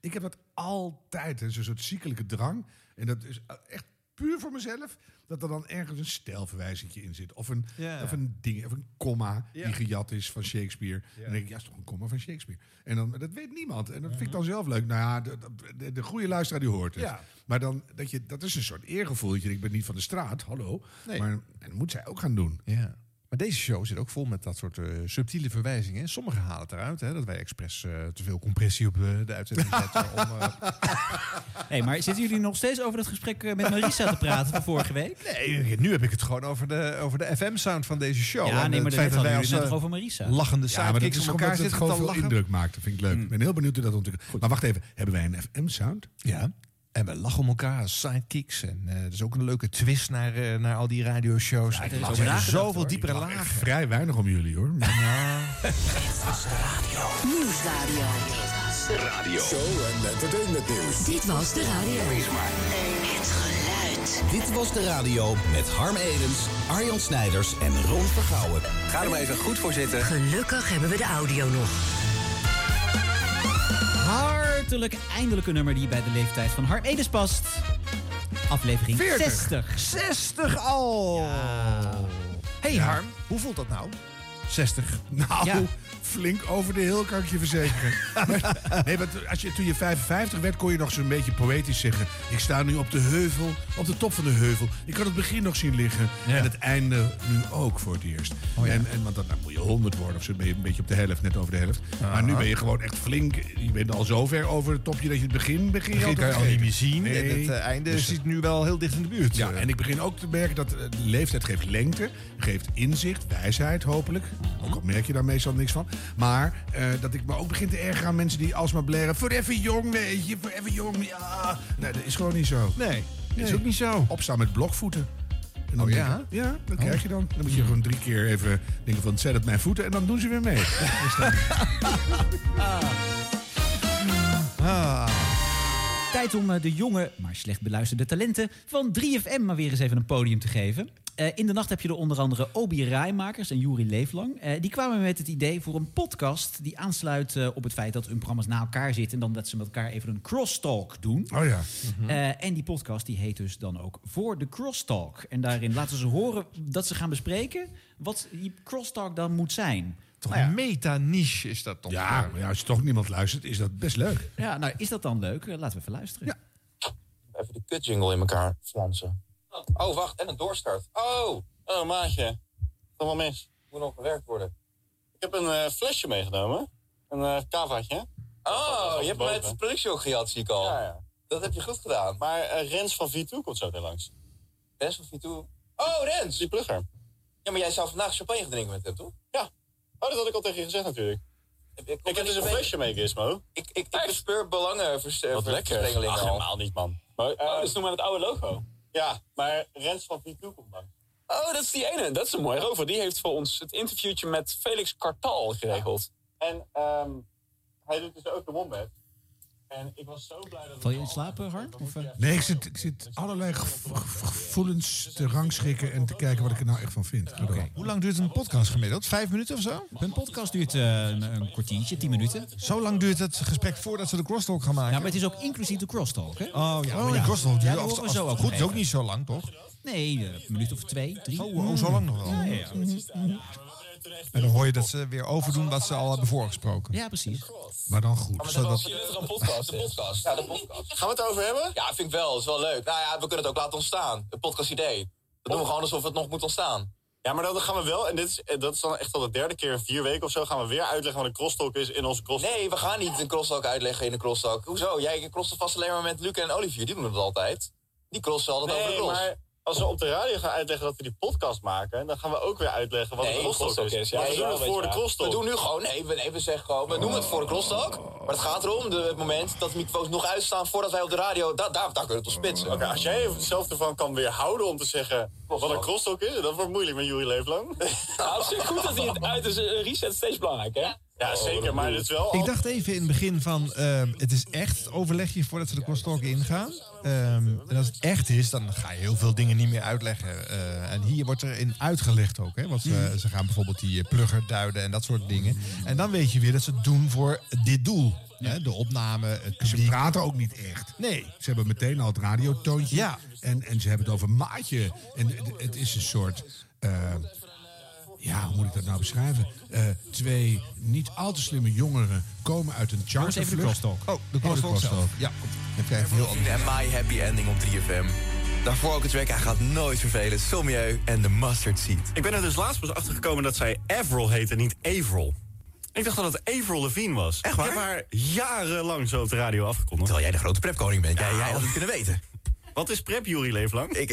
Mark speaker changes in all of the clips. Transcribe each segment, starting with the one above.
Speaker 1: Ik heb dat altijd. Het is een soort ziekelijke drang. En dat is echt puur voor mezelf. Dat er dan ergens een stijlverwijzingje in zit. Of een,
Speaker 2: Ja.
Speaker 1: of een ding, of een komma
Speaker 2: Ja.
Speaker 1: die gejat is van Shakespeare.
Speaker 2: Ja.
Speaker 1: En dan denk ik, ja, is toch een komma van Shakespeare. En dan, dat weet niemand. En dat vind ik dan zelf leuk. Nou ja, de, de, de goede luisteraar die hoort het.
Speaker 2: Ja.
Speaker 1: Maar dan, dat, je, dat is een soort eergevoel. dat je denkt, Ik ben niet van de straat, hallo.
Speaker 2: Nee.
Speaker 1: Maar en dat moet zij ook gaan doen.
Speaker 2: Ja. Maar deze show zit ook vol met dat soort eh, subtiele verwijzingen. Sommigen halen het eruit, hè, dat wij expres eh, te veel compressie op eh, de uitzending zetten. om, eh,
Speaker 3: Hey, maar zitten jullie nog steeds over dat gesprek eh, met Marisa te praten van vorige week?
Speaker 2: nee, nu heb ik het gewoon over de, over de FM-sound van deze show.
Speaker 3: ja,
Speaker 2: En
Speaker 3: nee, maar
Speaker 2: het
Speaker 3: dat
Speaker 2: feit dat wij
Speaker 3: hadden jullie
Speaker 2: als
Speaker 3: het net
Speaker 2: eh,
Speaker 3: nog over Marisa.
Speaker 2: lachende
Speaker 1: Ja, maar dat
Speaker 2: sidekicks
Speaker 1: is
Speaker 2: op
Speaker 1: omdat
Speaker 2: elkaar
Speaker 1: het
Speaker 2: zitten
Speaker 1: gewoon Mm.
Speaker 2: te
Speaker 1: veel
Speaker 2: lachen.
Speaker 1: indruk maakt. Dat vind ik leuk. Ik ben heel benieuwd hoe dat ontwikkelt. Maar wacht even, hebben wij een FM-sound?
Speaker 2: Ja. En we lachen om elkaar als sidekicks. En eh dat is ook een leuke twist naar, eh, naar al die radioshows.
Speaker 3: er
Speaker 2: shows.
Speaker 3: is
Speaker 2: er
Speaker 3: over
Speaker 2: zijn
Speaker 3: nagedacht,
Speaker 2: zoveel
Speaker 3: hoor.
Speaker 2: diepere
Speaker 1: Echt
Speaker 2: lagen.
Speaker 1: Vrij weinig om jullie hoor.
Speaker 4: Nieuwsradio.
Speaker 5: Radio.
Speaker 6: Show en entertainment nieuws.
Speaker 4: Dit was de radio. Het geluid.
Speaker 7: Dit was de radio met Harm Edens, Arjan Snijders en Ron Vergouwen. Ga er maar even goed voor zitten.
Speaker 4: Gelukkig hebben we de audio nog.
Speaker 3: Hartelijk eindelijk een nummer die bij de leeftijd van Harm Edens past. Aflevering
Speaker 2: 40.
Speaker 3: 60.
Speaker 2: 60 al! hey, Harm, hoe voelt dat nou? 60.
Speaker 1: Nou,
Speaker 3: Ja.
Speaker 1: flink over de heel kan ik je verzekeren. Maar- nee, want als je, toen je 55 werd, kon je nog zo'n beetje poëtisch zeggen... ik sta nu op de heuvel, op de top van de heuvel. Ik had het begin nog zien liggen
Speaker 2: Ja.
Speaker 1: en het einde nu ook voor het eerst.
Speaker 2: Oh ja.
Speaker 1: en, en, want dan nou, moet je 100 worden of zo, ben je een beetje op de helft, net over de helft.
Speaker 2: Ah.
Speaker 1: Maar nu ben je gewoon echt flink, je bent al zo ver over het topje... dat je het begin, begin,
Speaker 2: begin kan je al niet meer zien.
Speaker 1: Nee.
Speaker 2: En het eh, einde
Speaker 1: Dus
Speaker 2: zit nu wel heel dicht in de buurt.
Speaker 1: Ja,
Speaker 2: Eh,
Speaker 1: en ik begin ook te merken dat eh, de leeftijd geeft lengte, geeft inzicht, wijsheid hopelijk. Ook al merk je daar meestal niks van. Maar eh, dat ik me ook begin te ergeren aan mensen die alsmaar blaren... Forever jong, weet je, forever jong, ja. Nee, dat is gewoon niet zo.
Speaker 2: Nee,
Speaker 1: Nee.
Speaker 2: is ook niet zo.
Speaker 1: Opstaan met blokvoeten. En dan
Speaker 2: Oh,
Speaker 1: denk ik,
Speaker 2: ja?
Speaker 1: ja, dat krijg je dan. Dan moet je gewoon drie keer even denken van... zet het mijn voeten en dan doen ze weer mee. Is dat-
Speaker 3: Ah. Tijd om eh, de jonge, maar slecht beluisterde talenten van 3FM maar weer eens even een podium te geven. Eh, in de nacht heb je er onder andere Obi Rijmakers en Juri Leeflang. Eh, die kwamen met het idee voor een podcast die aansluit eh, op het feit dat hun programma's na elkaar zitten. En dan dat ze met elkaar even een crosstalk doen.
Speaker 1: oh ja.
Speaker 3: Eh, en die podcast die heet dus dan ook Voor de Crosstalk. En daarin laten ze horen dat ze gaan bespreken wat die crosstalk dan moet zijn.
Speaker 2: Toch
Speaker 3: Nou ja.
Speaker 2: een meta-niche is dat toch?
Speaker 1: Ja, maar ja, als toch niemand luistert, is dat best leuk.
Speaker 3: Ja, nou is dat dan leuk? Eh, Laten we even luisteren.
Speaker 8: even de kutjingle in elkaar flansen. Oh, wacht, en een doorstart. Oh, oh maatje. Het is Allemaal mis. Moet nog gewerkt worden. Ik heb een eh, flesje meegenomen. Een eh kavaatje.
Speaker 5: Oh, je hebt mij het productie ook gejat, zie ik al.
Speaker 8: Ja, ja.
Speaker 5: Dat heb je goed gedaan.
Speaker 8: Maar eh, Rens van V2 komt zo weer langs.
Speaker 5: Best of je toe. Oh, Rens!
Speaker 8: Die plugger.
Speaker 5: Ja, maar jij zou vandaag champagne gaan drinken met hem, toch?
Speaker 8: Ja. Oh, dat had ik al tegen je gezegd natuurlijk.
Speaker 5: Ik,
Speaker 8: ik heb dus een flesje mee, Gizmo.
Speaker 5: Ik, ik, ik bespeur belangen voor
Speaker 8: Wat lekker. Ach,
Speaker 5: al.
Speaker 8: helemaal niet, man. Maar, eh,
Speaker 5: Oh, dat is nog maar het oude logo.
Speaker 8: Ja, maar Rens van V2 komt langs.
Speaker 5: Oh, dat is die ene. Dat is een mooie rover. Die heeft voor ons het interviewtje met Felix Kartal geregeld.
Speaker 8: En ehm, hij doet dus ook de wombat. En ik was zo blij dat...
Speaker 3: Val je in slaap, eh, Harm? Of, eh?
Speaker 1: Nee, ik zit, ik zit allerlei gevo- gevoelens te rangschikken en te kijken wat ik er nou echt van vind. Pardon.
Speaker 2: Hoe lang duurt een podcast gemiddeld? Vijf minuten of zo?
Speaker 3: Hun podcast duurt eh, een, een kwartiertje, tien minuten.
Speaker 2: Zo lang duurt het gesprek voordat ze de crosstalk gaan maken?
Speaker 3: Ja, maar het is ook inclusief de crosstalk, hè?
Speaker 2: Oh ja, maar
Speaker 3: Oh,
Speaker 2: die
Speaker 3: ja.
Speaker 2: crosstalk
Speaker 3: Ja,
Speaker 2: duurt
Speaker 3: dat
Speaker 2: als-
Speaker 3: horen we
Speaker 2: als
Speaker 3: zo
Speaker 2: het
Speaker 3: ook
Speaker 2: goed
Speaker 3: nog
Speaker 2: is ook
Speaker 3: even.
Speaker 2: niet zo lang, toch?
Speaker 3: Nee, eh, een minuut of twee, drie.
Speaker 2: Oh, oh, zo lang nog wel.
Speaker 3: Ja, ja.
Speaker 2: En dan hoor je dat ze weer overdoen wat ze al hebben voorgesproken.
Speaker 3: Ja, precies.
Speaker 1: Maar dan goed.
Speaker 8: Oh,
Speaker 5: Maar dat was
Speaker 2: Zodat-
Speaker 5: een podcast. De podcast. Ja, de podcast.
Speaker 8: Gaan we het over hebben?
Speaker 5: Ja, vind ik wel. is wel leuk. Nou ja, we kunnen het ook laten ontstaan. Het podcast idee. Dat doen we gewoon alsof het nog moet ontstaan.
Speaker 8: Oh. Ja, maar dan gaan we wel, en dit is, eh, dat is dan echt al de derde keer in vier weken of zo, gaan we weer uitleggen wat een crosstalk is in onze crosstalk.
Speaker 5: Nee, we gaan niet een crosstalk uitleggen in een crosstalk. Hoezo? Jij crosstalk vast alleen maar met Luca en Olivier. Die doen het altijd. Die crossen altijd over de cross.
Speaker 8: maar als we op de radio gaan uitleggen dat we die podcast maken, dan gaan we ook weer uitleggen wat
Speaker 5: Nee,
Speaker 8: een crosstalk is. Ja, we
Speaker 5: Nee,
Speaker 8: doen het
Speaker 5: weet
Speaker 8: voor
Speaker 5: je
Speaker 8: de
Speaker 5: wel.
Speaker 8: crosstalk.
Speaker 5: We doen nu gewoon, nee, we, nee, we zeggen gewoon, we doen het voor de crosstalk. Maar het gaat erom, de, het moment dat de microfoons nog uitstaan voordat wij op de radio, da, daar, daar kunnen we het op spitsen.
Speaker 8: Oké, als jij jezelf ervan kan weerhouden om te zeggen wat een crosstalk is, dat wordt moeilijk met jullie leeflang.
Speaker 5: Nou, het is goed dat hij het uit is. Een reset is steeds belangrijk, hè? Ja,
Speaker 9: Ja, zeker, maar het is wel...
Speaker 2: Ik dacht even in het begin van, ehm, het is echt overleg je voordat ze de crosstalk ingaan. Ehm, en als het echt is, dan ga je heel veel dingen niet meer uitleggen. Eh, en hier wordt er in uitgelegd ook. Hè, want
Speaker 3: Hmm.
Speaker 2: ze, ze gaan bijvoorbeeld die eh, plugger duiden en dat soort dingen. En dan weet je weer dat ze het doen voor dit doel. Hè, de opname, het
Speaker 1: Ze
Speaker 2: publiek.
Speaker 1: praten ook niet echt.
Speaker 2: Nee.
Speaker 1: Ze hebben meteen al het radiotoontje.
Speaker 2: Ja.
Speaker 1: En, en ze hebben het over maatje. En het- het is een soort... eh, ja, hoe moet ik dat nou beschrijven? Eh, twee niet al te slimme jongeren komen uit een
Speaker 3: Jongens, even de
Speaker 1: chartervlucht.
Speaker 3: crosstalk.
Speaker 2: Oh, de crosstalk zelf. Ja, dan krijg je heel anders.
Speaker 8: En My Happy Ending op 3FM. Daarvoor ook het track, hij gaat nooit vervelen. Sommieu en de Mustard Seed.
Speaker 10: Ik ben er dus laatst pas achtergekomen dat zij Avril heet en niet Avril. Ik dacht dat het Avril Levine was.
Speaker 8: Echt waar?
Speaker 10: Ik heb haar jarenlang zo op de radio afgekondigd.
Speaker 8: Terwijl jij de grote prepkoning bent. Jij, jij had het kunnen weten.
Speaker 10: Wat is prep, Jury Leeflang?
Speaker 8: Ik...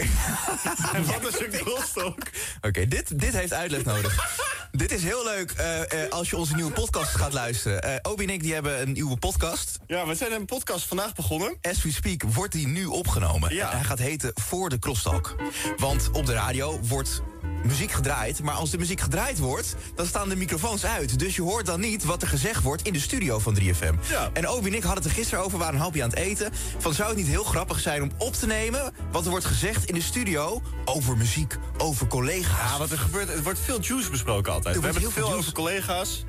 Speaker 10: En wat is een crosstalk?
Speaker 8: Oké, dit, dit heeft uitleg nodig. dit is heel leuk eh, eh, als je onze nieuwe podcast gaat luisteren. Eh, Obi en ik die hebben een nieuwe podcast.
Speaker 10: Ja, we zijn een podcast vandaag begonnen.
Speaker 8: As we speak wordt die nu opgenomen.
Speaker 10: Ja.
Speaker 8: En hij gaat heten Voor de Crosstalk. Want op de radio wordt muziek gedraaid. Maar als de muziek gedraaid wordt, dan staan de microfoons uit. Dus je hoort dan niet wat er gezegd wordt in de studio van 3FM.
Speaker 10: Ja.
Speaker 8: En Obi en ik hadden het er gisteren over, we waren een hapje aan het eten. Van zou het niet heel grappig zijn om op te nemen... wat er wordt gezegd in de studio over muziek, over collega's.
Speaker 10: Ja, wat er gebeurt, er wordt veel juice besproken altijd.
Speaker 8: Er
Speaker 10: We
Speaker 8: wordt
Speaker 10: hebben het
Speaker 8: heel
Speaker 10: veel
Speaker 8: veel
Speaker 10: over collega's.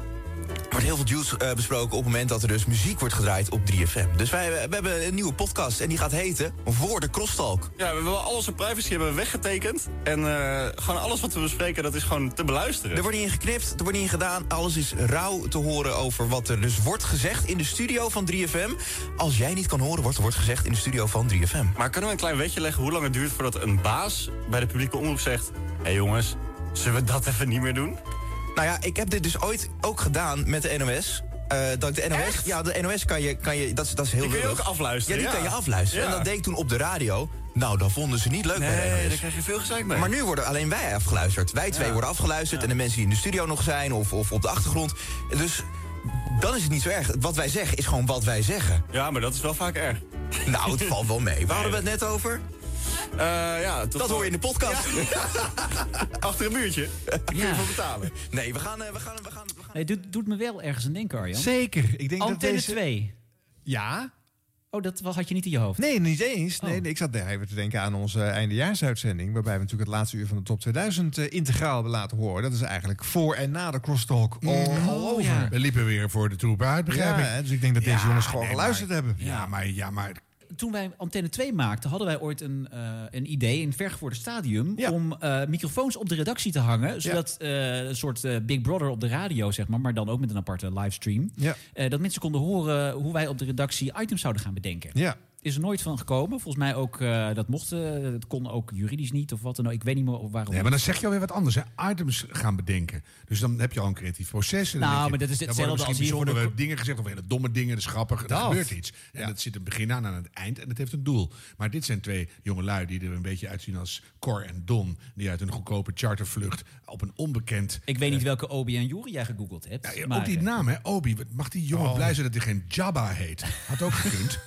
Speaker 8: Er wordt heel veel juice eh, besproken op het moment dat er dus muziek wordt gedraaid op 3FM. Dus wij we hebben een nieuwe podcast en die gaat heten Voor de Crosstalk.
Speaker 10: Ja, we hebben al onze privacy hebben we weggetekend. En eh, gewoon alles wat we bespreken, dat is gewoon te beluisteren.
Speaker 8: Er wordt niet in geknipt, er wordt niet in gedaan. Alles is rauw te horen over wat er dus wordt gezegd in de studio van 3FM. Als jij niet kan horen wat er wordt gezegd in de studio van 3FM.
Speaker 10: Maar kunnen we een klein wetje leggen hoe lang het duurt voordat een baas bij de publieke omroep zegt... Hé jongens, zullen we dat even niet meer doen?
Speaker 8: Nou ja, ik heb dit dus ooit ook gedaan met de NOS. Eh dank de NOS.
Speaker 10: Echt?
Speaker 8: Ja, de NOS kan je, kan je dat, is- dat is heel
Speaker 10: Die kun je
Speaker 8: lullig.
Speaker 10: ook afluisteren,
Speaker 8: Ja, die
Speaker 10: ja.
Speaker 8: kan je afluisteren.
Speaker 10: Ja.
Speaker 8: En dat deed ik toen op de radio. Nou, dat vonden ze niet leuk bij de
Speaker 10: Nee,
Speaker 8: NOS.
Speaker 10: daar krijg je veel gezeik mee.
Speaker 8: Maar nu worden alleen wij afgeluisterd. Wij twee worden afgeluisterd en de mensen die in de studio nog zijn of, of op de achtergrond. Dus dan is het niet zo erg. Wat wij zeggen is gewoon wat wij zeggen.
Speaker 10: Ja, maar dat is wel vaak erg.
Speaker 8: Nou, het valt wel mee. Waar hadden we het net over?
Speaker 10: Eh, ja, tot
Speaker 8: Dat hoor je in de podcast.
Speaker 10: achter een muurtje. Daar kun je
Speaker 3: Ja.
Speaker 10: voor betalen.
Speaker 8: Nee, we gaan, eh, we gaan, we gaan, we gaan.
Speaker 3: Nee, dit doet me wel ergens aan denken, Arjan.
Speaker 2: Zeker. Ik denk dat
Speaker 3: Antenne
Speaker 2: deze...
Speaker 3: 2.
Speaker 2: Ja,
Speaker 3: Oh, dat had je niet in je hoofd.
Speaker 2: Nee, niet eens. Nee,
Speaker 3: Oh.
Speaker 2: nee, ik zat even te denken aan onze eh, eindejaarsuitzending. Waarbij we natuurlijk het laatste uur van de top 2000 eh, integraal hebben laten horen. Dat is eigenlijk voor en na de crosstalk. all- all over.
Speaker 3: Mm. Oh, ja.
Speaker 1: We liepen weer voor de troepen uit, begrijp
Speaker 2: Oh, Ja,
Speaker 1: ik.
Speaker 2: hè, dus ik denk dat deze
Speaker 1: Ja,
Speaker 2: jongens gewoon
Speaker 1: nee,
Speaker 2: geluisterd
Speaker 1: maar-
Speaker 2: hebben.
Speaker 1: Ja, maar, ja, maar
Speaker 3: Toen wij Antenne 2 maakten, hadden wij ooit een, eh, een idee in het vergevorderd stadium...
Speaker 2: Ja.
Speaker 3: om eh, microfoons op de redactie te hangen. Zodat eh, een soort eh, Big Brother op de radio, zeg maar... maar dan ook met een aparte livestream.
Speaker 2: Ja.
Speaker 3: Eh, dat mensen konden horen hoe wij op de redactie items zouden gaan bedenken.
Speaker 2: Ja.
Speaker 3: Is er nooit van gekomen. Volgens mij ook, eh, dat mocht, eh, het kon ook juridisch niet of wat dan ook. Ik weet niet meer of waarom.
Speaker 1: Nee, maar dan zeg je alweer wat anders. Hè? Items gaan bedenken. Dus dan heb je al een creatief proces. En dan
Speaker 3: Nou,
Speaker 1: denk je,
Speaker 3: maar dat is
Speaker 1: dan
Speaker 3: hetzelfde
Speaker 1: worden misschien
Speaker 3: als hier voor de-
Speaker 1: bijzondere dingen gezegd. Of hele domme dingen, dat is grappig. Er
Speaker 2: Dat.
Speaker 1: gebeurt iets. En dat zit een begin aan aan het eind. En dat heeft een doel. Maar dit zijn twee jongelui die er een beetje uitzien als Cor en Don. Die uit een goedkope chartervlucht op een onbekend...
Speaker 3: Ik weet niet welke Obi en Juri jij gegoogeld hebt.
Speaker 1: Ja,
Speaker 3: maar,
Speaker 1: ook die
Speaker 3: eh,
Speaker 1: naam, hè? Obi. Wat Mag die jongen blij zijn dat hij geen Jabba heet? Had ook gekund.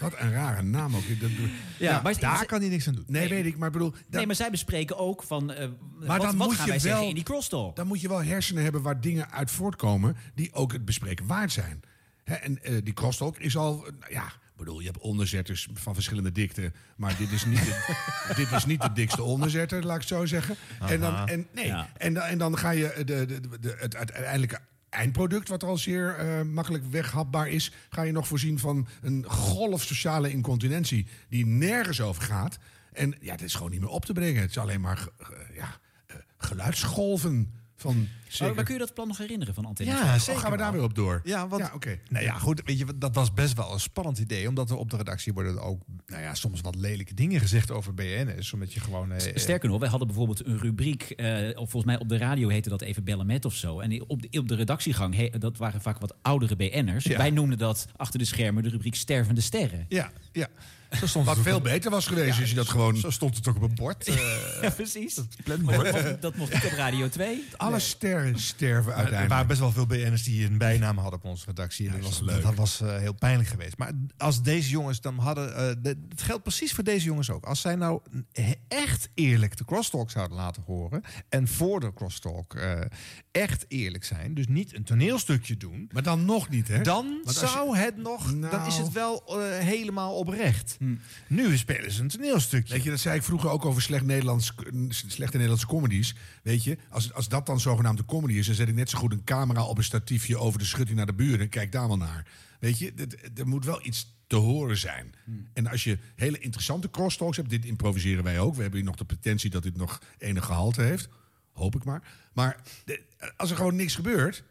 Speaker 1: Wat een rare naam ook. Dat-
Speaker 3: Ja, maar-
Speaker 2: Daar kan hij niks aan doen.
Speaker 1: Nee, weet ik. Maar ik bedoel... dat-
Speaker 3: Nee, maar zij bespreken ook van eh,
Speaker 1: Maar
Speaker 3: wat,
Speaker 1: dan
Speaker 3: wat
Speaker 1: moet
Speaker 3: gaan
Speaker 1: je
Speaker 3: wij zeggen
Speaker 1: wel-
Speaker 3: in die crosstalk.
Speaker 1: Dan moet je wel hersenen hebben waar dingen uit voortkomen die ook het bespreken waard zijn. Hè, en eh, die crosstalk is al, eh, nou ja, ik bedoel, je hebt onderzetters van verschillende dikte, maar dit is niet de, dit is niet de dikste onderzetter, laat ik het zo zeggen. En dan, en, nee,
Speaker 3: Ja.
Speaker 1: en, dan- en dan ga je eh, de, de, de, de- het uiteindelijke eindproduct, wat al zeer eh, makkelijk weghapbaar is, ga je nog voorzien van een golf sociale incontinentie die nergens over gaat. En ja, dat is gewoon niet meer op te brengen. Het is alleen maar eh, ja, eh, geluidsgolven van
Speaker 3: Maar,
Speaker 1: zeker.
Speaker 3: maar kun je dat plan nog herinneren van Antenne
Speaker 2: Ja,
Speaker 3: 2?
Speaker 1: Oh,
Speaker 2: zeker.
Speaker 1: gaan we daar weer op door?
Speaker 2: Ja, want
Speaker 1: oké.
Speaker 2: nou ja, goed, weet je, wat- dat was best wel een spannend idee. Omdat er op de redactie worden ook nou ja, soms wat lelijke dingen gezegd over BN's. Omdat je gewoon... eh, eh,
Speaker 3: Sterker nog, wij hadden bijvoorbeeld een rubriek, eh, of volgens mij op de radio heette dat even bellen met of zo. En die- op de, op de redactiegang, he- dat waren vaak wat oudere BN'ers.
Speaker 2: Ja.
Speaker 3: Wij noemden dat achter de schermen de rubriek Stervende Sterren.
Speaker 2: Ja, ja. Zo stond
Speaker 1: Wat
Speaker 2: het ook
Speaker 1: veel
Speaker 2: op-
Speaker 1: beter was geweest als je dat gewoon...
Speaker 2: Zo stond het ook op een bord. eh,
Speaker 3: Ja, precies. Maar dat mocht, dat mocht niet op Radio 2.
Speaker 1: Alle sterren sterven
Speaker 2: Eh, Er
Speaker 1: uiteindelijk.
Speaker 2: waren best wel veel BN'ers die een bijnaam hadden op onze redactie. En dat was, dat was eh, heel pijnlijk geweest. Maar als deze jongens dan hadden, eh, de- dat geldt precies voor deze jongens ook. Als zij nou he- echt eerlijk de crosstalk zouden laten horen... en voor de crosstalk eh, echt eerlijk zijn... dus niet een toneelstukje doen...
Speaker 1: Maar dan nog niet, hè?
Speaker 2: Dan
Speaker 1: Want als je- Nou.
Speaker 2: zou het nog... Dan is het wel eh, helemaal oprecht.
Speaker 1: Hm.
Speaker 2: Nu spelen ze een toneelstukje.
Speaker 1: Weet je, dat zei ik vroeger ook over slecht Nederlands, slechte Nederlandse comedies. Weet je, als, als dat dan zogenaamd de comedy is, dan zet ik net zo goed een camera op een statiefje over de schutting naar de buren. Kijk daar wel naar. Weet je, dat- er moet wel iets te horen zijn. En als je hele interessante crosstalks hebt, dit improviseren wij ook. We hebben hier nog de pretentie dat dit nog enig gehalte heeft. Hoop ik maar. Maar de- als er gewoon niks gebeurt.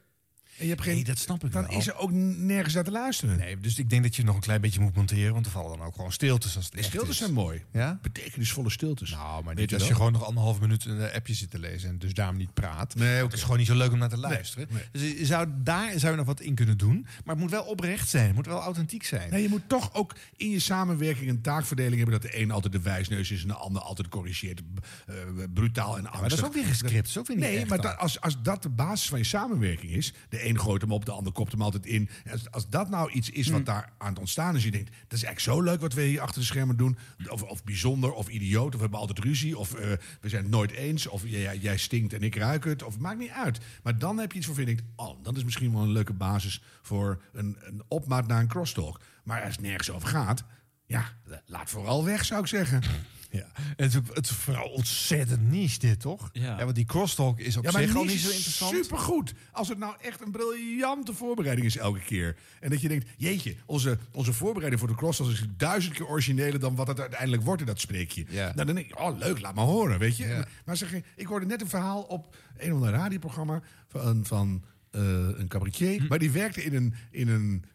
Speaker 1: En je hebt geen, dat snap ik dan is er ook nergens aan te luisteren.
Speaker 2: Nee, dus ik denk dat je nog een klein beetje moet monteren... want er vallen dan ook gewoon stiltes als het echt
Speaker 1: Stiltes
Speaker 2: is.
Speaker 1: zijn mooi.
Speaker 2: Ja?
Speaker 1: Betekenisvolle stiltes.
Speaker 2: Nou, maar
Speaker 1: Weet
Speaker 2: niet
Speaker 1: je
Speaker 2: als je
Speaker 1: wel?
Speaker 2: gewoon nog anderhalf minuut een eh, appje zit te lezen en dus daarom niet praat.
Speaker 1: Nee,
Speaker 2: Het
Speaker 1: oké.
Speaker 2: is gewoon niet zo leuk om naar te luisteren.
Speaker 1: nee.
Speaker 2: Dus je zou, daar zou je nog wat in kunnen doen. Maar het moet wel oprecht zijn. Het moet wel authentiek zijn.
Speaker 1: Nee, je moet toch ook in je samenwerking een taakverdeling hebben... dat de een altijd de wijsneus is en de ander altijd corrigeert. b- eh, brutaal en angstig.
Speaker 2: maar dat is ook weer gescript. Dat is ook weer niet
Speaker 1: Nee,
Speaker 2: echt
Speaker 1: maar
Speaker 2: dan.
Speaker 1: dat- als, als dat de basis van je samenwerking is... de een gooit hem op, de ander kopt hem altijd in. En Als, als dat nou iets is wat daar aan het ontstaan is... je denkt, dat is eigenlijk zo leuk wat we hier achter de schermen doen. Of, of bijzonder, of idioot, of we hebben altijd ruzie... of eh, we zijn het nooit eens, of jij, jij stinkt en ik ruik het. Of maakt niet uit. Maar dan heb je iets waarvan je denkt... oh, dat is misschien wel een leuke basis... voor een, een opmaat naar een crosstalk. Maar als het nergens over gaat... ja, laat vooral weg, zou ik zeggen.
Speaker 2: Ja. Het, is- het is vooral ontzettend niche dit, toch?
Speaker 3: Ja.
Speaker 2: want die crosstalk is op
Speaker 1: Ja, maar
Speaker 2: zich al
Speaker 1: niet
Speaker 2: niet zo interessant.
Speaker 1: Supergoed. Als het nou echt een briljante voorbereiding is elke keer. En dat je denkt, jeetje, onze, onze voorbereiding voor de cross is duizend keer origineler dan wat het uiteindelijk wordt in dat spreekje.
Speaker 2: Ja.
Speaker 1: Nou, dan denk ik, oh leuk, laat maar horen, weet je.
Speaker 2: Ja.
Speaker 1: Maar, maar zeg je, ik hoorde net een verhaal op een of ander radioprogramma van, van eh, een
Speaker 2: Hm.
Speaker 1: cabaretier. Maar die werkte in een, in een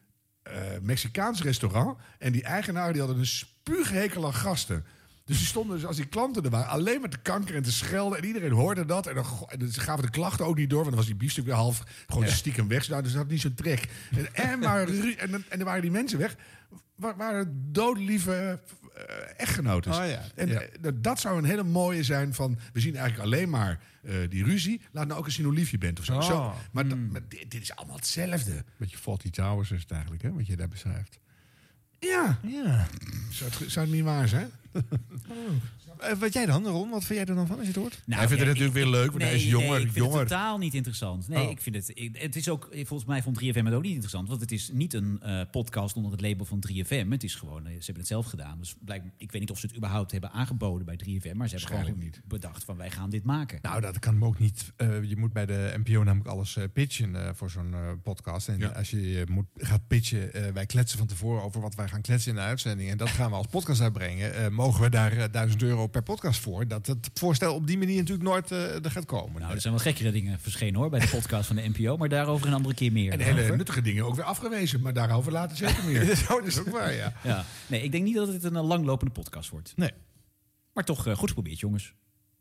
Speaker 1: eh, Mexicaans restaurant. En die eigenaar die hadden een spuughekel aan gasten. Dus die stonden dus als die klanten er waren alleen maar te kankeren en te schelden. En iedereen hoorde dat. En, dan, go- en ze gaven de klachten ook niet door. Want dan was die biefstuk weer half gewoon stiekem weg. Nou, dus dat had niet zo'n trek. En, en, maar, ru- en, dan- en dan waren die mensen weg. Waar, waren doodlieve eh, echtgenoten.
Speaker 2: Oh ja,
Speaker 1: En
Speaker 2: ja.
Speaker 1: eh, dat- dat zou een hele mooie zijn van... we zien eigenlijk alleen maar eh, die ruzie. Laat nou ook eens zien hoe lief je bent of zo.
Speaker 2: Oh,
Speaker 1: Zo, maar dat- maar dit, dit is allemaal hetzelfde.
Speaker 2: Beetje Faulty Towers is het eigenlijk, hè? Wat je daar beschrijft.
Speaker 1: Ja,
Speaker 2: Ja.
Speaker 1: zou het, zou het niet waar zijn?
Speaker 2: Eh, wat jij dan, Ron? Wat vind jij er dan van als je het hoort?
Speaker 3: Nou,
Speaker 1: Hij vindt
Speaker 3: ja,
Speaker 1: het natuurlijk weer leuk, want
Speaker 3: nee,
Speaker 1: hij is jonger.
Speaker 3: nee, ik vind
Speaker 1: jonger.
Speaker 3: het totaal niet interessant. Nee,
Speaker 1: Oh.
Speaker 3: ik vind het, ik- het is ook, volgens mij vond 3FM het ook niet interessant. Want het is niet een eh, podcast onder het label van 3FM. Het is gewoon, eh, ze hebben het zelf gedaan. Dus blijkbaar, ik weet niet of ze het überhaupt hebben aangeboden bij 3FM. Maar ze hebben gewoon
Speaker 1: Waarschijnlijk niet.
Speaker 3: bedacht van wij gaan dit maken.
Speaker 2: Nou, dat kan ook niet. Eh, je moet bij de NPO namelijk alles eh, pitchen eh, voor zo'n eh, podcast. En
Speaker 1: Ja.
Speaker 2: als je eh, moet, gaat pitchen, eh, wij kletsen van tevoren over wat wij gaan kletsen in de uitzending. En dat gaan we als podcast uitbrengen. Eh, mogen we daar eh, 1000 euro per podcast voor? Dat het voorstel op die manier natuurlijk nooit eh, er gaat komen.
Speaker 3: Nou, er zijn wel gekkere dingen verschenen hoor bij de podcast van de NPO. Maar daarover een andere keer meer.
Speaker 1: En hele nuttige dingen ook weer afgewezen. Maar daarover later zeker meer.
Speaker 2: dat is ook waar, ja.
Speaker 3: ja. Nee, ik denk niet dat het een eh, langlopende podcast wordt.
Speaker 2: Nee.
Speaker 3: Maar toch eh, goed geprobeerd, jongens.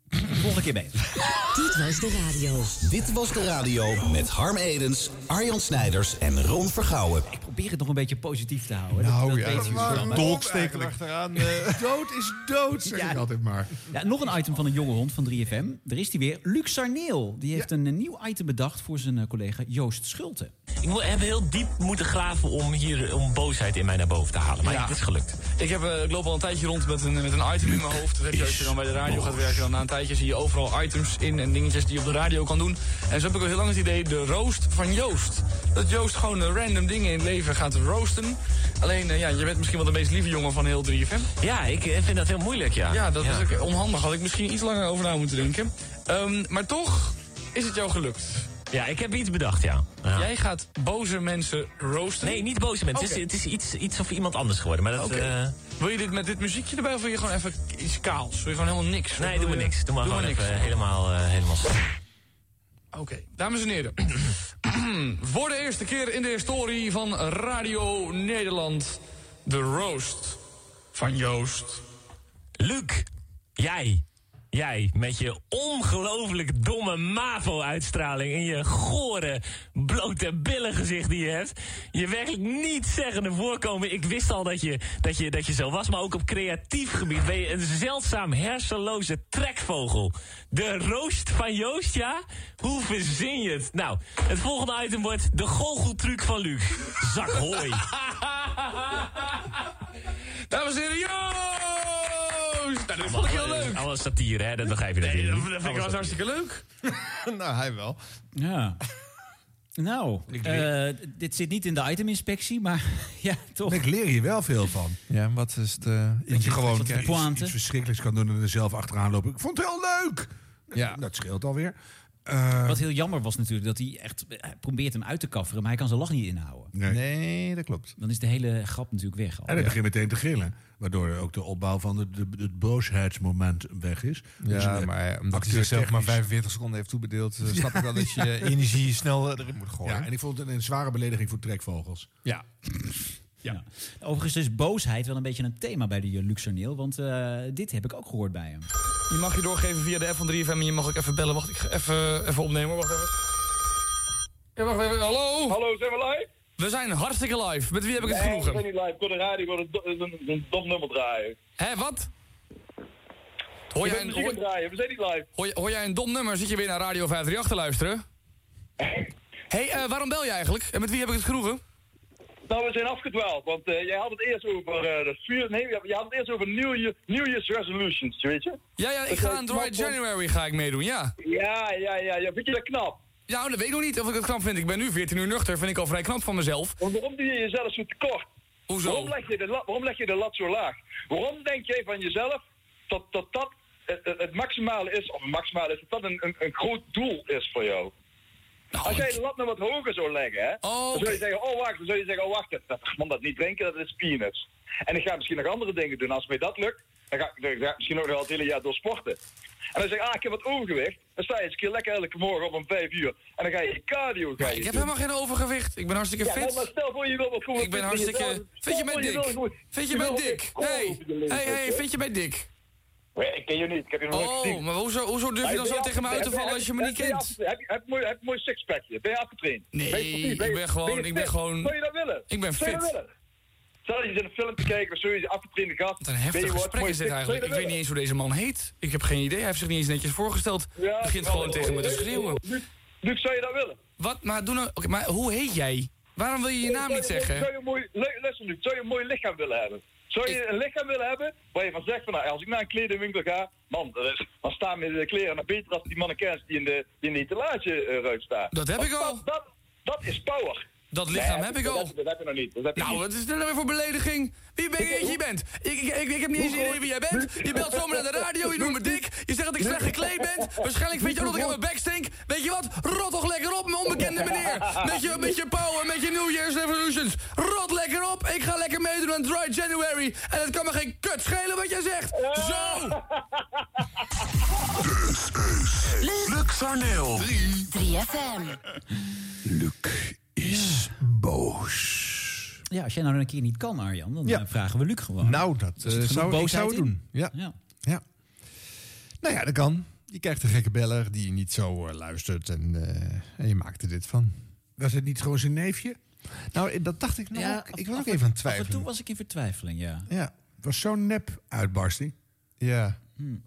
Speaker 3: Volgende keer beter.
Speaker 11: Dit was de radio.
Speaker 12: Dit was de radio met Harm Edens, Arjan Snijders en Ron Vergouwen.
Speaker 3: Ik probeer het nog een beetje positief te houden.
Speaker 2: Nou
Speaker 3: Dat-
Speaker 2: ja,
Speaker 3: dat weet
Speaker 2: het
Speaker 3: je
Speaker 2: is
Speaker 3: wel.
Speaker 2: wel
Speaker 1: Maar-
Speaker 2: dolksteken
Speaker 1: Maar-
Speaker 2: achteraan. eh.
Speaker 1: dood is dood, zeg
Speaker 3: Ja.
Speaker 1: ik altijd maar.
Speaker 3: Ja, nog een item van een jonge hond van 3FM. Er is die weer. Luc Sarneel. Die heeft een, eh, nieuw item bedacht voor zijn eh, collega Joost Schulte.
Speaker 13: Ik mo- heb heel diep moeten graven om hier om boosheid in mij naar boven te halen. Maar het is gelukt.
Speaker 14: Ik, heb, eh, ik loop al een tijdje rond met een, met een item in mijn hoofd. Dat heb je als je dan bij de radio gaat werken. Dan na een tijdje zie je overal items in en dingetjes die je op de radio kan doen. En zo heb ik al heel lang het idee, de roast van Joost. Dat Joost gewoon eh, random dingen in het leven gaat roosten. Alleen, eh, ja, je bent misschien wel de meest lieve jongen van heel 3FM.
Speaker 13: Ja, ik eh, vind dat heel moeilijk, ja.
Speaker 14: Ja, dat is ook onhandig. Had ik misschien iets langer over na moeten denken. Ehm, maar toch is het jou gelukt.
Speaker 13: Ja, ik heb iets bedacht, ja. Ja.
Speaker 14: Jij gaat boze mensen roosten.
Speaker 13: Nee, niet boos mensen.
Speaker 14: Oké.
Speaker 13: Het is, het is iets, iets of iemand anders geworden. Maar dat...
Speaker 14: Oké.
Speaker 13: eh,
Speaker 14: Wil je dit met dit muziekje erbij of wil je gewoon even iets kaals? Wil je gewoon helemaal niks? Wat
Speaker 13: nee,
Speaker 14: wil
Speaker 13: doe maar
Speaker 14: je?
Speaker 13: niks. Doe maar gewoon
Speaker 14: niks.
Speaker 13: even helemaal... eh, helemaal...
Speaker 14: Oké, dames en heren. Voor de eerste keer in de historie van Radio Nederland... de roast van Joost.
Speaker 13: Luc, jij. Jij, met je ongelooflijk domme MAVO-uitstraling en je gore, blote billen gezicht die je hebt. Je werkelijk niet zeggende voorkomen. Ik wist al dat je, dat, je, dat je zo was, maar ook op creatief gebied ben je een zeldzaam hersenloze trekvogel. De roost van Joost, ja? Hoe verzin je het? Nou, het volgende item wordt de goocheltruc van Luc. Zak hooi.
Speaker 14: Dames en heren, Joost! Nou, dat vond ik heel leuk.
Speaker 13: Alle satire, hè? Dat begrijp je
Speaker 14: Nee,
Speaker 13: natuurlijk
Speaker 14: dat
Speaker 13: niet.
Speaker 14: dat vind ik wel hartstikke leuk.
Speaker 2: nou, hij wel.
Speaker 3: Ja. Nou, eh, dit zit niet in de iteminspectie, maar ja, toch.
Speaker 1: Ik leer hier wel veel van.
Speaker 2: Ja, wat is de...
Speaker 1: Dat je gewoon
Speaker 3: Wat
Speaker 1: iets,
Speaker 3: pointe.
Speaker 1: iets verschrikkelijks kan doen en er zelf achteraan lopen. Ik vond het heel leuk.
Speaker 2: Ja.
Speaker 1: Dat scheelt alweer. Eh,
Speaker 3: Wat heel jammer was natuurlijk, dat hij echt hij probeert hem uit te kafferen, maar hij kan zijn lach niet inhouden.
Speaker 1: nee.
Speaker 2: Nee, dat klopt.
Speaker 3: Dan is de hele grap natuurlijk weg. al.
Speaker 1: En hij begint meteen te gillen. Waardoor ook de opbouw van de, de, het boosheidsmoment weg is. Dus,
Speaker 2: Ja,
Speaker 1: eh,
Speaker 2: maar omdat hij
Speaker 1: acteur
Speaker 2: zichzelf maar
Speaker 1: technisch.
Speaker 2: 45 seconden heeft toebedeeld, eh, snap ik wel dat je je energie snel eh, erin moet gooien.
Speaker 1: Ja, en ik vond het een, een zware belediging voor trekvogels.
Speaker 2: ja.
Speaker 3: Ja. Overigens is boosheid wel een beetje een thema bij de eh, Luxorneel, want eh, dit heb ik ook gehoord bij hem.
Speaker 14: Je mag je doorgeven via de app van 3FM en je mag ook even bellen. Wacht, ik ga even, even opnemen. hoor. Wacht even. Ja, wacht even. Hallo?
Speaker 15: Hallo, zijn we live?
Speaker 14: We zijn hartstikke live. Met wie heb ik het
Speaker 15: Nee, ik ben
Speaker 14: genoegen?
Speaker 15: niet live. Ik kon de radio gewoon een, do- eh, een, een dom nummer draaien.
Speaker 14: Hé, wat? Hoor
Speaker 15: ik
Speaker 14: jij,
Speaker 15: ben
Speaker 14: een,
Speaker 15: muziek aan het
Speaker 14: hoor,
Speaker 15: draaien. We zijn niet live.
Speaker 14: hoor, hoor jij een dom nummer? Zit je weer naar Radio 538 te luisteren? Hé, hey, eh, waarom bel je eigenlijk? En met wie heb ik het genoegen?
Speaker 15: Nou, we zijn afgedwaald. Want eh, jij had het eerst over eh, dat vuur. Nee, je had het eerst over New, Year, New Year's resolutions, weet je?
Speaker 14: Ja, ja, ik ga aan Dry January ga ik meedoen, ja.
Speaker 15: Ja, ja, ja, ja. Vind je dat knap?
Speaker 14: Ja, dat weet ik nog niet of ik het knap vind. Ik ben nu 14 uur nuchter, vind ik al vrij knap van mezelf.
Speaker 15: Want waarom doe je jezelf zo tekort?
Speaker 14: Hoezo?
Speaker 15: Waarom leg je de, la- waarom leg je de lat zo laag? Waarom denk jij van jezelf dat dat, dat eh, eh, het maximale is, of het maximale is, dat dat een, een, een groot doel is voor jou? Als jij de lat nou wat hoger zou leggen, hè,
Speaker 14: Oh,
Speaker 15: dan zou je
Speaker 14: oké.
Speaker 15: zeggen, oh wacht, dan zou je zeggen, oh wacht, dat, dat, man, dat niet drinken, dat is peanuts. En ik ga misschien nog andere dingen doen. Als mij dat lukt, dan ga, ik- dan ga ik misschien ook nog wel het hele jaar door sporten. En dan zeg je, ah, ik heb wat overgewicht. Dan sta je eens een keer lekker elke morgen op om vijf uur. En dan ga je cardio ga je
Speaker 14: Ik heb
Speaker 15: doen.
Speaker 14: helemaal geen overgewicht. Ik ben hartstikke
Speaker 15: Ja, maar
Speaker 14: fit.
Speaker 15: stel voor je wil wat gewoon
Speaker 14: Ik ben hartstikke... Vind je mij dik? Vind je mij dik? Hey, hey, hey, vind je mij dik?
Speaker 15: Nee, ik ken je niet. Ik heb je nog nooit
Speaker 14: Oh,
Speaker 15: gezien.
Speaker 14: maar hoezo, hoezo durf je dan zo tegen me uit te vallen als je me niet kent?
Speaker 15: Heb je heb je een mooi sixpackje? Ben je afgetraind?
Speaker 14: Nee,
Speaker 15: Ben je sportief?
Speaker 14: ik
Speaker 15: je-
Speaker 14: ben gewoon-
Speaker 15: je
Speaker 14: ik ben
Speaker 15: fit?
Speaker 14: gewoon-
Speaker 15: Zou je dat willen?
Speaker 14: Ik ben
Speaker 15: Zou je dat
Speaker 14: fit.
Speaker 15: willen? Stel dat je zit een film te kijken of zo, je zit afgetraind in de gast.
Speaker 14: Wat een heftig gesprek is dit eigenlijk. Ik weet niet eens hoe deze man heet. Ik heb geen idee. Hij heeft zich niet eens netjes voorgesteld. Begint gewoon tegen me te schreeuwen.
Speaker 15: Nu zou je dat willen?
Speaker 14: Wat? Maar, doe nou, oké, maar hoe heet jij? Waarom wil je je naam
Speaker 15: Zou
Speaker 14: niet zeggen?
Speaker 15: Zou je een mooi, lu- luister nu, zou je een mooi lichaam willen hebben? Zou je een lichaam willen hebben waar je van zegt van nou, als ik naar een kledingwinkel ga, man, dat is- dan staan mijn kleren nog beter dan die mannequins die in de, die in de etalage eh, eruit staan.
Speaker 14: Dat heb
Speaker 15: Want
Speaker 14: ik al.
Speaker 15: Dat, dat, dat is power.
Speaker 14: Dat lichaam
Speaker 15: Nee,
Speaker 14: heb ik
Speaker 15: dat
Speaker 14: al.
Speaker 15: heb- Dat heb je nog niet. Dat heb je
Speaker 14: Nou,
Speaker 15: niet.
Speaker 14: wat is dit nou weer voor belediging? Wie ben je dat je bent? Ik, ik, ik, ik heb niet eens idee wie jij bent. Je belt zomaar naar de radio, je noemt me dik. Je zegt dat ik slecht gekleed ben. Waarschijnlijk vind je ook dat ik aan mijn bek stink. Weet je wat? Rot toch lekker op, mijn onbekende meneer. Met je, met je power, met je New Year's Revolutions. Rot lekker op. Ik ga lekker meedoen aan Dry January. En het kan me geen kut schelen wat jij zegt. Zo!
Speaker 11: Luxorneel.
Speaker 5: 3FM.
Speaker 1: Is boos.
Speaker 3: Ja, als jij nou een keer niet kan, Arjan, dan
Speaker 2: Ja.
Speaker 3: eh, vragen we Luc gewoon.
Speaker 2: Nou, dat
Speaker 3: Er zit
Speaker 2: eh,
Speaker 3: Dus genoeg
Speaker 2: zou ik zou
Speaker 3: boosheid
Speaker 2: het
Speaker 3: in.
Speaker 2: doen. Ja.
Speaker 3: Ja.
Speaker 2: ja. Nou ja, dat kan. Je krijgt een gekke beller die niet zo eh, luistert en, eh, en je maakt er dit van.
Speaker 1: Was het niet gewoon zijn neefje?
Speaker 2: Nou, eh, dat dacht ik nog.
Speaker 3: Ja,
Speaker 2: ook.
Speaker 3: af-
Speaker 2: ik was ook
Speaker 3: af-
Speaker 2: even aan het
Speaker 3: Af en toe
Speaker 2: twijfelen.
Speaker 3: was ik in vertwijfeling, ja.
Speaker 2: Ja,
Speaker 1: Het was zo'n nep uitbarsting.
Speaker 2: ja.
Speaker 1: Voelde,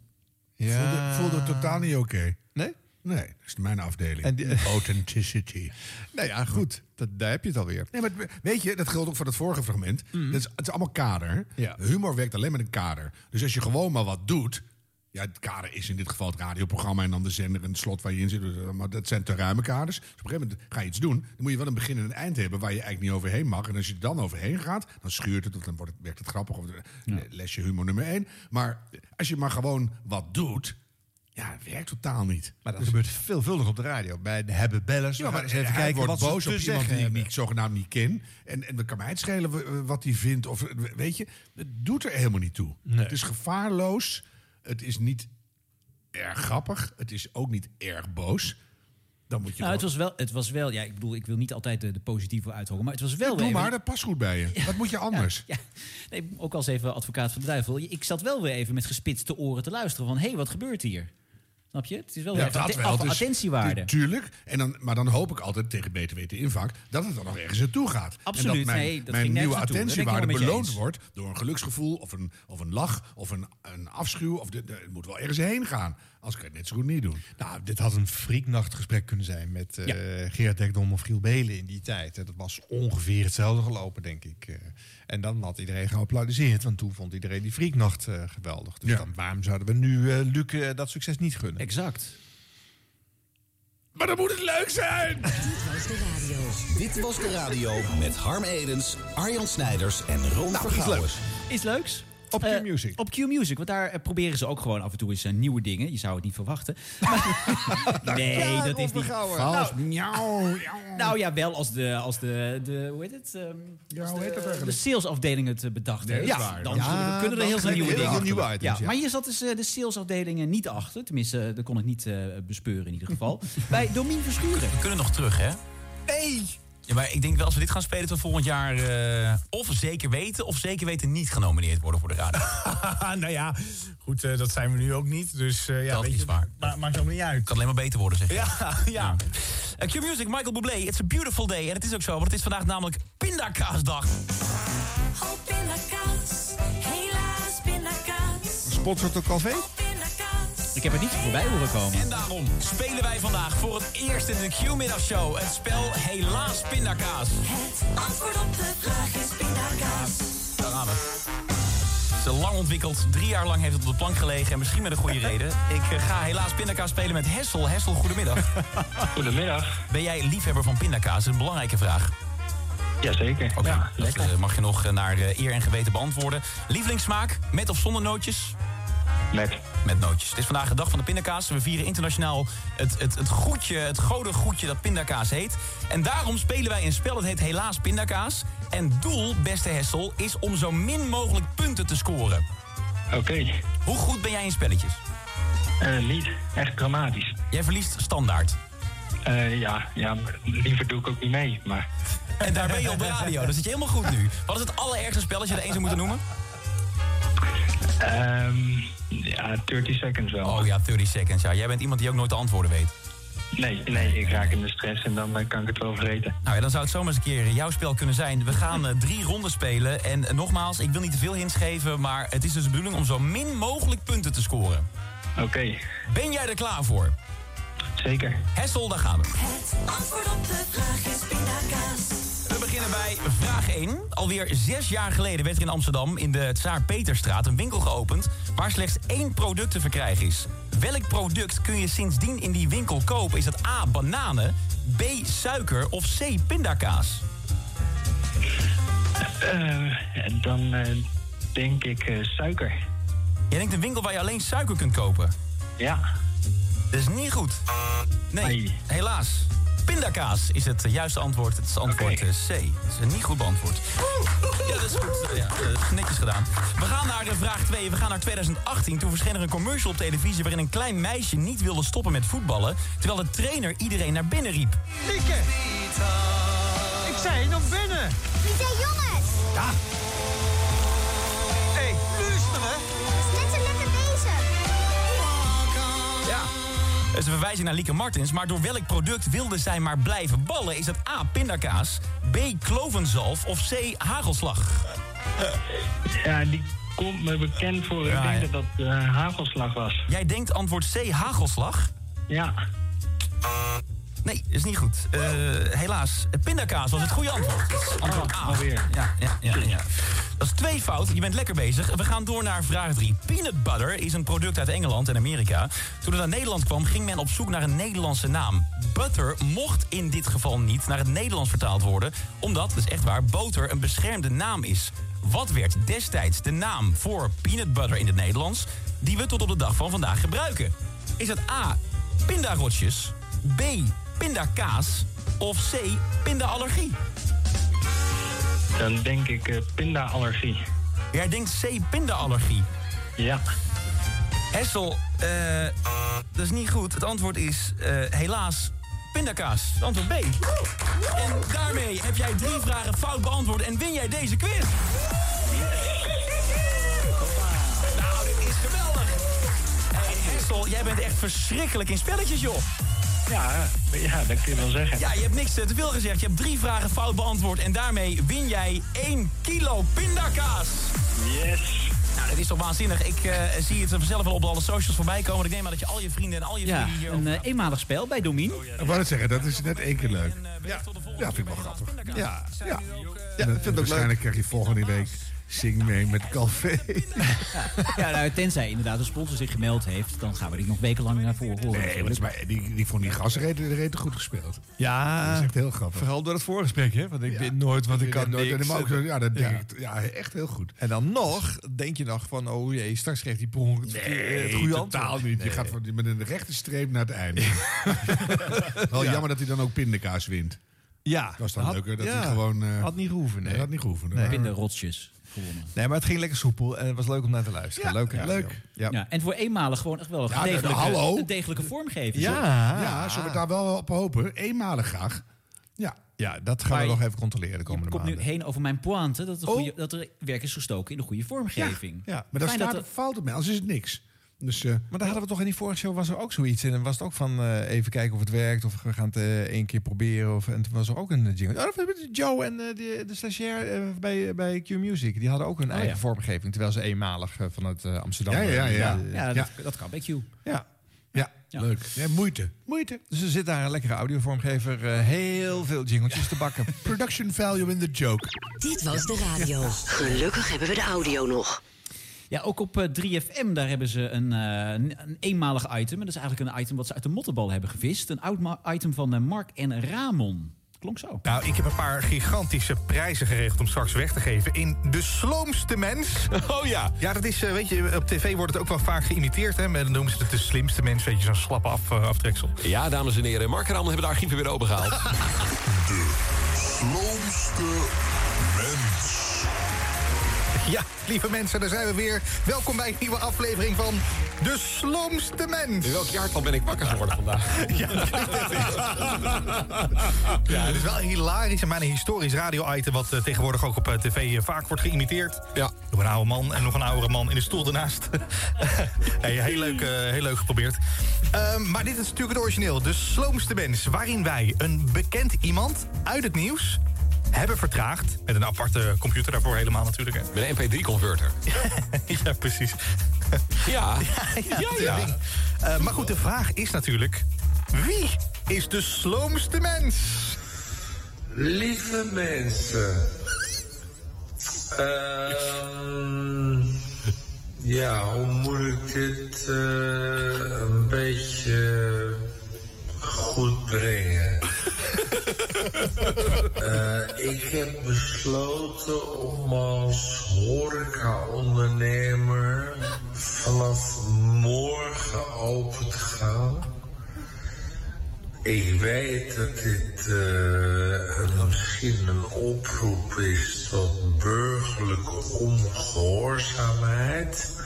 Speaker 2: ja.
Speaker 1: voelde totaal niet oké.
Speaker 2: Nee?
Speaker 1: Nee, dat is mijn afdeling.
Speaker 2: En die-
Speaker 1: Authenticity.
Speaker 2: Nou ja, goed. Dat, daar heb je het alweer. Mhm.
Speaker 1: Nee, maar weet je, dat geldt ook voor dat vorige fragment. Dat is, het is allemaal kader.
Speaker 2: Ja.
Speaker 1: Humor werkt alleen met een kader. Dus als je gewoon maar wat doet... Ja, het kader is in dit geval het radioprogramma en dan de zender en het slot waar je in zit. Dus, eh, Maar dat zijn te ruime kaders. Dus op een gegeven moment ga je iets doen. Dan moet je wel een begin en een eind hebben waar je eigenlijk niet overheen mag. En als je er dan overheen gaat, dan schuurt het of dan wordt het, werkt het grappig. Of eh, lesje humor nummer één. Maar als je maar gewoon wat doet, ja, het werkt totaal niet. Dus-
Speaker 2: Maar dat gebeurt veelvuldig op de radio. Bij de hebben bellers.
Speaker 1: Ja, maar
Speaker 2: eens even
Speaker 1: hij
Speaker 2: kijken
Speaker 1: wordt
Speaker 2: wat ze
Speaker 1: boos
Speaker 2: te
Speaker 1: op iemand
Speaker 2: zeggen
Speaker 1: die ik
Speaker 2: hebben.
Speaker 1: niet, zogenaamd niet ken. En, en dan kan mij het schelen w- w- wat hij vindt. Of, eh, weet je, het doet er helemaal niet toe. Het is gevaarloos. Het is niet erg grappig. Het is ook niet erg boos. Dan moet je
Speaker 3: Nou, het
Speaker 1: gewoon-
Speaker 3: was wel, het was wel, ja, ik bedoel, ik wil niet altijd de, de positieve uithoren, maar het was wel
Speaker 1: Doe
Speaker 3: weer
Speaker 1: maar, dat past goed bij je. Wat moet je anders?
Speaker 3: Ja, nee, ook als even advocaat van de duivel. Ik zat wel weer even met gespitste oren te luisteren van... hé, hey, wat gebeurt hier? Snap je? Het is wel weer even atten-
Speaker 1: wel.
Speaker 3: af-
Speaker 1: Dus-
Speaker 3: attentiewaarde.
Speaker 1: Tuurlijk. En dan, maar dan hoop ik altijd tegen beter weten invaak dat het dan nog ergens naartoe gaat.
Speaker 3: Absoluut.
Speaker 1: En dat mijn,
Speaker 3: Nee, dat
Speaker 1: mijn
Speaker 3: ging nergens
Speaker 1: nieuwe
Speaker 3: naartoe. Daar ben ik
Speaker 1: attentiewaarde
Speaker 3: helemaal met je
Speaker 1: beloond
Speaker 3: eens.
Speaker 1: wordt door een geluksgevoel of een, of een lach of een, een afschuw. Of de, de- het moet wel ergens heen gaan. Als ik het net zo goed niet doen.
Speaker 2: Nou, dit had een frieknachtgesprek kunnen zijn met eh Gerard Dekdom of Giel Belen in die tijd. En Dat was ongeveer hetzelfde gelopen, denk ik. Eh, En dan had iedereen geapplaudiseerd, want toen vond iedereen die Frieknacht eh, geweldig. Dus dan, waarom zouden we nu eh, Luc eh, dat succes niet gunnen?
Speaker 3: Exact.
Speaker 1: Maar dan moet het leuk zijn!
Speaker 12: Dit was de radio. Dit was de radio met Harm Edens, Arjan Snijders en Ron
Speaker 3: Nou, iets
Speaker 12: Vergouwen.
Speaker 3: leuks. Iets leuks. Op Q-Music. op Q-Music, want daar eh, proberen ze ook gewoon af en toe eens eh, nieuwe dingen. Je zou het niet verwachten. Maar- nee,
Speaker 11: Ja,
Speaker 3: dat is
Speaker 11: Ron
Speaker 3: niet
Speaker 11: Vergouwen.
Speaker 3: vals.
Speaker 11: Nou.
Speaker 1: Nou,
Speaker 3: nou ja, wel als de, als de, de hoe heet het? Ehm, als
Speaker 1: hoe heet dat
Speaker 3: de, de
Speaker 1: eigenlijk?
Speaker 3: salesafdeling het eh, bedacht
Speaker 1: Nee,
Speaker 3: heeft.
Speaker 1: dat is waar.
Speaker 3: dan
Speaker 1: Ja,
Speaker 3: zullen- kunnen er
Speaker 1: dan
Speaker 3: heel veel
Speaker 1: kunnen
Speaker 3: nieuwe
Speaker 1: heel
Speaker 3: dingen
Speaker 1: veel nieuwe
Speaker 3: achter.
Speaker 1: items, ja.
Speaker 3: Maar hier zat dus eh, de salesafdeling eh, niet achter. Tenminste, eh, dat kon ik niet eh, bespeuren in ieder geval. Bij Domien Verschuren.
Speaker 5: We kunnen nog terug, hè? Nee! Ja, maar ik denk wel als we dit gaan spelen, dat we volgend jaar eh, of zeker weten of zeker weten niet genomineerd worden voor de radio.
Speaker 16: nou ja, goed, eh, dat zijn we nu ook niet. Dus eh, ja,
Speaker 5: Dat
Speaker 16: weet
Speaker 5: is
Speaker 16: je,
Speaker 5: waar.
Speaker 16: ma- maakt allemaal niet uit.
Speaker 5: Kan alleen maar beter worden, zeg je.
Speaker 16: Ja, ja.
Speaker 5: Eh, Q-Music, Michael Bublé, It's a Beautiful Day. En het is ook zo, want het is vandaag namelijk Pindakaasdag.
Speaker 11: Oh, pindakaas. Helaas, pindakaas.
Speaker 2: Sponsort ook café?
Speaker 3: Ik heb er niet voorbij horen komen.
Speaker 5: En daarom spelen wij vandaag voor het eerst in de Q-middagshow het spel Helaas Pindakaas.
Speaker 11: Het antwoord op de vraag is pindakaas.
Speaker 5: Daar gaan we. Het is lang ontwikkeld, drie jaar lang heeft het op de plank gelegen en misschien met een goede reden. Ik eh, ga helaas pindakaas spelen met Hessel. Hessel, goedemiddag. Goedemiddag. Ben jij liefhebber van pindakaas? Dat is een belangrijke vraag. Jazeker. Oké, dat, eh, mag je nog eh, naar eh, eer en geweten beantwoorden. Lievelingssmaak, met of zonder nootjes? Met. Met nootjes. Het is vandaag de dag van de pindakaas. We vieren internationaal het, het, het goedje, het gouden goedje dat pindakaas heet. En daarom spelen wij een spel dat heet Helaas Pindakaas. En doel, beste Hessel, is om zo min mogelijk punten te scoren. Oké. Hoe goed ben jij in spelletjes? niet. Echt dramatisch. Jij verliest standaard. ja, ja, liever doe ik ook niet mee, maar... En daar ben je op de radio, dan zit je helemaal goed nu. Wat is het allerergste spel als je er één zou moeten noemen? Ehm, ja, 30 seconds wel. Oh ja, 30 seconds, ja. Jij bent iemand die ook nooit de antwoorden weet. Nee, nee, ik raak in de stress en dan eh, kan ik het wel vergeten. Nou ja, dan zou het zomaar eens een keer jouw spel kunnen zijn. We gaan eh, drie ronden spelen. En eh, nogmaals, ik wil niet te veel hints geven... maar het is dus de bedoeling om zo min mogelijk punten te scoren. Oké. Ben jij er klaar voor? Zeker. Hessel, daar gaan we.
Speaker 11: Het antwoord op de vraag is pindakaas.
Speaker 5: We beginnen bij vraag 1. Alweer zes jaar geleden werd er in Amsterdam in de Tsaar Peterstraat een winkel geopend waar slechts één product te verkrijgen is. Welk product kun je sindsdien in die winkel kopen? Is dat A. bananen, B. suiker of C. pindakaas? Eh, dan eh, denk ik eh, suiker. Jij denkt een winkel waar je alleen suiker kunt kopen? Ja. Dat is niet goed. Nee, helaas. Pindakaas is het eh, juiste antwoord. Het is antwoord eh, C. Het is een niet goed beantwoord. Ja, dat is goed. Eh, Ja, dat is netjes gedaan. We gaan naar de vraag 2. We gaan naar 2018. Toen verscheen er een commercial op televisie... waarin een klein meisje niet wilde stoppen met voetballen... terwijl de trainer iedereen naar binnen riep.
Speaker 11: Lieke. Ik zei nog binnen. Wie zijn jongens? Ja. Hé, hey, luisteren. Is net zo lekker bezig.
Speaker 5: Ja. Dat is een verwijzing naar Lieke Martens. Maar door welk product wilde zij maar blijven ballen? Is dat A, pindakaas, B, klovenzalf of C, hagelslag?
Speaker 17: Ja, die komt me bekend voor.
Speaker 5: Ja,
Speaker 17: ik denk
Speaker 5: ja.
Speaker 17: dat dat eh, hagelslag was.
Speaker 5: Jij denkt antwoord C, hagelslag? Ja. Nee, is niet goed. Eh, helaas, pindakaas was het goede antwoord. Dat is Antwoord A. Ja, ja, ja, ja. Dat is twee fout. Je bent lekker bezig. We gaan door naar vraag 3. Peanut butter is een product uit Engeland en Amerika. Toen het naar Nederland kwam, ging men op zoek naar een Nederlandse naam. Butter mocht in dit geval niet naar het Nederlands vertaald worden... omdat, dat is echt waar, boter een beschermde naam is. Wat werd destijds de naam voor peanut butter in het Nederlands... die we tot op de dag van vandaag gebruiken? Is het A, pindarotjes, B, pindakaas of C, pindaallergie?
Speaker 17: Dan denk ik eh, pindaallergie.
Speaker 5: Jij denkt C, pindaallergie? Ja. Hessel, eh, dat is niet goed. Het antwoord is eh, helaas pindakaas. Het Antwoord B. En daarmee heb jij drie vragen fout beantwoord en win jij deze quiz. Nou, dit is geweldig. Hey, Hessel, jij bent echt verschrikkelijk in spelletjes, joh. Ja, ja, dat kun je wel zeggen. Ja, je hebt niks eh, te veel gezegd. Je hebt drie vragen fout beantwoord. En daarmee win jij 1 kilo pindakaas. Yes. Nou, het is toch waanzinnig. Ik eh, zie het vanzelf wel op alle socials voorbij komen. Ik neem aan dat je al je vrienden en al je
Speaker 3: Ja,
Speaker 5: vrienden hier
Speaker 3: een eh, eenmalig spel bij Domien.
Speaker 1: Ik wou het zeggen, dat is net één keer leuk. Ja, ja vind ik wel grappig. Ja, ja. ja dat vind ik Waarschijnlijk krijg je volgende week Zing mee met Calvé.
Speaker 3: Ja, nou, tenzij inderdaad een sponsor zich gemeld heeft, dan gaan we die nog wekenlang naar voren horen.
Speaker 1: Nee, maar, het is maar die, die vond die gasten reden, reden goed gespeeld.
Speaker 2: Ja,
Speaker 1: dat is echt heel grappig.
Speaker 2: Vooral door het voorgesprek, hè? Want ik weet nooit wat ik
Speaker 1: Je
Speaker 2: kan
Speaker 1: weet nooit, en
Speaker 2: niks.
Speaker 1: dan ook zo- ja, dat denk
Speaker 2: Ja.
Speaker 1: ik. Ja, echt heel goed.
Speaker 2: En dan nog, denk je nog van, oh jee, straks geeft die per ongeluk het, verkeer- eh, het goede antwoord.
Speaker 1: totaal niet. Je
Speaker 2: Nee.
Speaker 1: gaat van, met een rechte streep naar het einde. Wel jammer dat hij dan ook pindakaas wint.
Speaker 2: Ja.
Speaker 1: Dat is dan
Speaker 2: Had-
Speaker 1: leuker. Dat
Speaker 2: ja,
Speaker 1: hij gewoon... eh,
Speaker 2: had niet gehoeven, nee.
Speaker 1: had niet gehoeven.
Speaker 2: Nee.
Speaker 3: Pindarotsjes gewonnen.
Speaker 2: Nee, maar het ging lekker soepel en het was leuk om naar te luisteren. leuk, hè? leuk.
Speaker 3: Ja. en voor eenmalig gewoon echt wel een,
Speaker 1: Ja, de- de-
Speaker 3: degelijke,
Speaker 1: hallo.
Speaker 3: een degelijke vormgeving.
Speaker 1: Ja, ja zullen we daar wel op hopen? Eenmalig graag. Ja.
Speaker 2: Ja, dat gaan
Speaker 3: Maar
Speaker 2: we nog
Speaker 3: je-
Speaker 2: even controleren de komende
Speaker 3: komt
Speaker 2: maanden.
Speaker 3: nu heen over mijn pointe dat, de goede, dat er werk is gestoken in de goede vormgeving.
Speaker 2: Ja, ja.
Speaker 1: Oh. Maar dat
Speaker 3: Fijn
Speaker 1: staat,
Speaker 3: dat er-
Speaker 1: valt op mij, anders is het niks. Dus, eh,
Speaker 2: Maar daar hadden we toch in die vorige show was er ook zoiets. En dan was het ook van eh, even kijken of het werkt. Of we gaan het eh, één keer proberen. Of, en toen was er ook een jingle. Oh, dat was met Joe en eh, de, de stagiair eh, bij, bij Q Music. Die hadden ook
Speaker 4: Ah,
Speaker 2: hun
Speaker 3: Oh,
Speaker 2: eigen
Speaker 3: ja.
Speaker 2: vormgeving. Terwijl ze eenmalig eh, vanuit eh, Amsterdam.
Speaker 1: Ja, ja, ja,
Speaker 2: eh,
Speaker 1: ja.
Speaker 2: eh,
Speaker 3: Ja, dat, dat kan bij Q.
Speaker 2: ja.
Speaker 3: Ja.
Speaker 1: leuk. Ja, moeite. Moeite.
Speaker 2: Dus er zit daar een lekkere audiovormgever. eh, heel veel jingletjes te bakken.
Speaker 1: Production value in the joke.
Speaker 18: Dit was de radio. Gelukkig hebben we de audio nog.
Speaker 3: Ja, ook op eh, 3FM daar hebben ze een, eh, een- een eenmalig item. En dat is eigenlijk een item wat ze uit de mottenbal hebben gevist. Een oud ma- item van eh, Mark en Ramon. Klonk zo.
Speaker 19: Nou, ik heb een paar gigantische prijzen geregeld om straks weg te geven in De Sloomste Mens. Oh ja. Ja, dat is, eh, weet je, op tv wordt het ook wel vaak geïmiteerd, hè. Maar dan noemen ze het De Slimste Mens, weet je, zo'n slappe af, eh, aftreksel.
Speaker 20: Ja, dames en heren, Mark en Ramon hebben de archieven weer opengehaald.
Speaker 19: Sloomste Mens. Ja, lieve mensen, daar zijn we weer. Welkom bij een nieuwe aflevering van De Sloomste Mens.
Speaker 20: In welk jaartal ben ik wakker geworden vandaag?
Speaker 19: Ja, het is wel een hilarisch en bijna historisch radio-item... wat eh, tegenwoordig ook op eh, tv eh, vaak wordt geïmiteerd. Ja. Door een oude man en nog een oudere man in de stoel ernaast. hey, heel, leuk, eh, heel leuk geprobeerd. Ehm, maar dit is natuurlijk het origineel. De sloomste mens, waarin wij een bekend iemand uit het nieuws... hebben vertraagd. Met een aparte computer daarvoor helemaal natuurlijk. Hè.
Speaker 20: Met een MP3-converter.
Speaker 19: ja, precies.
Speaker 20: Ja.
Speaker 19: ja, ja. Eh, maar goed, de vraag is natuurlijk... Wie is de sloomste mens?
Speaker 4: Lieve mensen. eh, Ehm, ja, hoe moet ik dit eh, een beetje goed brengen? Eh, ik heb besloten om als horecaondernemer vanaf morgen open te gaan. Ik weet dat dit eh, misschien een oproep is tot burgerlijke ongehoorzaamheid.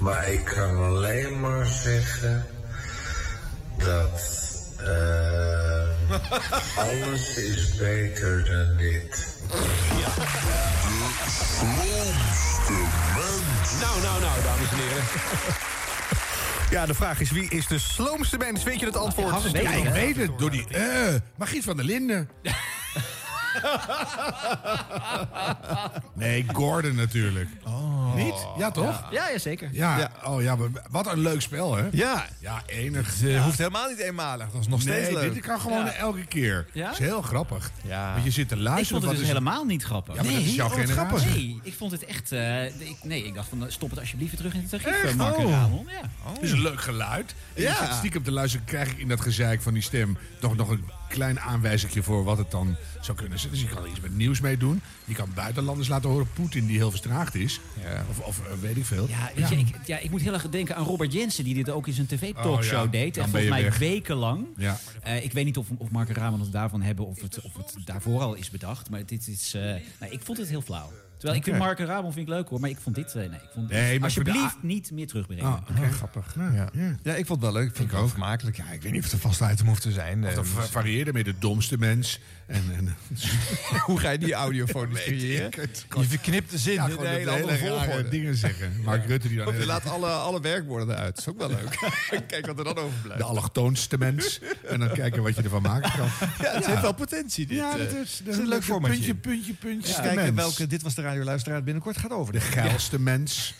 Speaker 4: Maar ik kan alleen maar zeggen dat eh, alles is beter dan dit.
Speaker 20: Nou, nou, nou, dames en heren.
Speaker 19: Ja, de vraag is wie is de sloomste mens? Weet je het antwoord?
Speaker 1: Ja, ik weet het. Door die... eh Margriet van der Linden. Nee, Gordon natuurlijk. Oh. Niet? Ja, toch?
Speaker 3: Ja, ja zeker.
Speaker 1: Ja. Oh ja, maar wat een leuk spel, hè?
Speaker 2: Ja.
Speaker 1: Ja, enig. Het
Speaker 2: eh, hoeft helemaal niet eenmalig. Dat is nog steeds
Speaker 1: nee,
Speaker 2: leuk.
Speaker 1: dit kan gewoon
Speaker 2: Ja.
Speaker 1: elke keer.
Speaker 3: Ja?
Speaker 1: Dat is heel grappig.
Speaker 2: Ja.
Speaker 1: Want je zit te
Speaker 3: ik
Speaker 1: luisteren.
Speaker 3: vond het
Speaker 1: wat
Speaker 3: dus
Speaker 1: is-
Speaker 3: helemaal niet grappig.
Speaker 1: Ja, maar dat is jouw generatie.
Speaker 3: Nee, ik vond het echt... eh, ik, nee, ik dacht van eh, stop het alsjeblieft weer terug in het archief,
Speaker 1: Echt?
Speaker 3: eh, Mark en
Speaker 1: Oh.
Speaker 3: Ramon. Ja.
Speaker 1: Het is een leuk geluid. En
Speaker 3: Ja.
Speaker 1: je zit stiekem te luisteren, krijg ik in dat gezeik van die stem... toch nog een klein aanwijzingje voor wat het dan zou kunnen zijn. Dus je kan er iets met nieuws mee doen. Je kan buitenlanders laten horen. Poetin, die heel verstraagd is. Of, of eh, weet ik veel.
Speaker 3: Ja, weet Je, ik, ja, ik moet heel erg denken aan Robert Jensen, die dit ook in zijn tv-talkshow
Speaker 1: Oh, ja.
Speaker 3: deed.
Speaker 1: Dan
Speaker 3: En
Speaker 1: ben je
Speaker 3: volgens mij
Speaker 1: weg.
Speaker 3: wekenlang.
Speaker 1: Ja.
Speaker 3: Eh, ik weet niet of, of Mark en Ramon het daarvan hebben of het, of het daarvoor al is bedacht. Maar dit is. eh, nou, ik vond het heel flauw. Terwijl ik vind
Speaker 1: Oké.
Speaker 3: Mark en Ramon vind ik leuk hoor. Maar ik vond dit. eh, nee, ik vond
Speaker 1: Nee, maar voor de
Speaker 3: alsjeblieft niet meer terugbrengen.
Speaker 1: Ah, oké.
Speaker 2: Grappig. Ja. Ja. ik vond het wel leuk. Ik vond het ook vermakelijk. Ja, ik weet niet of het een vast item hoeft te zijn.
Speaker 1: Dat
Speaker 2: Eh,
Speaker 1: va- varieerde met de domste mens. En, en,
Speaker 2: Hoe ga je die audiofonisch creëren? Je verknipt de zin
Speaker 1: Ja,
Speaker 2: in
Speaker 1: gewoon
Speaker 2: een hele
Speaker 1: dat
Speaker 2: andere
Speaker 1: hele rare
Speaker 2: volgorde.
Speaker 1: dingen zeggen. Mark Rutte die dan...
Speaker 2: Of je laat alle, alle werkwoorden eruit. Dat is ook wel leuk. Kijk wat er dan overblijft.
Speaker 1: De allochtoonste mens. En dan kijken wat je ervan maken kan.
Speaker 2: Ja, het heeft wel potentie. Dit.
Speaker 1: Ja,
Speaker 2: Eh,
Speaker 1: dat is-
Speaker 2: het
Speaker 1: dat-
Speaker 2: een leuk
Speaker 1: dat-
Speaker 2: formatje.
Speaker 1: puntje, puntje, puntje,
Speaker 2: Ja,
Speaker 1: de
Speaker 2: kijken
Speaker 1: mens.
Speaker 2: welke Dit Was de Radio Luisteraar binnenkort gaat over.
Speaker 1: De geilste mens.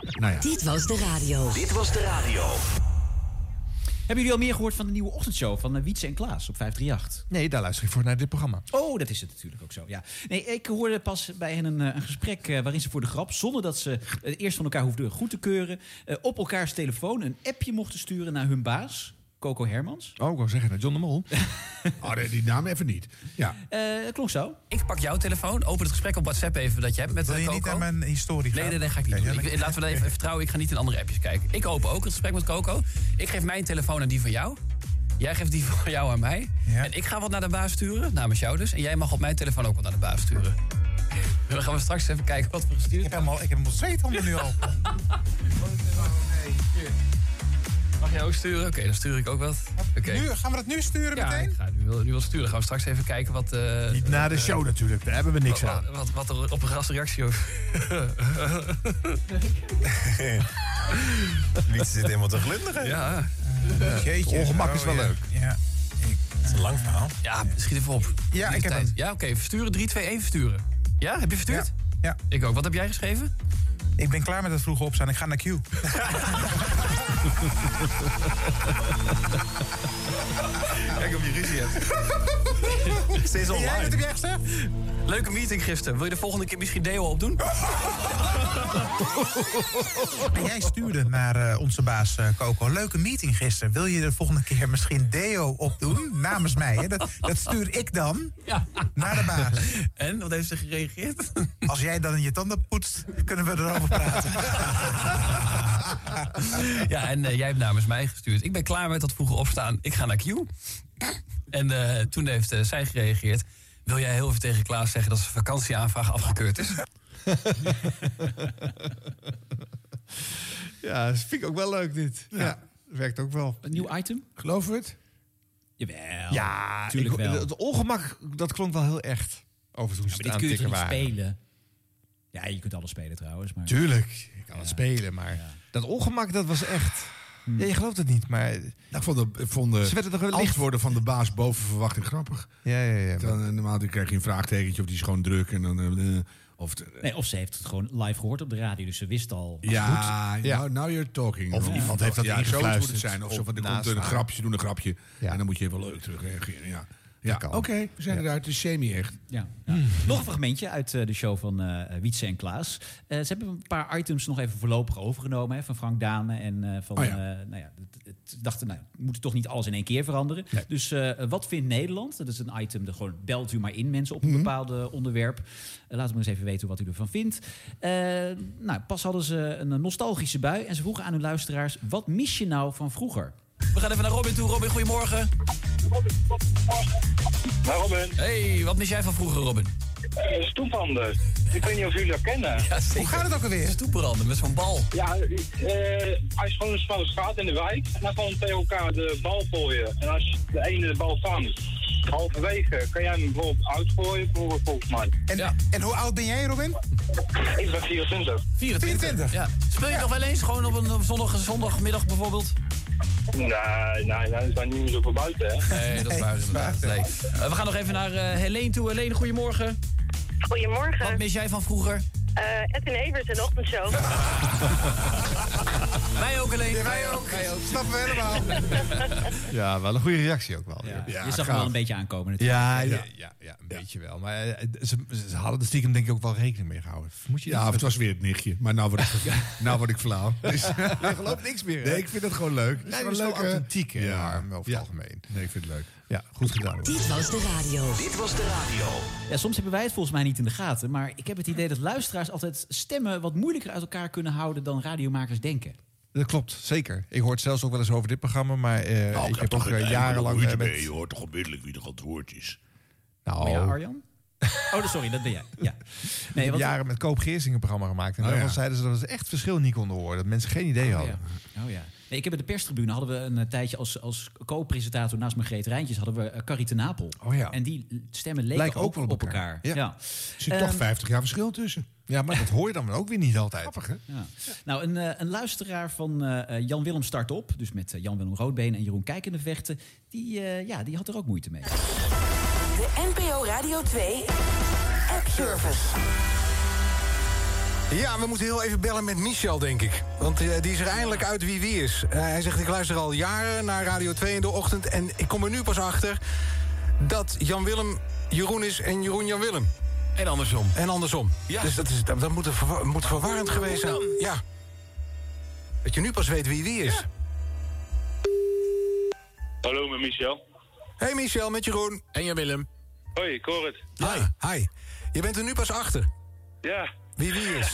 Speaker 1: Nou ja.
Speaker 18: Dit was de radio.
Speaker 12: Dit was de radio.
Speaker 3: Hebben jullie al meer gehoord van de nieuwe ochtendshow van eh, Wietse en Klaas op 538?
Speaker 2: Nee, daar luister ik voor naar dit programma.
Speaker 3: Oh, dat is het natuurlijk ook zo, ja. Nee, ik hoorde pas bij hen een, eh, een gesprek eh, waarin ze voor de grap... zonder dat ze het eerst van elkaar hoefden goed te keuren... eh, op elkaars telefoon een appje mochten sturen naar hun baas... Coco Hermans.
Speaker 2: Oh, ik wou zeggen, naar John de Mol.
Speaker 1: oh, die, die naam even niet. Ja.
Speaker 3: dat Eh, klonk zo.
Speaker 21: Ik pak jouw telefoon, open het gesprek op WhatsApp even dat je hebt met
Speaker 2: Wil je
Speaker 21: eh,
Speaker 2: niet
Speaker 21: Coco.
Speaker 2: naar mijn historie gaan?
Speaker 21: Nee, nee, nee, ga ik niet
Speaker 2: Oké,
Speaker 21: doen.
Speaker 2: ja,
Speaker 21: Ik- laten we dat even vertrouwen. Ik ga niet in andere appjes kijken. Ik open ook het gesprek met Coco. Ik geef mijn telefoon aan die van jou. Jij geeft die van jou aan mij. En ik ga wat naar de baas sturen, namens jou dus. En jij mag op mijn telefoon ook wat naar de baas sturen. En dan gaan we straks even kijken wat we gestuurd hebben.
Speaker 2: Ik heb hem al zweet onder nu al.
Speaker 21: Mag jij ook sturen? Oké, dan stuur ik ook wat. Oké.
Speaker 2: Nu, gaan we dat nu sturen
Speaker 21: Ja,
Speaker 2: meteen?
Speaker 21: ik ga nu wel, nu wel sturen. Gaan we straks even kijken wat... eh,
Speaker 2: Niet na de
Speaker 21: eh,
Speaker 2: show natuurlijk, daar hebben we niks
Speaker 21: wat,
Speaker 2: aan.
Speaker 21: Wat, wat er op een gras reactie over...
Speaker 19: Niet zit helemaal te glunderen.
Speaker 21: Ja.
Speaker 19: Jeetje. Ongemak is wel leuk.
Speaker 2: Oh, Ja.
Speaker 19: Het is een lang verhaal.
Speaker 21: Ja, schiet even op.
Speaker 19: Ja,
Speaker 21: Die
Speaker 19: ik heb
Speaker 21: tijd. Ja, oké, versturen. 3, 2, 1 versturen. Ja, heb je verstuurd?
Speaker 2: Ja.
Speaker 21: Ik ook. Wat heb jij geschreven?
Speaker 2: Ik ben klaar met dat vroege opstaan. Ik ga naar Q.
Speaker 21: Kijk of je ruzie hebt. Steeds online. Jij, wat heb jij gezegd? Leuke meeting gisteren. Wil je de volgende keer misschien deo opdoen?
Speaker 2: En jij stuurde naar eh, onze baas eh, Coco. Leuke meeting gisteren. Wil je de volgende keer misschien Deo opdoen? Namens mij. Hè? Dat, dat stuur ik dan naar de baas.
Speaker 21: En, wat heeft ze gereageerd?
Speaker 2: Als jij dan je tanden poetst, kunnen we erover praten.
Speaker 21: ja, en eh, jij hebt namens mij gestuurd. Ik ben klaar met dat vroege opstaan. Ik ga naar Q. En eh, toen heeft eh, zij gereageerd. Wil jij heel even tegen Klaas zeggen dat zijn vakantieaanvraag afgekeurd is?
Speaker 2: Ja, dat vind ik ook wel leuk dit. Ja. werkt ook wel.
Speaker 3: Een nieuw item?
Speaker 2: Geloven we het?
Speaker 3: Jawel.
Speaker 2: Ja,
Speaker 3: natuurlijk
Speaker 2: ik-
Speaker 3: wel.
Speaker 2: Het ongemak, dat klonk wel heel echt. Over toen
Speaker 3: Ja,
Speaker 2: ze
Speaker 3: maar
Speaker 2: het
Speaker 3: dit kun je toch
Speaker 2: aantikken
Speaker 3: niet
Speaker 2: waren.
Speaker 3: spelen? Ja, je kunt alles spelen trouwens. Maar...
Speaker 2: Tuurlijk, je kan het spelen, maar dat ongemak, dat was echt...
Speaker 3: Hmm.
Speaker 2: Ja, je gelooft het niet, maar...
Speaker 1: Nou, Ik vond de, ik vond de
Speaker 2: Ze werden toch licht-
Speaker 1: antwoorden van de baas boven verwachting grappig.
Speaker 2: Ja, ja, ja.
Speaker 1: Dan, eh, normaal dan krijg je een vraagtekentje of die is gewoon druk. En dan, eh, eh, of de-
Speaker 3: Nee, of ze heeft het gewoon live gehoord op de radio, dus ze wist al.
Speaker 1: ja, Now, now you're talking.
Speaker 2: Of iemand heeft dat
Speaker 1: ja, zo
Speaker 2: ingefluisterd.
Speaker 1: moet het zijn. Of zo van, er komt een
Speaker 2: Naslaan.
Speaker 1: grapje, doen een grapje. En dan moet je even leuk terugreageren. Ja, ja.
Speaker 3: kan.
Speaker 1: oké, we zijn eruit. Het is semi-echt. Hmm.
Speaker 3: Ja. ja. Nog een fragmentje uit eh, de show van eh Wietse en Klaas. Eh, ze hebben een paar items nog even voorlopig overgenomen hè, van Frank Dane. En eh, van,
Speaker 1: Oh ja.
Speaker 3: eh, nou ja, het, het- dachten, nou, we moeten toch niet alles in één keer veranderen. Dus eh, wat vindt Nederland? Dat is een item, dat gewoon belt u maar in mensen
Speaker 1: Mhm.
Speaker 3: op een bepaald onderwerp. Eh, laat me eens even weten wat u ervan vindt. Eh, nou, pas hadden ze een nostalgische bui en ze vroegen aan hun luisteraars... wat mis je nou van vroeger?
Speaker 21: We gaan even naar Robin toe. Robin, goedemorgen.
Speaker 15: Hey Robin.
Speaker 21: Hey, wat mis jij van vroeger, Robin?
Speaker 15: Eh, stoephanden. Ik weet niet of jullie dat kennen.
Speaker 21: Hoe gaat
Speaker 2: het ook alweer?
Speaker 21: Stoeperanden met zo'n bal.
Speaker 15: Ja, eh, als je gewoon een smalle straat in de wijk, en dan gewoon tegen elkaar de bal gooien. En als de ene de bal vangt, halverwege, kan jij hem bijvoorbeeld uitgooien, bijvoorbeeld volgens mij.
Speaker 2: En, en hoe oud ben jij, Robin?
Speaker 15: Ik ben 24.
Speaker 21: 24. Ja. Speel je nog wel eens gewoon op een op zondag, zondagmiddag bijvoorbeeld?
Speaker 15: Nee, nee, nee, we zijn niet meer zo voor buiten, hè.
Speaker 21: Nee, dat is waar inderdaad. Nee. Eh, we gaan nog even naar eh Helene toe. Helene, goedemorgen.
Speaker 22: Goedemorgen.
Speaker 21: Wat mis jij van vroeger?
Speaker 22: Eh Ed en Evert en de ochtendshow.
Speaker 21: Wij ook alleen.
Speaker 2: wij ook. Snappen we helemaal. Ja, wel een goede reactie ook wel. Ja,
Speaker 3: je zag hem wel een beetje aankomen natuurlijk.
Speaker 2: Ja, ja, ja, ja, een beetje wel. Maar eh, ze, ze hadden er stiekem denk ik ook wel rekening mee gehouden. Moet je
Speaker 1: Ja, of het was weer het nichtje. Maar nou word ik, nou word ik flauw. Dus,
Speaker 2: Je gelooft niks meer. hè?
Speaker 1: nee, ik vind het gewoon leuk.
Speaker 2: Nee, dat
Speaker 1: Het
Speaker 2: is
Speaker 1: gewoon
Speaker 2: wel
Speaker 1: leuk, eh,
Speaker 2: authentiek, hè,
Speaker 1: Ja,
Speaker 2: maar over het algemeen.
Speaker 1: Nee, ik vind het leuk.
Speaker 2: Ja, goed gedaan. hoor.
Speaker 18: Dit was de radio. Dit was de radio.
Speaker 3: Ja, soms hebben wij het volgens mij niet in de gaten. Maar ik heb het idee dat luisteraars altijd stemmen wat moeilijker uit elkaar kunnen houden dan radiomakers denken.
Speaker 2: Dat klopt, zeker. Ik hoor het zelfs ook wel eens over dit programma, maar
Speaker 1: Nou,
Speaker 2: eh, ik, heb, ook eh, jarenlang... eh, met-
Speaker 1: Je hoort toch onmiddellijk wie er aan het woord is.
Speaker 2: Nou,
Speaker 3: Maar ja, Arjan? Oh, sorry, dat ben jij. Ja.
Speaker 2: ik
Speaker 3: Nee,
Speaker 2: heb
Speaker 3: want...
Speaker 2: jaren met Koop Geersing een programma gemaakt. En
Speaker 1: Oh,
Speaker 2: daarvan
Speaker 1: ja.
Speaker 2: zeiden ze dat ze echt het verschil niet konden horen. Dat mensen geen idee
Speaker 3: Oh
Speaker 2: hadden.
Speaker 3: ja. Oh, ja. Nee, ik heb bij de perstribune hadden we een eh, tijdje als, als co-presentator naast Margreet Rijntjes hadden we eh, Carrie ten Apel.
Speaker 2: Oh ja.
Speaker 3: En die l- stemmen leken
Speaker 2: Lijken
Speaker 3: ook, wel op elkaar. Ja.
Speaker 1: Er zit toch
Speaker 3: Ehm,
Speaker 1: 50 jaar verschil tussen.
Speaker 2: Ja, maar dat hoor je dan ook weer niet altijd.
Speaker 3: Ja. Nou, een, eh, een luisteraar van eh, eh, Jan Willem Start Op, dus met eh, Jan Willem Roodbeen en Jeroen Kijkende Vechten, die, eh, ja, die had er ook moeite mee.
Speaker 23: De NPO Radio 2 app service.
Speaker 7: Ja, we moeten heel even bellen met Michel, denk ik. Want eh, die is er eindelijk uit wie wie is. Eh, hij zegt, ik luister al jaren naar Radio 2 in de ochtend... en ik kom er nu pas achter dat Jan-Willem Jeroen is en Jeroen Jan-Willem.
Speaker 20: En andersom.
Speaker 7: En andersom. Dus dat, is, dat, dat moet, een verwa- moet verwarrend geweest zijn. Ja. Dat je nu pas weet wie wie is.
Speaker 23: Hallo, met Michel.
Speaker 7: Hey Michel, met Jeroen.
Speaker 20: En Jan-Willem.
Speaker 23: Hoi, ik hoor het.
Speaker 7: Hi. Hi. Je bent er nu pas achter.
Speaker 23: Ja,
Speaker 7: Wie wie is.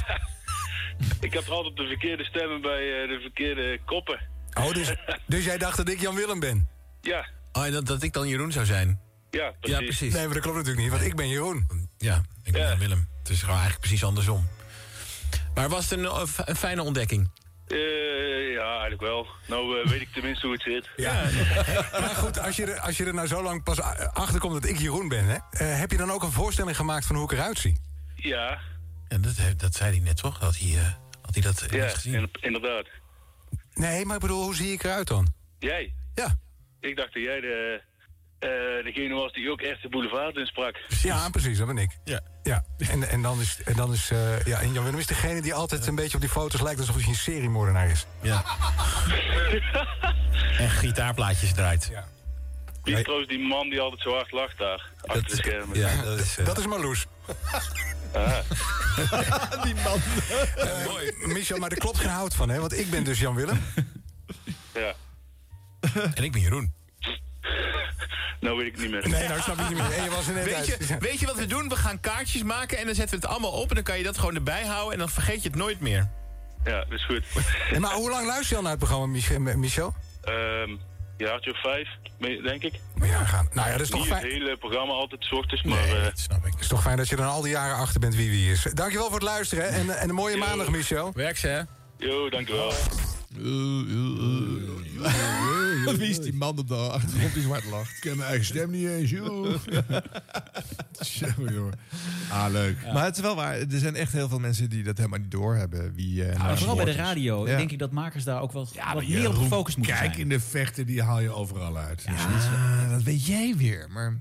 Speaker 23: ik heb er altijd de verkeerde stemmen bij eh, de verkeerde koppen.
Speaker 7: Oh, dus, dus jij dacht dat ik Jan-Willem ben?
Speaker 23: Ja,
Speaker 20: Oh, en dat, dat ik dan Jeroen zou zijn.
Speaker 23: ja, precies.
Speaker 20: Ja, precies.
Speaker 7: Nee, maar dat klopt natuurlijk niet, want ik ben Jeroen.
Speaker 20: Ja, ik ben Willem. Het is gewoon eigenlijk precies andersom. Maar was het een, eh, f- een fijne ontdekking?
Speaker 23: Eh, ja, eigenlijk wel. Nou eh, weet ik tenminste hoe het zit.
Speaker 7: Ja. Maar goed, als je, er, als je er nou zo lang pas a- achterkomt dat ik Jeroen ben, hè, eh, heb je dan ook een voorstelling gemaakt van hoe ik eruit zie?
Speaker 23: Ja,
Speaker 20: Ja, dat, he- dat zei hij net toch? Had hij, eh, had hij dat ergens gezien?
Speaker 23: in- inderdaad.
Speaker 7: Nee, maar ik bedoel, hoe zie ik eruit dan?
Speaker 23: Jij?
Speaker 7: Ja.
Speaker 23: Ik dacht dat jij de, eh, degene was die ook echt de boulevard insprak.
Speaker 7: Ja, precies, dat ben ik. Ja. ja. En, en dan is, en dan is eh, ja, en Jan Willem is degene die altijd een beetje op die foto's lijkt alsof hij een seriemoordenaar is.
Speaker 20: Ja. en gitaarplaatjes draait. Ja,
Speaker 23: Die trouwens, die man die altijd zo hard lacht daar. Achter de schermen.
Speaker 20: dat is...
Speaker 7: Dat is eh, Marloes.
Speaker 23: Ah.
Speaker 7: die man. Mooi. Eh, Michel, maar er klopt geen hout van, hè? Want ik ben dus Jan Willem.
Speaker 23: Ja.
Speaker 20: En ik ben Jeroen.
Speaker 23: Nou weet ik niet meer.
Speaker 7: Nee, nou snap ik niet meer. En je was er net
Speaker 20: weet,
Speaker 7: uit.
Speaker 20: je, weet je wat we doen? We gaan kaartjes maken en dan zetten we het allemaal op... en dan kan je dat gewoon erbij houden en dan vergeet je het nooit meer.
Speaker 23: Ja, dat is goed.
Speaker 7: En maar hoe lang luister je al naar het programma, Mich- eh, Michel?
Speaker 23: Ehm ja, had je vijf, me- denk ik.
Speaker 7: Ja, gaan. Nou ja, dat is toch
Speaker 23: Niet
Speaker 7: fijn.
Speaker 23: het hele programma altijd 's ochtends, maar... eh,
Speaker 7: Het is toch fijn dat je dan al die jaren achter bent wie wie is. Dankjewel voor het luisteren hè, en, en een mooie
Speaker 23: Ja.
Speaker 7: maandag, Michel.
Speaker 20: Werk ze, hè?
Speaker 23: Jo, dankjewel.
Speaker 2: Wie is die man op de achtergrond die zwart lacht?
Speaker 1: Ik ken mijn eigen stem niet eens, joh. Tjonge, jongen. Ah, leuk.
Speaker 2: Maar het is wel waar, er zijn echt heel veel mensen die dat helemaal niet doorhebben. Wie, eh,
Speaker 1: maar
Speaker 3: Ah,
Speaker 2: nou
Speaker 1: vooral
Speaker 2: sport
Speaker 1: bij de
Speaker 2: is.
Speaker 1: radio,
Speaker 2: Ja.
Speaker 3: Denk ik dat makers daar ook wel wat
Speaker 1: Ja,
Speaker 3: meer op
Speaker 1: Roel,
Speaker 3: gefocust moeten
Speaker 1: Kijk,
Speaker 3: zijn.
Speaker 1: in de vechten, die haal je overal uit.
Speaker 2: Ah, dat weet jij weer, maar...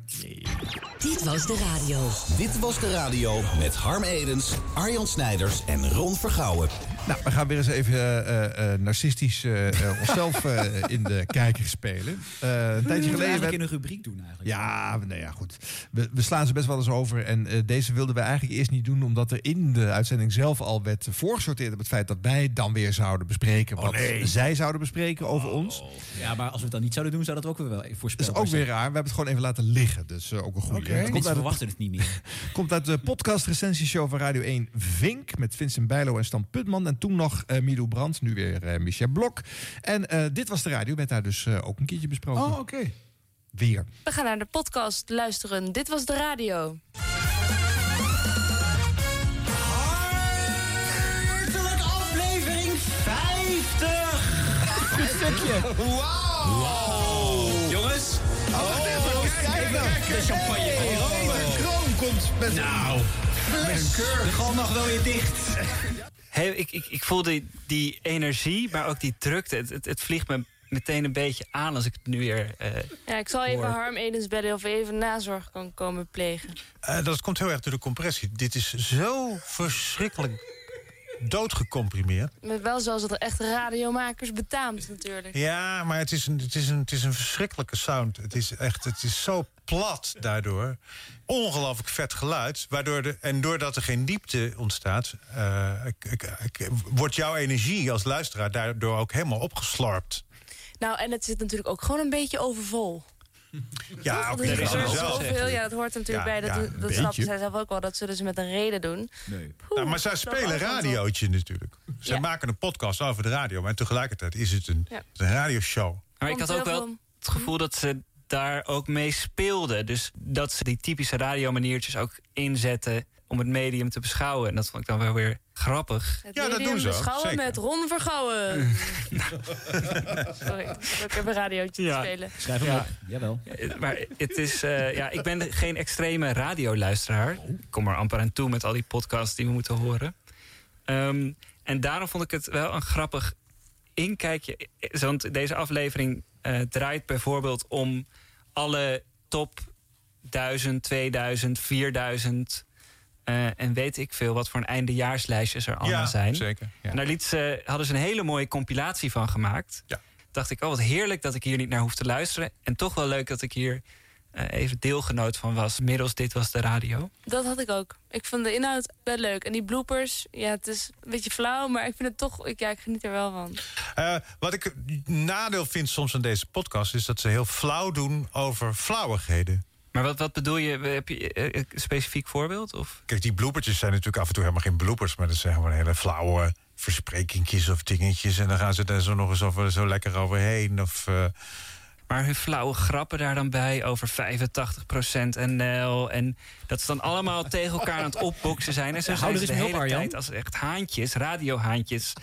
Speaker 12: Dit was de radio. Dit was de radio met Harm Edens, Arjan Snijders en Ron Vergouwen.
Speaker 2: Nou, we gaan weer eens even eh, eh, eh, narcistisch eh, eh, onszelf eh, in de kijker spelen. Eh, een tijdje geleden...
Speaker 3: Eigenlijk
Speaker 2: werd-
Speaker 3: Hmm. in een rubriek doen eigenlijk.
Speaker 2: Ja, nou ja, goed. We, we slaan ze best wel eens over. En eh, deze wilden we eigenlijk eerst niet doen... omdat er in de uitzending zelf al werd voorgesorteerd... op het feit dat wij dan weer zouden bespreken... wat
Speaker 3: Oh, nee.
Speaker 2: zij zouden bespreken over ons.
Speaker 3: Ja, maar als we het dan niet zouden doen, zou dat ook weer wel
Speaker 2: Dat is
Speaker 3: voorspelbaar
Speaker 2: ook weer
Speaker 3: zijn.
Speaker 2: raar. We hebben het gewoon even laten liggen. Dus eh, ook een goede.
Speaker 3: Oké. Mensen verwachten het niet meer.
Speaker 2: komt uit de podcast-recensieshow van Radio 1 Vink... met Vincent Bijlo en Stan Putman. En toen nog eh Milou Brandt, nu weer eh Micha Blok. En eh, dit was de radio, werd daar dus eh, ook een keertje besproken.
Speaker 24: Oh, oké.
Speaker 2: Weer.
Speaker 24: We gaan naar de podcast luisteren. Dit was de radio.
Speaker 11: Hartelijk aflevering 50! Goed stukje. Wauw! Jongens. Oh, kijk nou. De champagne. de kroon komt met nou. fles. De gal mag wel weer dicht.
Speaker 25: Hey, ik, ik, ik voel die, die energie, maar ook die drukte. Het, het, het vliegt me meteen een beetje aan als ik het nu weer... eh,
Speaker 24: Ja, ik zal even
Speaker 25: hoor.
Speaker 24: Harm Edens bellen of hij even nazorg kan komen plegen.
Speaker 26: Eh, dat komt heel erg door de compressie. Dit is zo verschrikkelijk doodgecomprimeerd.
Speaker 24: Met wel zoals het echt radiomakers betaamt natuurlijk.
Speaker 26: Ja, maar het is een, het is een, het is een verschrikkelijke sound. Het is echt, het is zo plat daardoor. Ongelooflijk vet geluid. Waardoor de, en doordat er geen diepte ontstaat, eh, ik- ik- ik- wordt jouw energie als luisteraar daardoor ook helemaal opgeslorpt.
Speaker 24: Nou, en het zit natuurlijk ook gewoon een beetje overvol.
Speaker 26: Ja,
Speaker 24: Dat
Speaker 26: oké.
Speaker 24: is
Speaker 26: dat
Speaker 24: er
Speaker 26: is wel
Speaker 24: zoveel,
Speaker 26: gezegd.
Speaker 24: ja, dat hoort er natuurlijk
Speaker 26: Ja,
Speaker 24: bij. Dat,
Speaker 26: ja,
Speaker 24: dat
Speaker 26: een
Speaker 24: snappen
Speaker 26: beetje.
Speaker 24: zij zelf ook wel. Dat zullen ze dus met een reden doen.
Speaker 26: Nou, maar zij
Speaker 24: dat
Speaker 26: spelen
Speaker 24: was het
Speaker 26: radiootje natuurlijk. Zij
Speaker 24: Ja.
Speaker 26: maken een podcast over de radio, maar tegelijkertijd is het een,
Speaker 24: Ja.
Speaker 26: een radioshow.
Speaker 25: Maar ik had ook wel het gevoel dat ze daar ook mee speelden. Dus dat ze die typische radiomaniertjes ook inzetten... om het medium te beschouwen. En dat vond ik dan wel weer grappig.
Speaker 24: Het medium beschouwen met Ron Vergouwen. Sorry, ik moet ook even een radiootje te spelen.
Speaker 25: Schrijf hem op, jawel. Maar het is, eh, ja, ik ben geen extreme radioluisteraar. Ik kom er amper aan toe met al die podcasts die we moeten horen. Ehm, en daarom vond ik het wel een grappig inkijkje. Eh, Want deze aflevering eh, draait bijvoorbeeld om alle top 1000, 2000, 4000 eh, en weet ik veel wat voor een eindejaarslijstjes er allemaal zijn.
Speaker 19: zeker, ja.
Speaker 25: En daar liet ze, hadden ze een hele mooie compilatie van gemaakt. Dacht ik, oh wat heerlijk dat ik hier niet naar hoef te luisteren. En toch wel leuk dat ik hier eh, even deelgenoot van was. Middels Dit Was De Radio.
Speaker 24: Dat had ik ook. Ik vond de inhoud wel leuk. En die bloopers, ja, het is een beetje flauw, maar ik vind het toch, ik, ja, ik geniet er wel van.
Speaker 26: Eh, wat ik nadeel vind soms aan deze podcast... is dat ze heel flauw doen over flauwigheden.
Speaker 25: Maar wat, wat bedoel je? Heb je eh, een specifiek voorbeeld? Of?
Speaker 26: Kijk, die bloopertjes zijn natuurlijk af en toe helemaal geen bloopers... maar dat zijn gewoon hele flauwe versprekingjes of dingetjes... en dan gaan ze daar zo nog eens over, zo lekker overheen. Of, eh,
Speaker 25: Maar hun flauwe grappen daar dan bij over 85% NL. En dat ze dan allemaal tegen elkaar aan het opboksen zijn. En zo
Speaker 3: Ja, hou
Speaker 25: zijn
Speaker 3: er
Speaker 25: ze de
Speaker 3: eens mee op,
Speaker 25: hele
Speaker 3: Arjan.
Speaker 25: tijd als echt haantjes, radiohaantjes...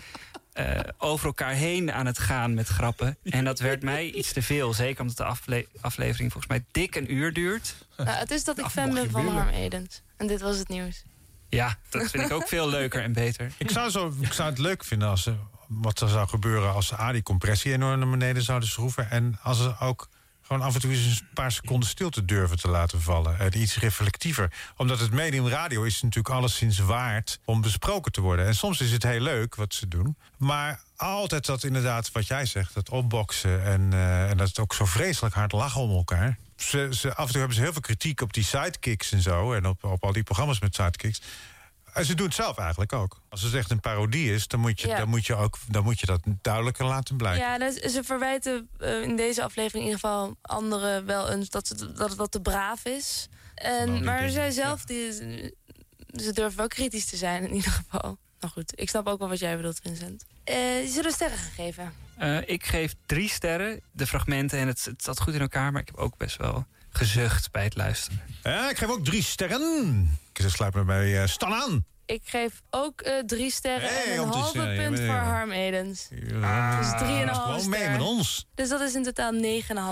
Speaker 25: eh, over elkaar heen aan het gaan met grappen. En dat werd mij iets te veel. Zeker omdat de afle- aflevering volgens mij dik een uur duurt.
Speaker 26: Eh.
Speaker 24: Nou, het is dat ik fan ben van Harm Edens. En dit was het nieuws.
Speaker 25: Ja, dat vind ik ook veel leuker en beter.
Speaker 26: Ik zou, zo, ik zou het leuk vinden als, eh, wat er zou gebeuren als ze A, die compressie enorm naar beneden zouden schroeven. En als ze ook gewoon af en toe eens een paar seconden stilte durven te laten vallen. En iets reflectiever. Omdat het medium radio is natuurlijk alleszins waard om besproken te worden. En soms is het heel leuk wat ze doen. Maar altijd dat inderdaad wat jij zegt, dat opboksen. En, eh, en dat het ook zo vreselijk hard lachen om elkaar. Ze, ze, af en toe hebben ze heel veel kritiek op die sidekicks en zo. En op, op al die programma's met sidekicks. En ze doen het zelf eigenlijk ook. Als het echt een parodie is, dan moet je,
Speaker 24: Ja.
Speaker 26: dan moet je, ook, dan moet je dat duidelijker laten blijken.
Speaker 24: Ja, dus ze verwijten eh, in deze aflevering in ieder geval anderen wel eens dat, ze, dat het wat te braaf is. En, maar zij zelf, die, ze durven wel kritisch te zijn in ieder geval. Nou goed, ik snap ook wel wat jij bedoelt, Vincent. Eh, die zullen sterren gegeven.
Speaker 25: Eh, ik geef drie sterren. De fragmenten en het, het zat goed in elkaar. Maar ik heb ook best wel gezucht bij het luisteren.
Speaker 26: Ja, ik geef ook drie sterren. Ze sluit me bij eh, Stan aan.
Speaker 24: Ik geef ook eh, drie sterren
Speaker 26: Hey,
Speaker 24: en
Speaker 26: om
Speaker 24: een
Speaker 26: te
Speaker 24: halve
Speaker 26: zeggen,
Speaker 24: punt
Speaker 26: ja,
Speaker 24: voor
Speaker 26: ja.
Speaker 24: Harm Edens.
Speaker 21: Ah,
Speaker 24: dus
Speaker 26: Gewoon
Speaker 24: 3,5 ster.
Speaker 26: mee met ons.
Speaker 24: Dus dat is in totaal 9,5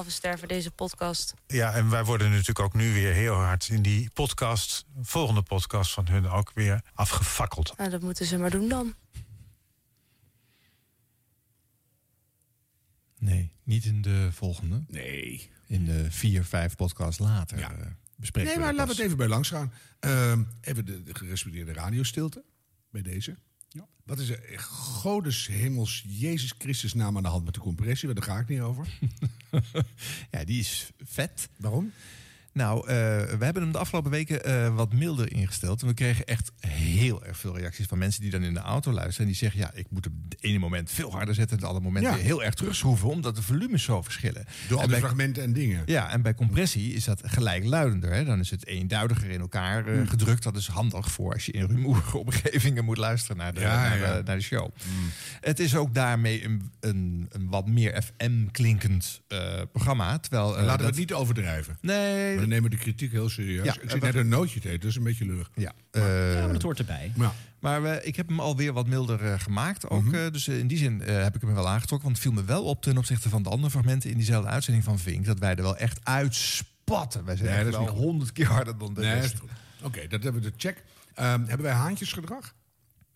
Speaker 24: ster voor deze podcast.
Speaker 26: Ja, en wij worden natuurlijk ook nu weer heel hard in die podcast... volgende podcast van hun ook weer afgefakkeld.
Speaker 24: Nou, dat moeten ze maar doen dan.
Speaker 2: Nee, niet in de volgende.
Speaker 1: Nee.
Speaker 2: In de vier, vijf podcasts later eh, bespreken
Speaker 1: Nee,
Speaker 2: we
Speaker 1: maar
Speaker 2: dat
Speaker 1: laten we
Speaker 2: pas.
Speaker 1: het even bij langs gaan. Ehm, even de, de gerespecteerde radiostilte bij deze. Wat is er in godes hemels Jezus Christus naam aan de hand met de compressie? Want Daar ga ik niet over.
Speaker 2: ja, die is vet.
Speaker 1: Waarom?
Speaker 2: Nou, eh, we hebben hem de afgelopen weken eh, wat milder ingesteld. En we kregen echt heel erg veel reacties van mensen die dan in de auto luisteren. En die zeggen, ja, ik moet op het ene moment veel harder zetten... en het andere moment
Speaker 1: Ja.
Speaker 2: weer heel erg terugschroeven... omdat de volumes zo verschillen. En
Speaker 1: Door al die
Speaker 2: bij- Eh,
Speaker 1: fragmenten en dingen.
Speaker 2: Ja, en bij compressie is dat gelijkluidender. Hè? Dan is het eenduidiger in elkaar
Speaker 1: Hmm.
Speaker 2: eh, gedrukt. Dat is handig voor als je in rumoerige omgevingen moet luisteren naar de,
Speaker 1: Ja,
Speaker 2: naar
Speaker 1: ja. Hmm.
Speaker 2: de, naar de show. Het is ook daarmee een, een, een wat meer FM-klinkend eh, programma. Terwijl, eh,
Speaker 1: En laten we
Speaker 2: dat-
Speaker 1: het niet overdrijven.
Speaker 2: Nee.
Speaker 1: We nemen de kritiek heel serieus.
Speaker 2: Ja, eh,
Speaker 1: ik
Speaker 2: en
Speaker 1: zit net
Speaker 2: wat-
Speaker 1: een nootje te eten, dus een beetje lurig.
Speaker 2: Ja,
Speaker 3: Ja, maar dat hoort erbij.
Speaker 2: Maar we- ik heb hem alweer wat milder eh, gemaakt. Ook,
Speaker 1: Mhm.
Speaker 2: eh, dus eh, in die zin eh, heb ik hem wel aangetrokken. Want het viel me wel op ten opzichte van de andere fragmenten in diezelfde uitzending van Vink. Dat wij er wel echt uitspatten. Wij zijn
Speaker 1: Nee,
Speaker 2: echt
Speaker 1: dat is
Speaker 2: wel
Speaker 1: niet goed.
Speaker 2: honderd keer harder dan de
Speaker 1: Nee,
Speaker 2: rest.
Speaker 1: is goed. Oké, dat hebben we de check. Ehm, hebben wij haantjesgedrag?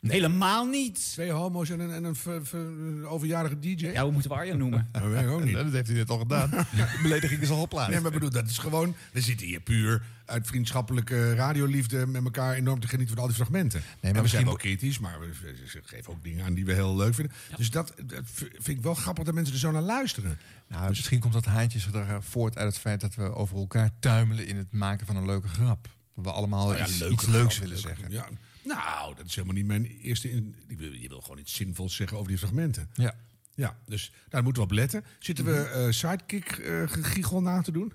Speaker 3: Helemaal niet.
Speaker 1: Twee homo's en een, en een ver- ver- overjarige DJ.
Speaker 3: Ja, hoe moeten we Arjan noemen?
Speaker 1: Dat weet ik ook niet.
Speaker 2: Dat heeft hij net al gedaan. De belediging is al geplaatst.
Speaker 1: Nee, maar ik bedoel, dat is gewoon... We zitten hier puur uit vriendschappelijke radioliefde... met elkaar enorm te genieten van al die fragmenten. Nee, maar we
Speaker 2: misschien
Speaker 1: zijn wel kritisch, maar we we- we geven ook dingen aan die we heel
Speaker 2: eh,
Speaker 1: leuk vinden. Dus dat, dat v- vind ik wel grappig dat mensen er zo naar luisteren.
Speaker 2: Nou, misschien komt dat haantjesgedrag eh, voort uit het feit dat we over elkaar tuimelen in het maken van een leuke grap. Dat we allemaal
Speaker 1: Nou ja,
Speaker 2: iets,
Speaker 1: leuke
Speaker 2: iets
Speaker 1: grap,
Speaker 2: leuks willen
Speaker 1: leuke-
Speaker 2: zeggen.
Speaker 1: Ja. Nou, dat is helemaal niet mijn eerste... In, ik wil- je wil gewoon iets zinvols zeggen over die fragmenten.
Speaker 2: Ja.
Speaker 1: Ja, dus daar moeten we op letten. Zitten we eh sidekick eh, gegiegel na te doen?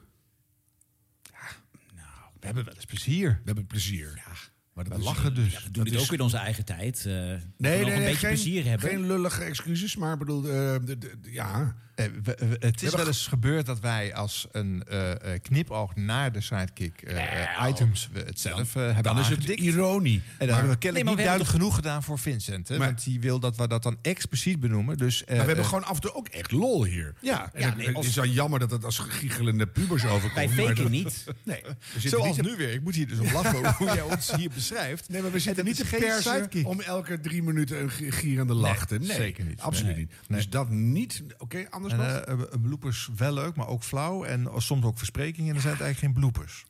Speaker 1: nou,
Speaker 2: We hebben wel eens plezier.
Speaker 1: We hebben plezier. Ja, maar dat
Speaker 2: we
Speaker 1: is-
Speaker 2: lachen dus.
Speaker 3: eh, We doen dit ook in onze eigen tijd. eh nee,
Speaker 1: Nee,
Speaker 3: nog
Speaker 1: nee,
Speaker 3: een
Speaker 1: nee,
Speaker 3: beetje
Speaker 1: geen,
Speaker 3: plezier hebben.
Speaker 1: geen lullige excuses, maar ik bedoel, eh, de- de- de- ja.
Speaker 2: Eh, we- we- het is
Speaker 1: maar
Speaker 2: wel eens gebeurd dat wij als een eh, eh, knipoog naar de sidekick eh, eh, items we het zelf eh, hebben
Speaker 1: oh. Dan is het
Speaker 2: aangedikt.
Speaker 1: ironie.
Speaker 2: En dat
Speaker 1: Maar-
Speaker 2: hebben we
Speaker 1: Nee,
Speaker 2: kennelijk
Speaker 1: maar
Speaker 2: niet
Speaker 1: we
Speaker 2: duidelijk
Speaker 1: hebben-
Speaker 2: genoeg gedaan voor Vincent. Hè?
Speaker 1: Maar-
Speaker 2: want die wil dat we dat dan expliciet benoemen. Dus, eh,
Speaker 1: Maar we hebben
Speaker 2: eh,
Speaker 1: gewoon af en toe ook echt lol hier.
Speaker 2: Ja.
Speaker 1: en
Speaker 2: Ja,
Speaker 1: het,
Speaker 2: nee,
Speaker 1: het
Speaker 2: als-
Speaker 1: is wel jammer dat het als giechelende pubers overkomt.
Speaker 3: Wij
Speaker 1: maar
Speaker 3: faken
Speaker 1: dat-
Speaker 3: niet.
Speaker 1: Nee.
Speaker 2: Zoals nu weer. Ik moet hier dus om lachen hoe jij ons hier beschrijft.
Speaker 1: Nee, maar we zitten
Speaker 2: En
Speaker 1: niet te
Speaker 2: is geen
Speaker 1: persen
Speaker 2: sidekick.
Speaker 1: om elke drie minuten een gi- gierende lach te... Nee,
Speaker 2: zeker niet.
Speaker 1: Absoluut
Speaker 2: Nee.
Speaker 1: niet. Dus dat niet... Oké, an- anders
Speaker 2: en,
Speaker 1: nog?
Speaker 2: eh, eh, bloopers wel leuk, maar ook flauw. En soms ook versprekingen. En er zijn het eigenlijk geen bloopers.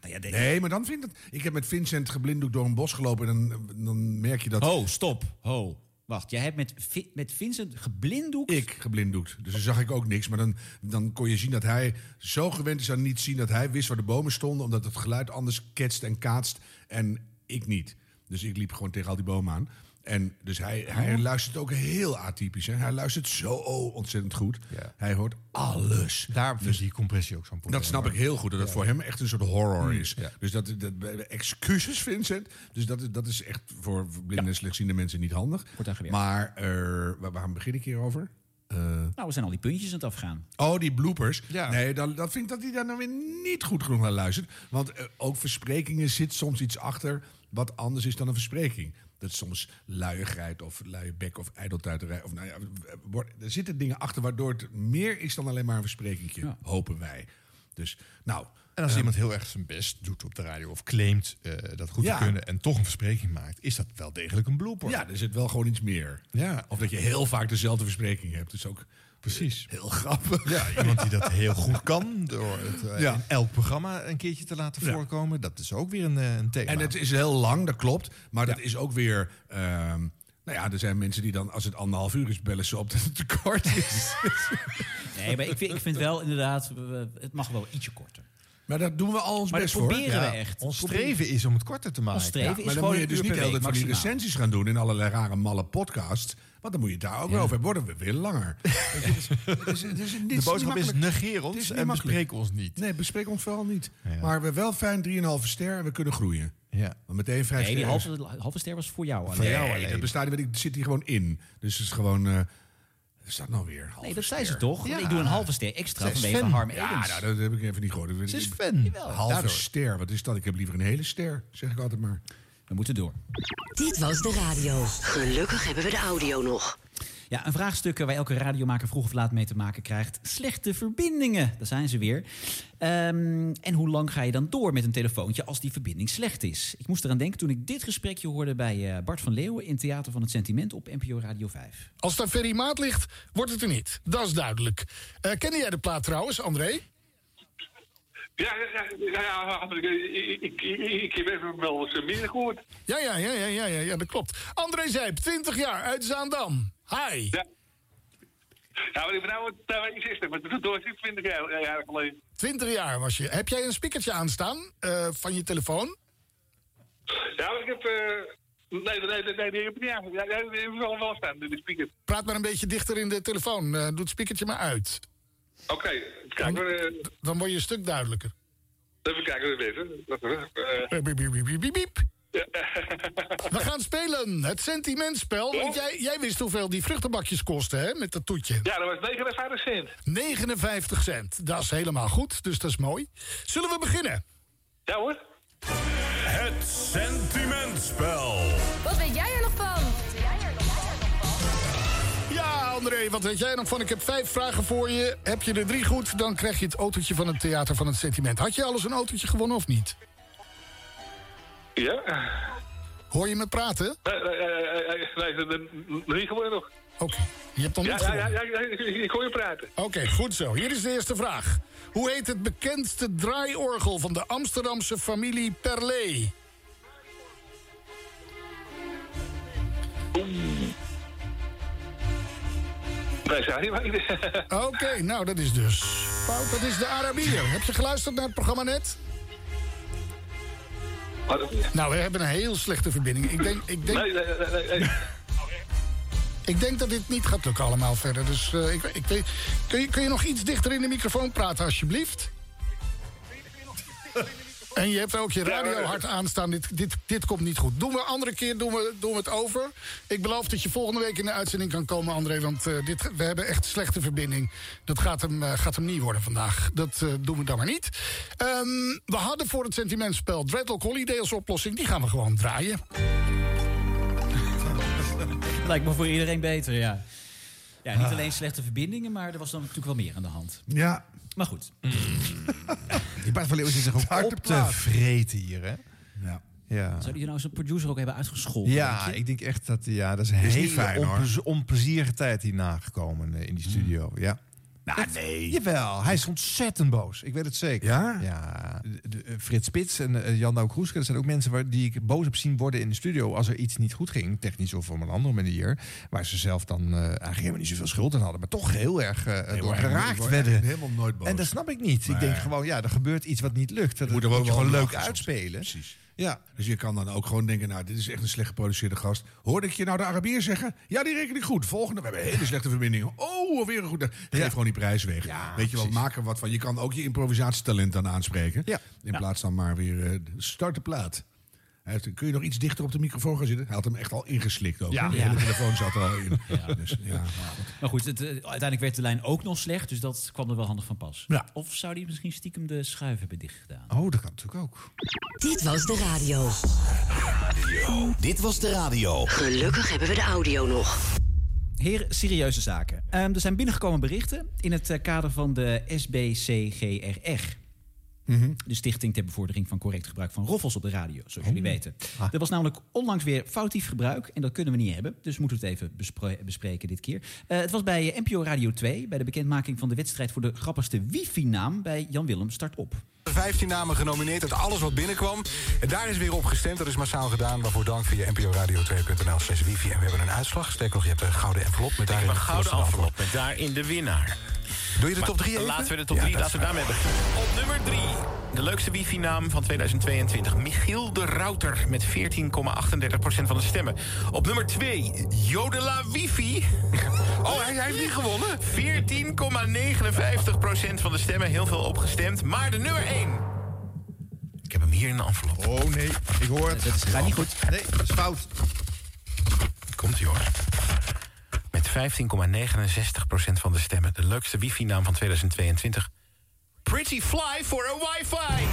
Speaker 3: Nou
Speaker 1: nee, maar dan vindt het... Ik heb met Vincent geblinddoekt door een bos gelopen en dan, dan merk je dat...
Speaker 3: Ho, stop. Ho. Wacht, jij hebt met, Vi- met Vincent geblinddoekt?
Speaker 1: Ik geblinddoekt. Dus dan zag ik ook niks. Maar dan, dan kon je zien dat hij zo gewend is aan niet zien... dat hij wist waar de bomen stonden... omdat het geluid anders ketst en kaatst. En ik niet. Dus ik liep gewoon tegen al die bomen aan. En dus hij, hij luistert ook heel atypisch. Hè? Hij luistert zo Oh, ontzettend goed. Hij hoort alles. Dus
Speaker 2: Daarom vind die compressie ook zo'n probleem.
Speaker 1: Dat snap ik heel goed. Dat het voor hem echt een soort horror is. Dus dat, dat excuses, Vincent. Dus dat, is- dat is echt voor blinde en slechtziende mensen niet handig. Maar eh, waar, waarom begin ik hierover? Eh,
Speaker 3: Nou, we zijn al die puntjes aan het afgaan.
Speaker 1: Oh, die bloopers. Nee, dan, dan vind ik dat hij daar nou weer niet goed genoeg naar luistert. Want eh, ook versprekingen zit soms iets achter wat anders is dan een verspreking. Dat is soms luiigheid of luie bek of ijdeltuiterij. Of, nou ja, wordt- er zitten dingen achter waardoor het meer is dan alleen maar een versprekingje. Hopen wij. Dus, nou...
Speaker 2: En als
Speaker 1: ehm,
Speaker 2: iemand heel erg zijn best doet op de radio of claimt eh, dat goed
Speaker 1: Ja.
Speaker 2: te kunnen en toch een verspreking maakt, is dat wel degelijk een blooper.
Speaker 1: Ja, er zit wel gewoon iets meer.
Speaker 2: Ja.
Speaker 1: Of dat je heel vaak dezelfde verspreking hebt. Dat is ook eh,
Speaker 2: Precies.
Speaker 1: heel grappig.
Speaker 2: Ja, iemand die dat heel goed kan door het eh,
Speaker 1: Ja.
Speaker 2: in elk programma een keertje te laten
Speaker 1: Ja.
Speaker 2: voorkomen. Dat is ook weer een, eh, een thema.
Speaker 1: En het is heel lang, dat klopt. Maar dat is ook weer. ehm, nou ja, er zijn mensen die dan, als het anderhalf uur is, bellen ze op dat het te kort is.
Speaker 3: Nee, maar ik vind, ik vind wel inderdaad, we- we- het mag wel ietsje korter.
Speaker 1: Maar dat doen we al ons
Speaker 3: Maar dat
Speaker 1: best voor.
Speaker 3: proberen we echt.
Speaker 2: Ons
Speaker 3: Proberen-
Speaker 2: streven is om het korter te maken.
Speaker 3: Ons streven is
Speaker 1: maar dan
Speaker 3: gewoon
Speaker 1: moet je
Speaker 3: een
Speaker 1: dus
Speaker 3: uur
Speaker 1: niet
Speaker 3: per
Speaker 1: heel
Speaker 3: week
Speaker 1: dat van die
Speaker 3: maximaal.
Speaker 1: recensies gaan doen in allerlei rare malle podcasts. Want dan moet je het daar ook weer over hebben. Worden we weer langer.
Speaker 2: De boodschap is, negeer ons en bespreek ons niet.
Speaker 1: Nee, bespreek ons vooral niet. Maar we wel fijn 3,5 ster en we kunnen groeien.
Speaker 2: Ja.
Speaker 1: Want meteen vijf
Speaker 3: Nee, die
Speaker 1: sterren is-
Speaker 3: halve, halve ster was voor jou.
Speaker 1: Van
Speaker 3: alleen.
Speaker 1: jou alleen. Dat bestaat niet, want ik zit hier gewoon in. Dus het is gewoon... eh is dat nou weer?
Speaker 3: Nee, dat zei ze toch? Ik doe een halve ster extra
Speaker 1: Zij is
Speaker 3: vanwege
Speaker 1: fan.
Speaker 3: Harm
Speaker 1: Ja,
Speaker 3: Edens.
Speaker 1: nou, dat heb ik even niet gehoord.
Speaker 3: Ze is
Speaker 2: fan.
Speaker 1: Halve
Speaker 3: daardoor.
Speaker 1: ster, wat is dat? Ik heb liever een hele ster, zeg ik altijd maar.
Speaker 3: We moeten door.
Speaker 11: Dit was de radio. Gelukkig hebben we de audio nog.
Speaker 3: Ja, een vraagstuk waar elke radiomaker vroeg of laat mee te maken krijgt. Slechte verbindingen, daar zijn ze weer. Ehm, en hoe lang ga je dan door met een telefoontje als die verbinding slecht is? Ik moest eraan denken toen ik dit gesprekje hoorde bij eh, Bart van Leeuwen... in Theater van het Sentiment op NPO Radio 5.
Speaker 27: Als daar ferrymaat ligt, wordt het er niet. Dat is duidelijk. Eh kende jij de plaat trouwens, André?
Speaker 15: Ja, ja, ja, ja, ja, ik, ik, ik, ik heb even wel eens minder gehoord.
Speaker 27: Ja, ja, ja, ja, ja, ja, ja dat klopt. André Zijp, 20 jaar, uit Zaandam. Hi.
Speaker 15: Ja, maar ik ben nou, nou 61, maar toen was ik 20 jaar, jaar geleden.
Speaker 27: 20 jaar was je. Heb jij een speakertje aanstaan eh, van je telefoon?
Speaker 15: Ja, maar ik heb... eh nee, nee, nee, nee, die heb ik niet aan. Ja, ja, die heb ik wel, wel staan, de speaker.
Speaker 27: Praat maar een beetje dichter in de telefoon. Eh, doe het speakertje maar uit.
Speaker 15: Oké, kijk maar... eh,
Speaker 27: Dan word je een stuk duidelijker.
Speaker 15: even kijken, even. Wacht even. eh.
Speaker 27: Biep, biep, biep, biep, biep, biep. We gaan spelen. Het sentimentspel. Want jij, jij wist hoeveel die vruchtenbakjes kosten, hè? Met dat toetje.
Speaker 15: Ja, dat was 59 cent.
Speaker 27: 59 cent. Dat is helemaal goed, dus dat is mooi. Zullen we beginnen?
Speaker 15: Ja hoor.
Speaker 27: Het sentimentspel.
Speaker 13: Wat weet jij er nog van?
Speaker 27: Ja, André, wat weet jij dan van? Ik heb vijf vragen voor je. Heb je er drie goed, dan krijg je het autootje van het Theater van het Sentiment. Had je alles een autootje gewonnen of niet?
Speaker 15: Ja? Eh,
Speaker 27: Hoor je me praten?
Speaker 15: Nee, nee, nee, nee, eh, nee, nee, nee, nee, niet gewoon nog.
Speaker 27: Oké, je hebt nog
Speaker 15: Ja,
Speaker 27: niet
Speaker 15: ja,
Speaker 27: gewonnen.
Speaker 15: ja, ja, ja, ik, ik hoor je praten.
Speaker 27: Oké, goed zo. Hier is de eerste vraag. Hoe heet het bekendste draaiorgel van de Amsterdamse familie Perlé?
Speaker 15: Nee, sorry, maar ik-
Speaker 27: Oké, nou dat is dus fout. Dat is de Arabier. Heb je geluisterd naar het programma net? Nou, we hebben een heel slechte verbinding. Ik denk, ik denk,
Speaker 15: Nee, nee, nee, nee, nee.
Speaker 27: ik denk dat dit niet gaat lukken allemaal verder. Dus eh, ik, ik weet... Kun je, kun je nog iets dichter in de microfoon praten, alsjeblieft? En je hebt ook je radio hard aanstaan. Dit, dit, dit komt niet goed. Doen we een andere keer doen we, doen we het over. Ik beloof dat je volgende week in de uitzending kan komen, André. Want eh, dit, we hebben echt slechte verbinding. Dat gaat hem, eh, gaat hem niet worden vandaag. Dat eh, doen we dan maar niet. Ehm, we hadden voor het sentimentspel Dreadlock Holiday als oplossing. Die gaan we gewoon draaien.
Speaker 3: Lijkt me voor iedereen beter, ja. Ja, niet alleen slechte verbindingen, maar er was dan natuurlijk wel meer aan de hand.
Speaker 1: Ja.
Speaker 3: Maar goed.
Speaker 2: Die Bart van Leeuwen zit zich ook op te vreten hier, hè?
Speaker 1: Ja.
Speaker 2: Ja.
Speaker 3: Zou die nou zijn producer ook hebben uitgescholden?
Speaker 2: Ja,
Speaker 3: denk je?
Speaker 2: ik denk echt dat ja, dat is
Speaker 3: Is
Speaker 2: een
Speaker 3: niet
Speaker 2: hele
Speaker 3: fijn, hoor.
Speaker 2: onplez- onplezierige tijd hierna gekomen eh, in die studio. Ja.
Speaker 1: Nou, nee.
Speaker 2: Jawel, hij is ontzettend boos. Ik weet het zeker.
Speaker 1: Ja?
Speaker 2: Ja. De- de- eh, Frits Spits en eh, Jan Douw Kroeske, dat zijn ook mensen waar, die ik boos op zien worden in de studio... als er iets niet goed ging, technisch of op een andere manier... waar ze zelf dan eh, eigenlijk helemaal niet zoveel schuld aan hadden... maar toch heel erg eh, door geraakt werden.
Speaker 1: Helemaal nooit boos.
Speaker 2: En dat snap ik niet. Ik denk gewoon, ja, er gebeurt iets wat niet lukt. Dat moet
Speaker 1: er
Speaker 2: je
Speaker 1: wel
Speaker 2: gewoon
Speaker 1: om
Speaker 2: leuk
Speaker 1: lachen soms.
Speaker 2: uitspelen.
Speaker 1: Precies.
Speaker 2: Ja.
Speaker 1: Dus je kan dan ook gewoon denken, nou, dit is echt een slecht geproduceerde gast. Hoorde ik je nou de Arabier zeggen? Ja, die reken ik goed. Volgende, we hebben een hele slechte verbinding. Oh, alweer een goed. Geef gewoon die prijs weg. Weet je wel, maak er wat van. Je kan ook je improvisatietalent dan aanspreken. In plaats dan maar weer eh, start de plaat. Hij heeft- Kun je nog iets dichter op de microfoon gaan zitten? Hij had hem echt al ingeslikt ook.
Speaker 3: Ja.
Speaker 1: Ja. De
Speaker 3: Ja.
Speaker 1: hele telefoon zat er al in. Dus, ja.
Speaker 3: Maar goed, het, eh, uiteindelijk werd de lijn ook nog slecht, dus dat kwam er wel handig van pas.
Speaker 1: Ja.
Speaker 3: Of zou die misschien stiekem de schuif hebben dichtgedaan?
Speaker 2: Oh, dat kan natuurlijk ook.
Speaker 12: Dit was de radio. Dit was de radio.
Speaker 18: Gelukkig hebben we de audio nog.
Speaker 3: Heren, serieuze zaken. Ehm, er zijn binnengekomen berichten in het eh, kader van de SBCGRR.
Speaker 4: Mhm.
Speaker 3: De Stichting ter Bevordering van Correct Gebruik van Roffels op de radio, zoals
Speaker 2: Oh.
Speaker 3: jullie weten.
Speaker 2: Ah.
Speaker 3: Er was namelijk onlangs weer foutief gebruik en dat kunnen we niet hebben. Dus moeten we het even bespre- bespreken dit keer. Eh, het was bij eh, NPO Radio 2, bij de bekendmaking van de wedstrijd voor de grappigste wifi-naam bij Jan Willem Start Op.
Speaker 7: 15 namen genomineerd uit alles wat binnenkwam. En daar is weer op gestemd. Dat is massaal gedaan. Waarvoor dank via nporadio2.nl slash wifi. En we hebben een uitslag. Sterker nog, je hebt een gouden envelop. Met daarin
Speaker 20: Een
Speaker 7: het
Speaker 20: gouden
Speaker 7: volste
Speaker 20: envelop met daarin de winnaar.
Speaker 7: Doe je de
Speaker 20: Maar
Speaker 7: top 3 even?
Speaker 20: Laten we de top
Speaker 7: Ja,
Speaker 20: 3,
Speaker 7: dat
Speaker 20: laten we
Speaker 7: is
Speaker 20: daarmee beginnen. Op nummer 3, de leukste wifi-naam van 2022. Michiel de Router met 14,38% van de stemmen. Op nummer 2, Jodela Wifi. Oh, hij, hij heeft niet gewonnen. 14,59% van de stemmen, heel veel opgestemd. Maar de nummer 1... Ik heb hem hier in de envelop.
Speaker 2: Oh nee, ik hoor het.
Speaker 3: Dat gaat niet goed.
Speaker 2: Nee, dat is fout.
Speaker 20: Komt ie hoor. Met 15,69% van de stemmen. De leukste wifi-naam van 2022. Pretty fly for a wifi!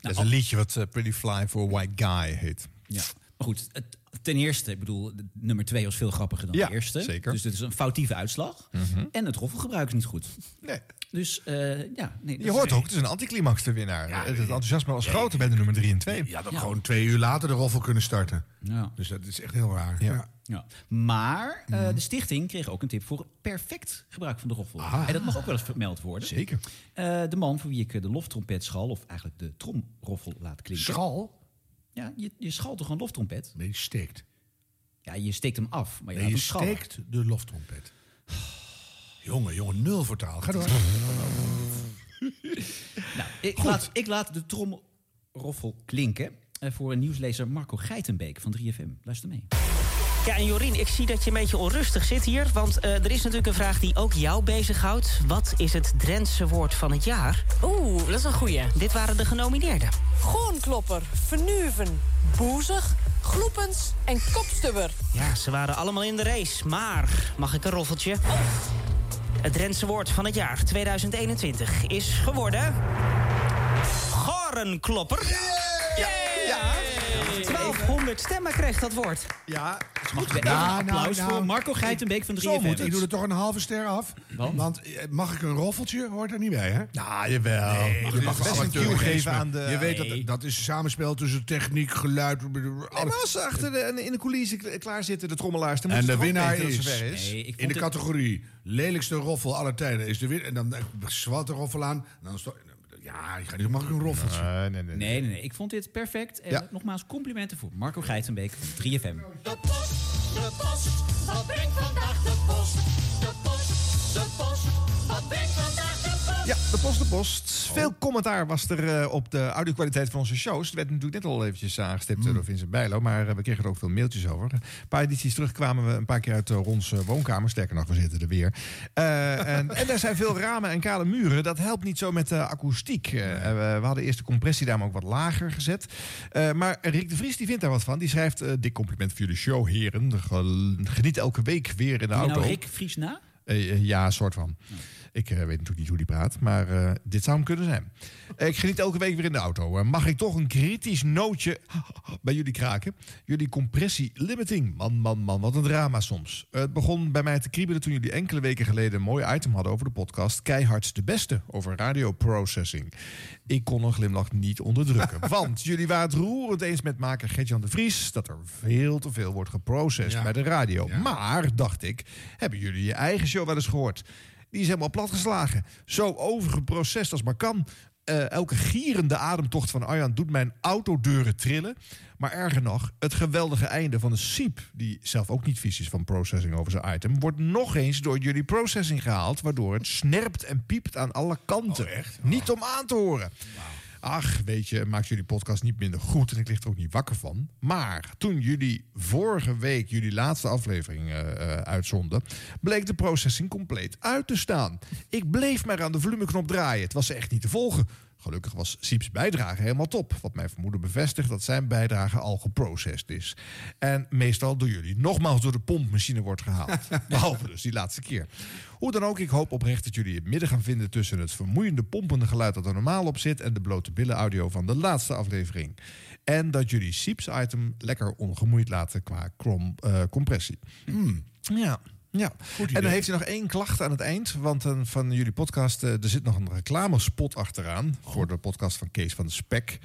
Speaker 2: Dat is een liedje wat eh, Pretty Fly for a White Guy heet.
Speaker 3: Nou, oh. Ja. Maar goed, het- ten eerste, ik bedoel, de- nummer 2 was veel grappiger dan
Speaker 2: Ja,
Speaker 3: de eerste.
Speaker 2: zeker.
Speaker 3: Dus dit is een foutieve uitslag.
Speaker 2: Mhm.
Speaker 3: En het roffelgebruik is niet goed.
Speaker 2: Nee.
Speaker 3: Dus eh, ja, nee,
Speaker 2: Je hoort ook, het is een anticlimax de winnaar. het enthousiasme was groter bij de nummer 3 en 2.
Speaker 1: ja, dan gewoon twee uur later de roffel kunnen starten.
Speaker 3: Ja.
Speaker 1: Dus dat is echt heel raar. Ja. Mhm.
Speaker 3: Ja. Maar eh, de stichting kreeg ook een tip voor perfect gebruik van de roffel.
Speaker 1: Ah.
Speaker 3: En dat mag ook wel eens vermeld worden.
Speaker 2: Zeker.
Speaker 3: Eh, de man voor wie ik eh, de loftrompet schal, of eigenlijk de tromroffel laat klinken.
Speaker 1: Schal?
Speaker 3: Ja, je, je schalt toch een loftrompet?
Speaker 1: Nee, je steekt.
Speaker 3: Ja, je steekt hem af, maar je,
Speaker 1: Nee, je
Speaker 3: laat hem schallen.
Speaker 1: steekt de loftrompet. Jongen, jongen, nul voor taal. Ga door.
Speaker 3: Nou, ik, laat, ik laat de tromroffel klinken eh, voor een nieuwslezer Marco Geitenbeek van 3FM. Luister mee.
Speaker 9: Ja, en Jorien, ik zie dat je een beetje onrustig zit hier. Want eh, er is natuurlijk een vraag die ook jou bezighoudt. Wat is het Drentse woord van het jaar? Oeh, dat is een goeie. Dit waren de genomineerden.
Speaker 8: Goonklopper, vernuven, boezig, gloepens en kopstubber.
Speaker 9: Ja, ze waren allemaal in de race. Maar, mag ik een roffeltje? Het Drentse woord van het jaar 2021 is geworden... Gorenklopper. Ja. ja. 1200 stemmen kreeg dat woord.
Speaker 2: Ja,
Speaker 3: Mag ik even
Speaker 1: Nou,
Speaker 3: een applaus
Speaker 1: nou, nou.
Speaker 3: voor Marco Geitenbeek van 3FM?
Speaker 1: Zo moet, ik doe er toch een halve ster af. Want, eh, mag ik een roffeltje? Hoort er niet bij, hè?
Speaker 2: Nou, jawel.
Speaker 1: Nee, je mag
Speaker 2: best
Speaker 1: wel
Speaker 2: een
Speaker 1: wat
Speaker 2: cue
Speaker 1: jurgen
Speaker 2: geven
Speaker 1: is, maar
Speaker 2: aan de-
Speaker 1: Je weet
Speaker 2: Nee.
Speaker 1: dat dat is een samenspel tussen techniek, geluid...
Speaker 2: Nee, maar als ze achter de, in de coulissen kla- klaar zitten, de trommelaars... Dan
Speaker 1: En
Speaker 2: moeten
Speaker 1: de
Speaker 2: ze toch
Speaker 1: winnaar
Speaker 2: weten dat
Speaker 1: is,
Speaker 2: het zover is.
Speaker 1: in de categorie lelijkste roffel aller tijden is de winnaar. En dan eh, zwart de roffel aan. En dan sto- ja, je gaat niet, mag ik een roffeltje?
Speaker 2: Nee, nee, nee.
Speaker 3: Nee, nee, nee. Ik vond dit perfect. En
Speaker 1: Ja.
Speaker 3: nogmaals, complimenten voor Marco Geitenbeek van
Speaker 2: Nou,
Speaker 3: 3FM.
Speaker 10: De post, de post, wat brengt vandaag de post? De post, de post, wat brengt vandaag de post?
Speaker 2: Ja, de post de post. Veel commentaar was er eh, op de audio-kwaliteit van onze shows. Het werd natuurlijk net al eventjes aangestipt door Vincent Bijlo... maar eh, we kregen er ook veel mailtjes over. Een paar edities terug kwamen we een paar keer uit eh, Rons eh, woonkamer. Sterker nog, we zitten er weer. Eh, en, en er zijn veel ramen en kale muren. Dat helpt niet zo met de akoestiek. Eh, we, we hadden eerst de compressie daar maar ook wat lager gezet. Eh, maar Rick de Vries die vindt daar wat van. Die schrijft, eh, dik compliment voor jullie show, heren. Gel- Geniet elke week weer in de
Speaker 3: Doe je
Speaker 2: auto.
Speaker 3: nou Rick Fries na?
Speaker 2: Eh, eh, ja, soort van. Ik eh, weet natuurlijk niet hoe die praat, maar eh, dit zou hem kunnen zijn. Eh, ik geniet elke week weer in de auto. Eh, mag ik toch een kritisch nootje bij jullie kraken? Jullie compressie-limiting. Man, man, man, wat een drama soms. Eh, het begon bij mij te kriebelen toen jullie enkele weken geleden een mooi item hadden over de podcast Keihard de Beste over radioprocessing. Ik kon een glimlach niet onderdrukken. Want jullie waren het roerend eens met maker Gertjan de Vries dat er veel te veel wordt geprocessed bij de radio. Maar, dacht ik, hebben jullie je eigen show wel eens gehoord? Die is helemaal platgeslagen. Zo overgeprocessed als maar kan. Eh, elke gierende ademtocht van Arjan doet mijn autodeuren trillen. Maar erger nog, het geweldige einde van de Siep... die zelf ook niet vies is van processing over zijn item... wordt nog eens door jullie processing gehaald... waardoor het snerpt en piept aan alle kanten. Niet om aan te horen. Ach, weet je, maakt jullie podcast niet minder goed en ik lig er ook niet wakker van. Maar toen jullie vorige week jullie laatste aflevering eh, eh, uitzonden, bleek de processing compleet uit te staan. Ik bleef maar aan de volumeknop draaien. Het was echt niet te volgen. Gelukkig was Sieps bijdrage helemaal top. Wat mijn vermoeden bevestigt dat zijn bijdrage al geprocessed is. En meestal door jullie nogmaals door de pompmachine wordt gehaald. Behalve dus die laatste keer. Hoe dan ook, ik hoop oprecht dat jullie het midden gaan vinden tussen het vermoeiende pompende geluid dat er normaal op zit en de blote billen audio van de laatste aflevering. En dat jullie Sieps item lekker ongemoeid laten qua krom, eh, compressie.
Speaker 21: Hmm.
Speaker 2: Ja. Ja, en dan heeft hij nog één klacht aan het eind. Want een van jullie podcast, eh, er zit nog een reclamespot achteraan.
Speaker 1: Oh.
Speaker 2: Voor de podcast van Kees van de Spek.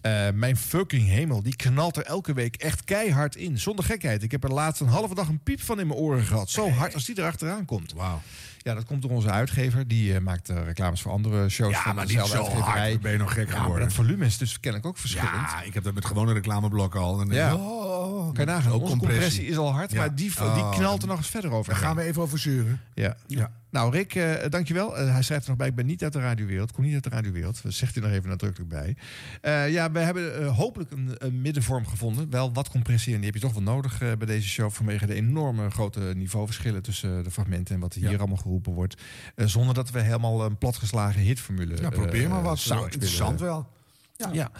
Speaker 2: Eh, mijn fucking hemel, die knalt er elke week echt keihard in. Zonder gekheid. Ik heb er laatst een halve dag een piep van in mijn oren gehad.
Speaker 1: Eh.
Speaker 2: Zo hard als die erachteraan komt. Wauw. Ja, dat komt door onze uitgever. Die eh, maakt eh, reclames voor andere shows.
Speaker 1: Ja,
Speaker 2: van
Speaker 1: maar niet
Speaker 2: dezelfde
Speaker 1: zo
Speaker 2: uitgeverij.
Speaker 1: hard. Dan ben je nog gek
Speaker 2: Ja, maar
Speaker 1: geworden.
Speaker 2: dat volume is dus kennelijk ook verschillend.
Speaker 1: Ja, ik heb dat met gewone reclameblok al. Dan denk
Speaker 2: Ja.
Speaker 1: ik, oh,
Speaker 2: Kan je nagaan.
Speaker 1: Ook Oh,
Speaker 2: Onze compressie is al hard, maar die- die knalt er nog eens verder over.
Speaker 1: Daar gaan we even over zeuren.
Speaker 2: Ja.
Speaker 1: Ja.
Speaker 2: Nou, Rick, eh, dankjewel. Eh, hij schrijft er nog bij, ik ben niet uit de radiowereld. Kom niet uit de radiowereld. Dat zegt hij nog even nadrukkelijk bij. Eh, ja, we hebben eh, hopelijk een, een middenvorm gevonden. Wel wat compressie, en die heb je toch wel nodig eh, bij deze show... vanwege de enorme grote niveauverschillen tussen eh, de fragmenten... en wat hier allemaal geroepen wordt. Eh, zonder dat we helemaal een platgeslagen hitformule... eh,
Speaker 1: Ja, Nou, probeer maar wat. Nou, Interessant wel.
Speaker 2: Ja.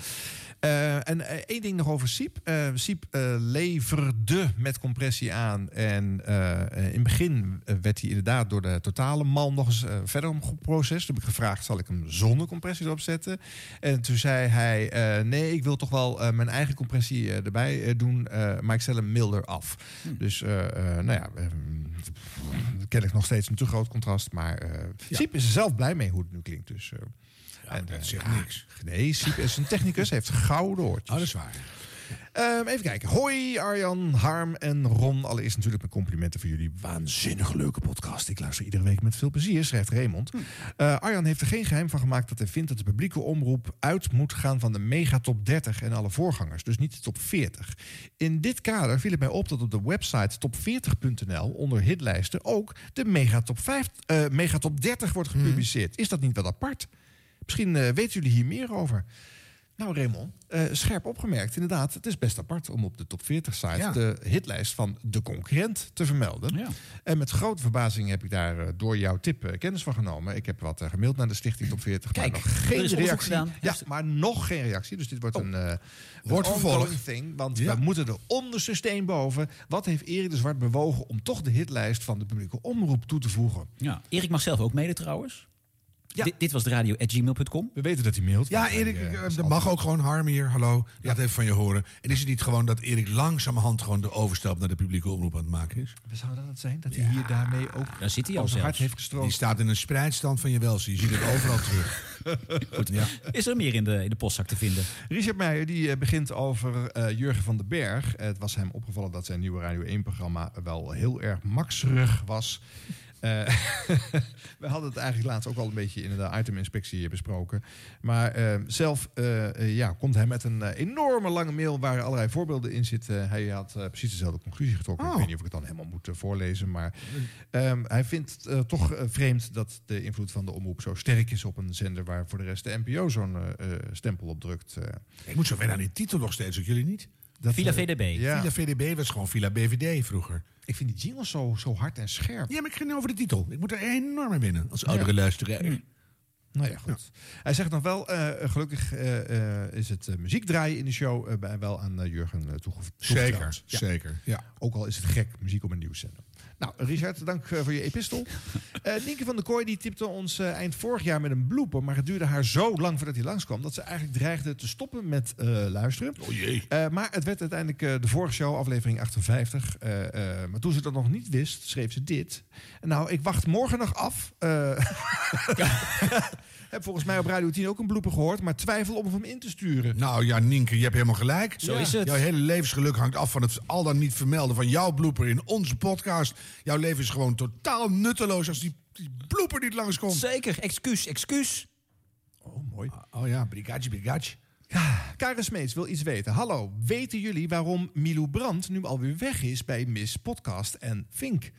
Speaker 2: Eh, en eh, één ding nog over Siep. Eh Siep eh, leverde met compressie aan. En eh, eh, in het begin eh, werd hij inderdaad door de totale mal nog eens eh, verder omgeprocessed. Toen heb ik gevraagd, zal ik hem zonder compressie erop zetten? En toen zei hij, eh, nee, ik wil toch wel eh, mijn eigen compressie eh, erbij eh, doen. eh, maar ik stel hem milder af. Dus, eh, eh, nou ja, eh, kennelijk nog steeds een te groot contrast. Maar eh Siep is er zelf blij mee hoe het nu klinkt. Dus... eh, en, dat zegt niks. Nee, Siep is een technicus, heeft gouden oortjes. Oh, dat is waar. even kijken. Hoi Arjan, Harm en Ron. Allereerst natuurlijk mijn complimenten voor jullie waanzinnig leuke podcast. Ik luister iedere week met veel plezier, schrijft Raymond. Eh, Arjan heeft er geen geheim van gemaakt dat hij vindt dat de publieke omroep uit moet gaan van de megatop 30 en alle voorgangers. Dus niet de top 40. In dit kader viel het mij op dat op de website top40.nl onder hitlijsten ook de megatop, 5, eh, megatop 30 wordt gepubliceerd. Is dat niet wat apart? Misschien eh, weten jullie hier meer over. Nou, Raymond, eh, scherp opgemerkt. Inderdaad, het is best apart om op de top 40 site
Speaker 1: Ja.
Speaker 2: de hitlijst van de concurrent te vermelden. En met grote verbazing heb ik daar eh, door jouw tip eh, kennis van genomen. Ik heb wat eh, gemaild naar de Stichting Top 40,
Speaker 3: Kijk,
Speaker 2: maar nog geen
Speaker 3: er is onderzoek
Speaker 2: reactie.
Speaker 3: gedaan.
Speaker 2: Ja, maar nog geen reactie. Dus dit wordt een, eh
Speaker 1: Wordt
Speaker 2: een ongoing
Speaker 1: vervolgd.
Speaker 2: thing. Want we moeten er onderste steen boven. Wat heeft Erik de Zwart bewogen om toch de hitlijst van de publieke omroep toe te voegen?
Speaker 3: Ja. Erik mag zelf ook mailen trouwens. Dit- dit was de radio at gmail.com.
Speaker 2: We weten dat hij mailt.
Speaker 1: Ja, Erik, eh, dat mag ook gewoon Harm hier. Hallo, laat even van je horen. En is het niet gewoon dat Erik langzamerhand gewoon de overstap naar de publieke omroep aan het maken is?
Speaker 2: Zou dat het zijn? Dat hij hier daarmee ook
Speaker 3: Daar zit hij al
Speaker 2: over
Speaker 3: zelfs.
Speaker 2: hart heeft gestroomd.
Speaker 1: Die staat in een spreidstand van je welzijn. Je ziet het overal terug.
Speaker 3: Goed. Is er meer in de, in de postzak te vinden?
Speaker 2: Richard Meijer die eh, begint over eh, Jurgen van den Berg. Eh, het was hem opgevallen dat zijn nieuwe Radio 1-programma wel heel erg maxerig was. Eh, we hadden het eigenlijk laatst ook al een beetje in de iteminspectie eh, besproken. Maar eh, zelf eh, eh, ja, komt hij met een eh, enorme lange mail waar allerlei voorbeelden in zitten. Hij had eh, precies dezelfde conclusie getrokken. Ik weet niet of ik het dan helemaal moet eh, voorlezen. Maar ehm, hij vindt eh, toch eh, vreemd dat de invloed van de omroep zo sterk is op een zender waar voor de rest de NPO zo'n eh, eh, stempel op drukt. eh.
Speaker 1: Ik moet zo weer aan die titel nog steeds, ook jullie niet?
Speaker 2: Dat, Villa eh, VDB. ja.
Speaker 1: Villa VDB was gewoon Villa BVD vroeger.
Speaker 2: Ik vind die jingle zo, zo hard en scherp. Mm.
Speaker 1: Ja, maar ik ging over de titel. Ik moet er enorm in winnen als oudere luisteraar.
Speaker 2: Nou ja, goed. Hij zegt nog wel, eh, gelukkig eh, eh, is het eh, muziek draaien in de show eh, bij, wel aan eh, Jurgen eh, toege- toevertrouwd.
Speaker 1: Zeker, zeker, ja.
Speaker 2: Ook al is het gek, muziek op een nieuwszender. Nou, Richard, dank eh, voor je epistel. Eh Nienke van der Kooi die tipte ons eh, eind vorig jaar met een blooper... maar het duurde haar zo lang voordat hij langskwam... dat ze eigenlijk dreigde te stoppen met eh, luisteren.
Speaker 1: Oh jee.
Speaker 2: Eh, maar het werd uiteindelijk eh, de vorige show, aflevering 58. Eh, eh, maar toen ze dat nog niet wist, schreef ze dit. Nou, ik wacht morgen nog af. Eh, heb volgens mij op Radio 10 ook een blooper gehoord... maar twijfel om hem in te sturen.
Speaker 1: Nou ja, Nienke, je hebt helemaal gelijk.
Speaker 2: Zo is het.
Speaker 1: Jouw hele levensgeluk hangt af van het al dan niet vermelden van jouw blooper in onze podcast. Jouw leven is gewoon totaal nutteloos als die, die blooper niet langskomt.
Speaker 3: Zeker, excuus, excuus.
Speaker 2: Oh, mooi.
Speaker 1: Oh ja, brigadje, brigadje.
Speaker 2: Karen Smeets wil iets weten. Hallo, weten jullie waarom Milou Brandt nu alweer weg is bij Miss Podcast en Fink?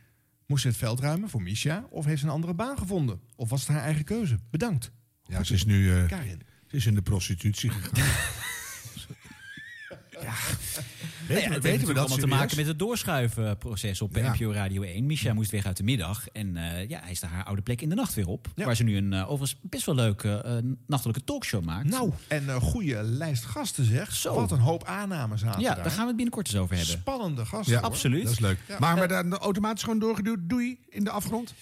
Speaker 2: Moest ze het veld ruimen voor Misha of heeft ze een andere baan gevonden? Of was het haar eigen keuze? Bedankt.
Speaker 1: Ja, ze is nu eh,
Speaker 2: Karin.
Speaker 1: ze is in de prostitutie gegaan.
Speaker 3: Nou ja, het
Speaker 1: weten
Speaker 3: heeft
Speaker 1: we
Speaker 3: natuurlijk
Speaker 1: dat
Speaker 3: allemaal te
Speaker 1: serieus?
Speaker 3: maken met het doorschuivenproces op
Speaker 1: Ja.
Speaker 3: NPO Radio 1. Misha moest weg uit de middag. En eh ja, hij is haar oude plek in de nacht weer op. Waar ze nu een eh, overigens best wel leuke eh, nachtelijke talkshow maakt.
Speaker 2: Nou, en een goede lijst gasten zeg.
Speaker 3: Zo.
Speaker 2: Wat een hoop aannames aan.
Speaker 3: ja, daar gaan we het binnenkort eens over hebben.
Speaker 2: Spannende gasten. hoor.
Speaker 3: absoluut.
Speaker 1: Dat is leuk.
Speaker 2: Ja.
Speaker 1: Maar, maar dan automatisch gewoon doorgeduwd, doei, in de afgrond?
Speaker 2: Oh,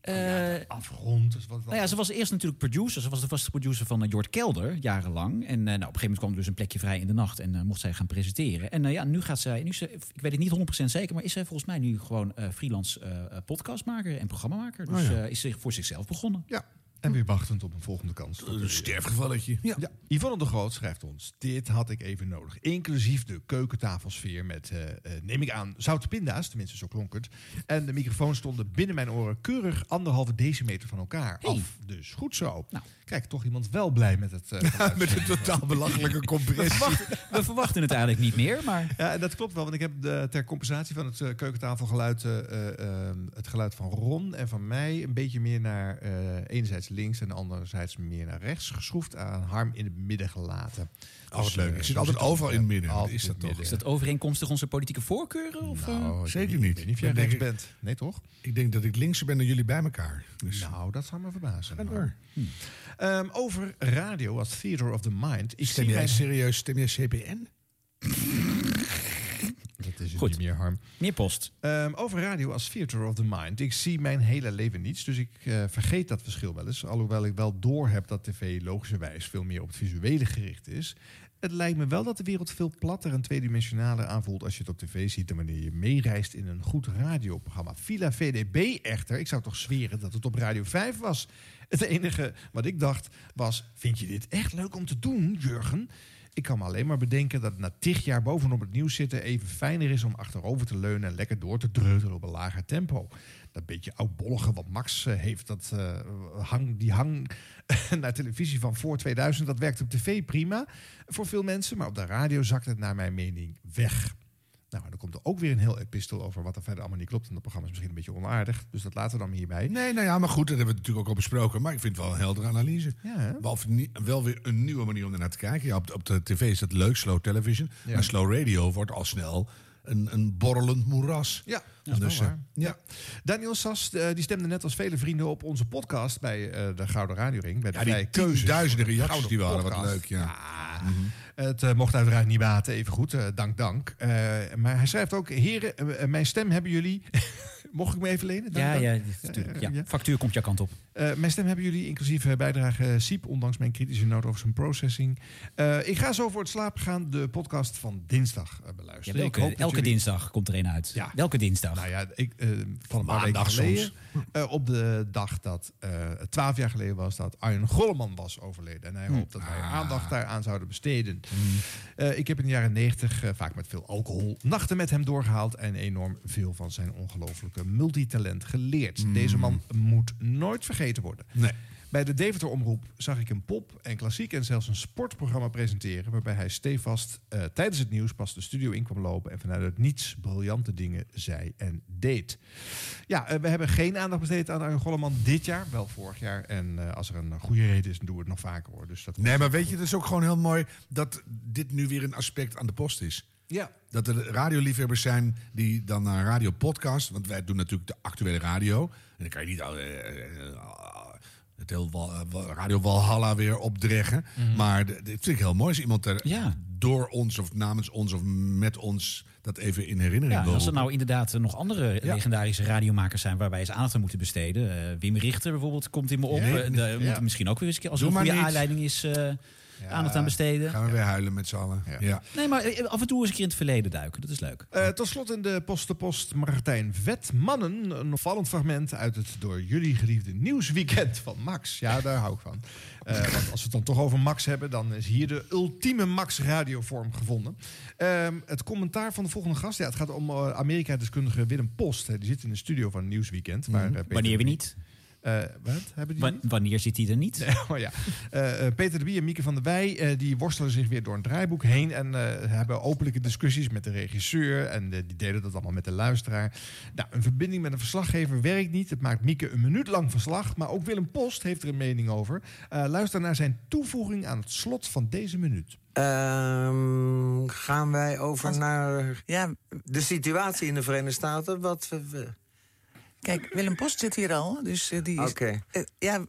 Speaker 3: Eh,
Speaker 2: Afgrond. Dus wat, wat-
Speaker 3: Nou ja, ze was eerst natuurlijk producer. Ze was de vaste producer van eh, Jort Kelder, jarenlang. En eh, nou, op een gegeven moment kwam er dus een plekje vrij in de nacht. En eh, mocht zij gaan presenteren. En eh, ja, nu gaat zij, nu is ze, ik weet het niet 100% zeker... maar is zij volgens mij nu gewoon eh, freelance eh, eh, podcastmaker en programmamaker. Dus
Speaker 2: Oh ja.
Speaker 3: eh, is ze voor zichzelf begonnen.
Speaker 2: Ja. En weer wachtend op een volgende kans.
Speaker 1: Een sterfgevalletje.
Speaker 2: Ja. Yvonne de Groot schrijft ons: Dit had ik even nodig. Inclusief de keukentafelsfeer met, eh, eh, neem ik aan, zoute pinda's, tenminste zo klonk het. En de microfoons stonden binnen mijn oren keurig anderhalve decimeter van elkaar af. Dus goed zo. Kijk, toch iemand wel blij met het. eh, geluid.
Speaker 1: Met een totaal belachelijke compressie.
Speaker 3: We verwachten het eigenlijk niet meer, maar...
Speaker 2: Ja, en dat klopt wel, want ik heb de, ter compensatie van het eh, keukentafelgeluid... eh, eh, eh, het geluid van Ron en van mij een beetje meer naar... eh, enerzijds links en anderzijds meer naar rechts geschroefd... aan Harm in het midden gelaten.
Speaker 1: Oh, wat leuk.
Speaker 2: eh,
Speaker 1: Ik
Speaker 2: zo
Speaker 1: zit altijd
Speaker 2: zit het.
Speaker 1: overal in het midden.
Speaker 2: Altijd
Speaker 1: Wat is
Speaker 2: in
Speaker 1: dat
Speaker 2: het
Speaker 1: toch?
Speaker 3: Is dat overeenkomstig onze politieke voorkeuren? Of, eh?
Speaker 2: Nou, ik
Speaker 1: Zeker
Speaker 2: weet
Speaker 1: niet.
Speaker 2: Ik weet niet of jij
Speaker 1: Dan denk
Speaker 2: rechts
Speaker 1: ik-
Speaker 2: bent. Nee, toch?
Speaker 1: Ik denk dat ik linkser ben dan jullie bij elkaar. Dus
Speaker 2: Nou, dat zou me verbazen.
Speaker 1: ga
Speaker 2: Harm.
Speaker 1: door.
Speaker 2: Ehm, over radio als Theater of the Mind. Ik
Speaker 1: Stem
Speaker 2: zie
Speaker 1: jij
Speaker 2: mijn-
Speaker 1: serieus, stem jij CPN?
Speaker 2: Dat is het
Speaker 3: Goed.
Speaker 2: niet meer, Harm.
Speaker 3: Meer post.
Speaker 2: Ehm, over radio als theater of the mind. Ik zie mijn hele leven niets, dus ik eh, vergeet dat verschil wel eens. Alhoewel ik wel doorheb dat tv logischerwijs veel meer op het visuele gericht is. Het lijkt me wel dat de wereld veel platter en tweedimensionaler aanvoelt als je het op tv ziet dan wanneer je meereist in een goed radioprogramma. Villa VDB echter, ik zou toch zweren dat het op Radio 5 was. Het enige wat ik dacht was, vind je dit echt leuk om te doen, Jurgen? Ik kan me alleen maar bedenken dat na tig jaar bovenop het nieuws zitten... even fijner is om achterover te leunen en lekker door te dreutelen op een lager tempo. Dat beetje oudbollige wat Max eh, heeft, dat, eh, hang, die hang naar televisie van voor 2000... dat werkt op tv prima voor veel mensen, maar op de radio zakt het naar mijn mening weg. Nou, en dan komt er ook weer een heel epistel over wat er verder allemaal niet klopt. En dat programma is misschien een beetje onaardig, dus dat laten we dan hierbij.
Speaker 1: Nee, nou ja, maar goed, dat hebben we natuurlijk ook al besproken. Maar ik vind het wel een heldere analyse.
Speaker 2: Ja, hè?
Speaker 1: Wel, nie- wel weer een nieuwe manier om ernaar te kijken. Ja, op, de- op de tv is dat leuk, slow television.
Speaker 2: Ja.
Speaker 1: Maar slow radio wordt al snel een, een borrelend moeras.
Speaker 2: Ja,
Speaker 1: dat is wel
Speaker 2: dus, eh,
Speaker 1: waar.
Speaker 2: ja. Daniel Sas eh, die stemde net als vele vrienden op onze podcast bij eh, de Gouden Radioring. Bij de
Speaker 1: Ja, die
Speaker 2: Vrije Keuzes.
Speaker 1: tienduizenden
Speaker 2: Gouden
Speaker 1: reacties die waren, wat
Speaker 2: podcast.
Speaker 1: leuk, ja. Mhm.
Speaker 2: Het eh, mocht uiteraard niet baten, even goed, eh, dank, dank. Eh, maar hij schrijft ook, heren, eh, eh, mijn stem hebben jullie... Mocht ik me even lenen? Dank,
Speaker 3: Ja,
Speaker 2: dank.
Speaker 3: ja, natuurlijk.
Speaker 2: ja.
Speaker 3: Ja. Factuur komt jouw kant op.
Speaker 2: Eh, mijn stem hebben jullie, inclusief eh, bijdrage eh, Siep, ondanks mijn kritische noot over zijn processing. Eh, ik ga zo voor het slapen gaan de podcast van dinsdag eh,
Speaker 3: Ja,
Speaker 2: beluisteren.
Speaker 3: welke,
Speaker 2: ik hoop dat
Speaker 3: elke
Speaker 2: jullie-
Speaker 3: dinsdag komt er een uit.
Speaker 2: Ja.
Speaker 3: Welke dinsdag?
Speaker 2: Nou ja, ik, eh, van een paar weken
Speaker 1: Maandag
Speaker 2: geleden.
Speaker 1: soms.
Speaker 2: eh, op de dag dat eh, twaalf 12 jaar geleden was dat Arjen Golleman was overleden. En hij
Speaker 1: Hm.
Speaker 2: hoopt dat
Speaker 1: Ah.
Speaker 2: wij aandacht daaraan zouden besteden. Eh, ik heb in de jaren 90 eh, vaak met veel alcohol nachten met hem doorgehaald. En enorm veel van zijn ongelofelijke multitalent geleerd.
Speaker 1: Hm.
Speaker 2: Deze man moet nooit vergeten worden.
Speaker 1: Nee.
Speaker 2: Bij de Deventer Omroep zag ik een pop en klassiek en zelfs een sportprogramma presenteren... waarbij hij stevast eh, tijdens het nieuws pas de studio in kwam lopen... en vanuit het niets briljante dingen zei en deed. Ja, eh, we hebben geen aandacht besteed aan Arjen Golleman dit jaar, wel vorig jaar. En eh, als er een goede reden is, dan doen we het nog vaker hoor. Dus dat
Speaker 1: Nee, maar weet je, het is ook gewoon heel mooi dat dit nu weer een aspect aan de post is.
Speaker 2: Ja.
Speaker 1: Dat er radioliefhebbers zijn die dan naar een radiopodcast... want wij doen natuurlijk de actuele radio. En dan kan je niet... al, eh, eh, eh, het heel Wal- eh, Wal- Radio Walhalla weer opdreggen.
Speaker 3: Mhm.
Speaker 1: Maar de- dit vind ik heel mooi als iemand er door ons of namens ons of met ons dat even in herinnering
Speaker 3: Ja, en
Speaker 1: wil
Speaker 3: als er
Speaker 1: roepen.
Speaker 3: nou inderdaad eh, nog andere
Speaker 1: Ja.
Speaker 3: legendarische radiomakers zijn waar wij eens aandacht aan moeten besteden. Eh, Wim Richter bijvoorbeeld komt in me op.
Speaker 1: Nee,
Speaker 3: Eh, daar
Speaker 1: ja.
Speaker 3: moeten we misschien ook weer eens een keer als er
Speaker 1: Doe
Speaker 3: een
Speaker 1: maar
Speaker 3: goede
Speaker 1: niet.
Speaker 3: aanleiding is eh, aandacht aan besteden.
Speaker 1: Gaan we weer huilen met z'n allen. Ja.
Speaker 3: Nee, maar eh, af en toe eens een keer in het verleden duiken. Dat is leuk.
Speaker 2: Eh, tot slot in de post de post Martijn Vetmannen. Een opvallend fragment uit het door jullie geliefde nieuwsweekend van Max. Ja, daar hou ik van. Eh, want als we het dan toch over Max hebben, dan is hier de ultieme Max-radiovorm gevonden. Ehm, het commentaar van de volgende gast. Ja, het gaat om eh, Amerika-deskundige Willem Post. Hè. Die zit in de studio van Nieuwsweekend. Waar, eh, Peter
Speaker 3: Mhm. Wanneer we
Speaker 2: de Bie-
Speaker 3: niet?
Speaker 2: Eh, wat? Hebben die
Speaker 3: Wa-
Speaker 2: niet?
Speaker 3: wanneer zit hij er niet?
Speaker 2: oh ja. Eh, eh, Peter de Bie en Mieke van der Wij eh, die worstelen zich weer door een draaiboek heen. En eh, hebben openlijke discussies met de regisseur. En eh, die delen dat allemaal met de luisteraar. Nou, een verbinding met een verslaggever werkt niet. Het maakt Mieke een minuut lang verslag. Maar ook Willem Post heeft er een mening over. Eh, luister naar zijn toevoeging aan het slot van deze minuut.
Speaker 22: Ehm, gaan wij over naar ja, de situatie in de Verenigde Staten? Wat, we- we-
Speaker 23: Kijk, Willem Post zit hier al, dus eh, die is...
Speaker 22: Oké.
Speaker 23: Eh, ja...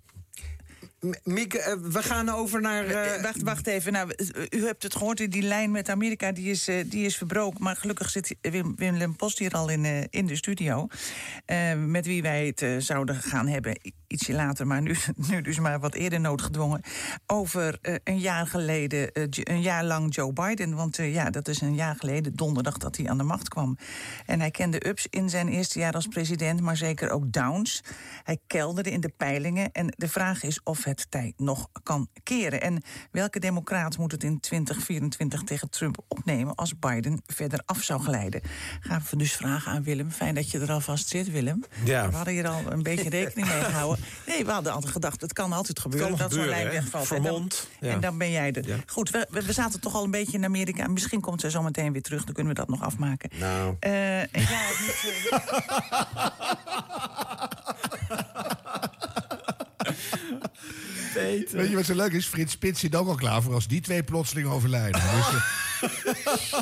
Speaker 22: Mieke, eh, we gaan over naar...
Speaker 23: Eh, wacht, wacht even. Nou, eh, u hebt het gehoord, die lijn met Amerika die is, eh, die is verbroken. Maar gelukkig zit eh, Wim, Willem Post hier al in, eh, in de studio. eh, met wie wij het eh, zouden gaan hebben, i- ietsje later. Maar nu, nu dus maar wat eerder noodgedwongen. Over eh, een jaar geleden, eh, J- een jaar lang Joe Biden. Want eh, ja, dat is een jaar geleden, donderdag, dat hij aan de macht kwam. En hij kende ups in zijn eerste jaar als president, maar zeker ook downs. Hij kelderde in de peilingen. En de vraag is of het tij nog kan keren. En welke democraat moet het in 2024 tegen Trump opnemen als Biden verder af zou glijden? Gaan we dus vragen aan Willem. Fijn dat je er alvast zit, Willem.
Speaker 22: Ja.
Speaker 23: We hadden hier al een beetje rekening mee gehouden. Nee, we hadden altijd gedacht, het kan altijd gebeuren
Speaker 22: Kan
Speaker 23: dat zo'n
Speaker 22: gebeuren,
Speaker 23: lijn
Speaker 22: hè?
Speaker 23: wegvalt.
Speaker 22: Vermomd,
Speaker 23: En dan,
Speaker 22: ja.
Speaker 23: en dan ben jij er.
Speaker 22: Ja.
Speaker 23: Goed, we, we we zaten toch al een beetje in Amerika. Misschien komt ze zo meteen weer terug, dan kunnen we dat nog afmaken.
Speaker 22: Nou.
Speaker 23: Eh, en ja, eh.
Speaker 1: Weet je wat zo leuk is? Frits Spits zit ook al klaar voor als die twee plotseling overlijden.
Speaker 3: Oh,
Speaker 1: Dus, eh,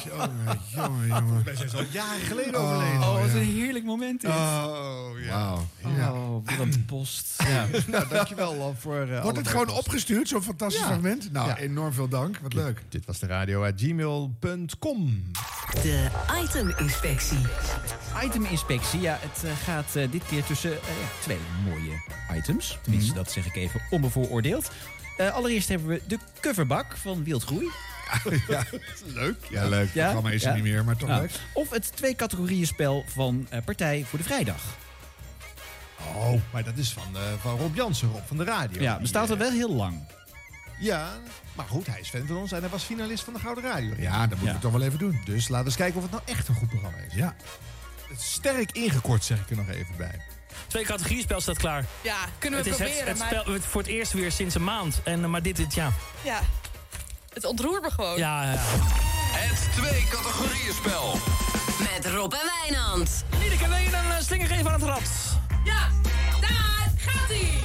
Speaker 1: jongen, jongen, jongen.
Speaker 2: Wij zijn zo jaren geleden
Speaker 1: Oh,
Speaker 2: overleden.
Speaker 1: Oh, wat ja. een
Speaker 3: heerlijk moment
Speaker 1: dit.
Speaker 2: Oh, ja.
Speaker 3: Oh, wat een post.
Speaker 2: Ja. nou, dankjewel al voor... eh,
Speaker 1: Wordt
Speaker 2: allebei
Speaker 1: het gewoon
Speaker 2: post.
Speaker 1: opgestuurd, zo'n fantastisch
Speaker 2: Ja.
Speaker 1: fragment? Nou,
Speaker 2: Ja.
Speaker 1: enorm veel dank. Wat leuk.
Speaker 2: Dit was de radio at gmail.com.
Speaker 3: De iteminspectie. Iteminspectie, ja, het eh, gaat eh, dit keer tussen eh, ja, twee mooie items. Tenminste, dat zeg ik even onbevooroordeeld. Eh, allereerst hebben we de coverbak van Wildgroei.
Speaker 1: Ja, leuk. Ja, leuk. Het programma is er
Speaker 3: ja.
Speaker 1: niet meer, maar toch
Speaker 3: Nou,
Speaker 1: leuk.
Speaker 3: Of het twee categorieën spel van eh, Partij voor de Vrijdag.
Speaker 2: Oh, maar dat is van, eh, van Rob Jansen, Rob van de radio. eh,
Speaker 3: Ja, bestaat al wel heel lang.
Speaker 2: Ja, maar goed, hij is fan van ons en hij was finalist van de Gouden Radio.
Speaker 1: Ja, dat moeten we toch wel even doen.
Speaker 2: Dus laten we eens kijken of het nou echt een goed programma is.
Speaker 1: Ja.
Speaker 2: Sterk ingekort, zeg ik er nog even bij.
Speaker 21: Twee categorieën spel staat klaar.
Speaker 10: Ja, kunnen we
Speaker 21: het is
Speaker 10: proberen,
Speaker 21: het, het
Speaker 10: maar-
Speaker 21: spel het voor het eerst weer sinds een maand. En, eh, maar dit, dit ja.
Speaker 10: Ja, het ontroert me gewoon.
Speaker 21: Ja, ja.
Speaker 10: Het twee categorieën spel. Met Rob en Wijnand. Liedeke, wil je een eh, slinger geven aan het rad? Ja, daar gaat hij.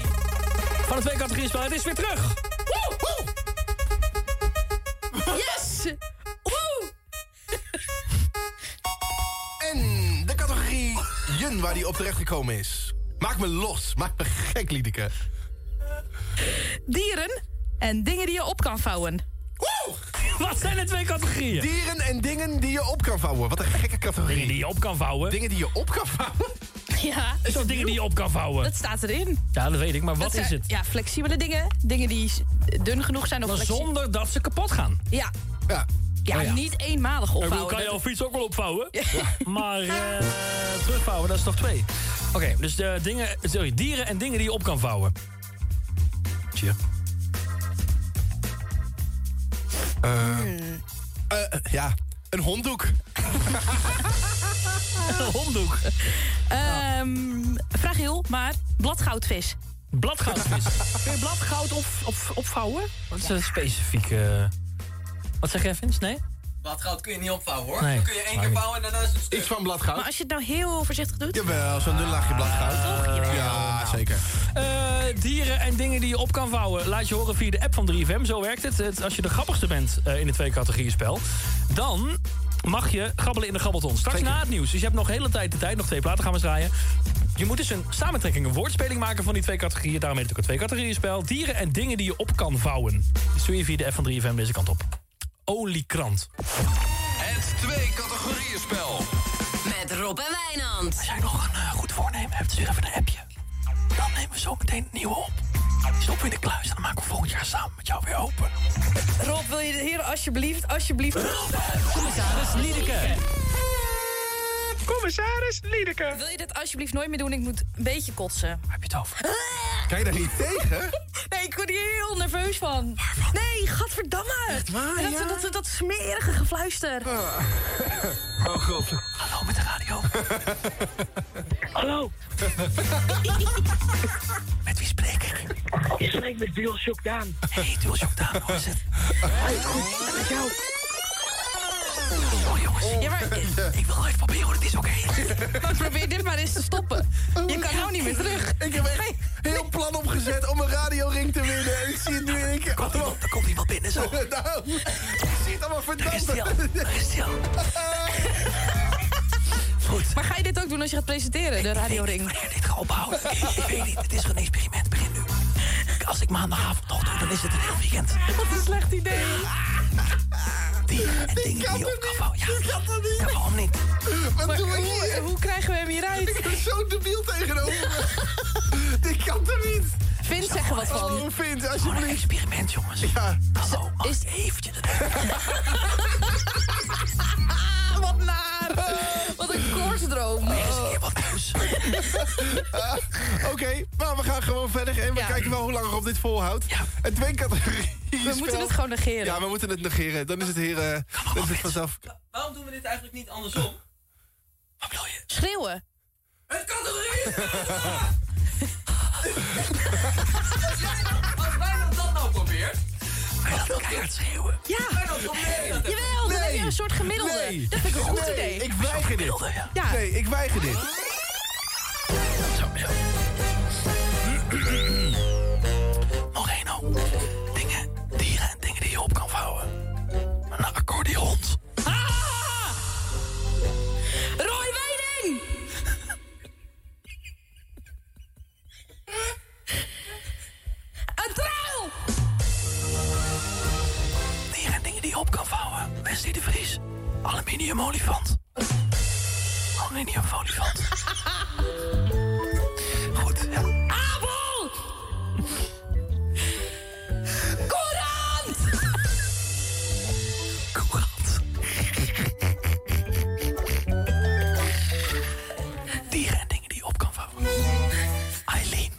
Speaker 21: Van de twee categorieën spel, het is weer terug.
Speaker 10: Woe, woe. Yes! Woe!
Speaker 19: En de categorie Jun waar die op terecht gekomen is. Maak me los, maak me gek, Liedeke.
Speaker 10: Dieren en dingen die je op kan vouwen. Woe! Wat zijn de twee categorieën?
Speaker 19: Dieren en dingen die je op kan vouwen. Wat een gekke categorie. Dingen die je op kan vouwen? Dingen die je op kan vouwen?
Speaker 10: Ja.
Speaker 21: Is dat dingen die je op kan vouwen?
Speaker 10: Dat staat erin.
Speaker 21: Ja, dat weet ik, maar
Speaker 10: Dat
Speaker 21: wat is
Speaker 10: zijn-
Speaker 21: het?
Speaker 10: Ja, flexibele dingen. Dingen die s- dun genoeg zijn. Of
Speaker 21: Maar
Speaker 10: flexi-
Speaker 21: zonder dat ze kapot gaan.
Speaker 10: Ja.
Speaker 19: Ja.
Speaker 10: Ja,
Speaker 21: Oh ja.
Speaker 10: niet eenmalig
Speaker 21: Ik bedoel,
Speaker 10: opvouwen.
Speaker 21: kan je
Speaker 10: Dat-
Speaker 21: jouw fiets ook wel opvouwen? Maar eh, terugvouwen, dat is toch twee? Oké, dus de dingen, sorry, dieren en dingen die je op kan vouwen. Tja.
Speaker 19: Eh, ja, een honddoek.
Speaker 21: een honddoek.
Speaker 10: Ehm, fragiel, maar bladgoudvis.
Speaker 21: Bladgoudvis. Kun je bladgoud op, op, opvouwen? Wat is een specifieke... Wat zeg jij, Vince? Nee?
Speaker 28: Bladgoud kun je niet opvouwen hoor.
Speaker 17: Nee.
Speaker 28: Dan kun je één
Speaker 17: Maar
Speaker 28: keer
Speaker 17: niet.
Speaker 28: bouwen en daarna is het stuk.
Speaker 17: Iets van bladgoud.
Speaker 28: Maar als je het nou heel voorzichtig doet. Oh,
Speaker 17: Jawel, zo'n dun laagje bladgoud. ja, zeker.
Speaker 21: Eh, dieren en dingen die je op kan vouwen. Laat je horen via de app van 3FM. Zo werkt het. Het- als je de grappigste bent eh, in de twee categorieën spel... dan mag je grabbelen in de grabbelton. Straks na het nieuws. Dus je hebt nog de hele tijd de tijd. Nog twee platen gaan we draaien. Je moet dus een samentrekking, een woordspeling maken van die twee categorieën. Daarom heet het ook een twee categorieën spel. Dieren en dingen die je op kan vouwen. Dus doe je via de app van 3FM deze kant op. Oliekrant.
Speaker 29: Het twee categorieën spel.
Speaker 30: Met Rob en Wijnand.
Speaker 21: Als jij nog een eh, goed voornemen hebt, stuur even een appje. Dan nemen we zo meteen een nieuwe op. Stop in de kluis en dan maken we volgend jaar samen met jou weer open.
Speaker 10: Rob, wil je hier alsjeblieft, alsjeblieft... Commissaris
Speaker 21: Liedeke.
Speaker 10: Commissaris Liedeke. Wil je dit alsjeblieft nooit meer doen? Ik moet een beetje kotsen.
Speaker 21: Heb je het over?
Speaker 17: Kan je daar niet tegen?
Speaker 10: Nee, ik word hier heel nerveus van. Nee, gadverdamme. En dat, dat, dat, dat smerige gefluister.
Speaker 21: Ah.
Speaker 17: Oh god.
Speaker 21: Hallo met de radio.
Speaker 10: Hallo.
Speaker 21: Met wie spreek ik?
Speaker 10: Je spreekt met DualShock Daan.
Speaker 21: Hey, DualShock Daan, hoe is het?
Speaker 10: goed. En met jou.
Speaker 21: Oh jongens, eh,
Speaker 10: ja, maar,
Speaker 21: ik wil even proberen hoor, het is oké.
Speaker 10: maar probeer dit maar eens te stoppen. Je kan nou niet meer terug.
Speaker 17: Ik heb echt heel plan opgezet om een radioring te winnen. En ik zie het nu in één keer. allemaal-
Speaker 21: Er komt iemand binnen zo.
Speaker 17: Nou, ik zie het allemaal verdampt.
Speaker 10: Goed. Maar ga je dit ook doen als je gaat presenteren, de radioring? Ik
Speaker 21: dit ga ophouden. Ik weet niet, het is een experiment. Begin nu. Als ik maandagavond nog doe, dan is het een heel weekend.
Speaker 10: Wat een slecht idee.
Speaker 21: Dieren en dingen die je op kan vouwen. Ja, ja, waarom niet? eh,
Speaker 10: Wat
Speaker 17: doen we
Speaker 10: hoe, hoe krijgen we hem hieruit? Ik ben
Speaker 17: zo debiel tegenover Dit kan toch niet?
Speaker 10: Vind zeg er wat van.
Speaker 17: Oh, Vint, alsjeblieft.
Speaker 21: experiment, jongens.
Speaker 17: Ja.
Speaker 21: Hallo, mag
Speaker 10: is...
Speaker 21: eventjes...
Speaker 10: wat naar. Wat een koortsdroom.
Speaker 1: nou.
Speaker 17: Ah, Oké, maar we gaan gewoon verder en we kijken wel hoe lang Rob dit volhoudt. Het twee categorieën.
Speaker 10: We moeten het gewoon negeren.
Speaker 17: Ja, we moeten het negeren. Dan is het hier. eh, dan is het vanzelf.
Speaker 28: Waarom doen we dit eigenlijk niet andersom?
Speaker 10: Schreeuwen.
Speaker 28: Het kan toch niet?
Speaker 10: Als wij dat nou
Speaker 28: Probeer.
Speaker 21: Keihard schreeuwen.
Speaker 10: Ja. Jawel, dan heb je een soort gemiddelde.
Speaker 17: Nee.
Speaker 10: Dat vind ik een goed
Speaker 17: Nee,
Speaker 10: idee.
Speaker 17: Ik weiger dit.
Speaker 10: Ja.
Speaker 17: Nee, ik weiger dit.
Speaker 21: Moreno, dingen, dieren en dingen die je op kan vouwen. Een accordeon.
Speaker 10: Ah! Roy Weiding! Een trouw!
Speaker 21: Dieren en dingen die je op kan vouwen. Wesley de Vries, aluminium olifant. Aluminium olifant. Goed, ja.
Speaker 10: Abel! Courant!
Speaker 21: Dieren en dingen die je op kan vouwen. Eileen.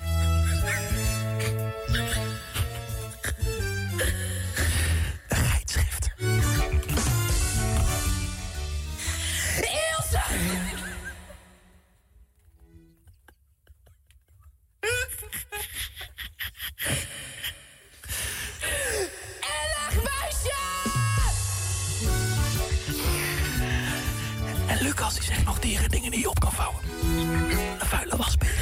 Speaker 10: Ilse! Ellig muisje!
Speaker 21: En Lucas die zegt nog dieren en dingen die je op kan vouwen. Een vuile wasbeer.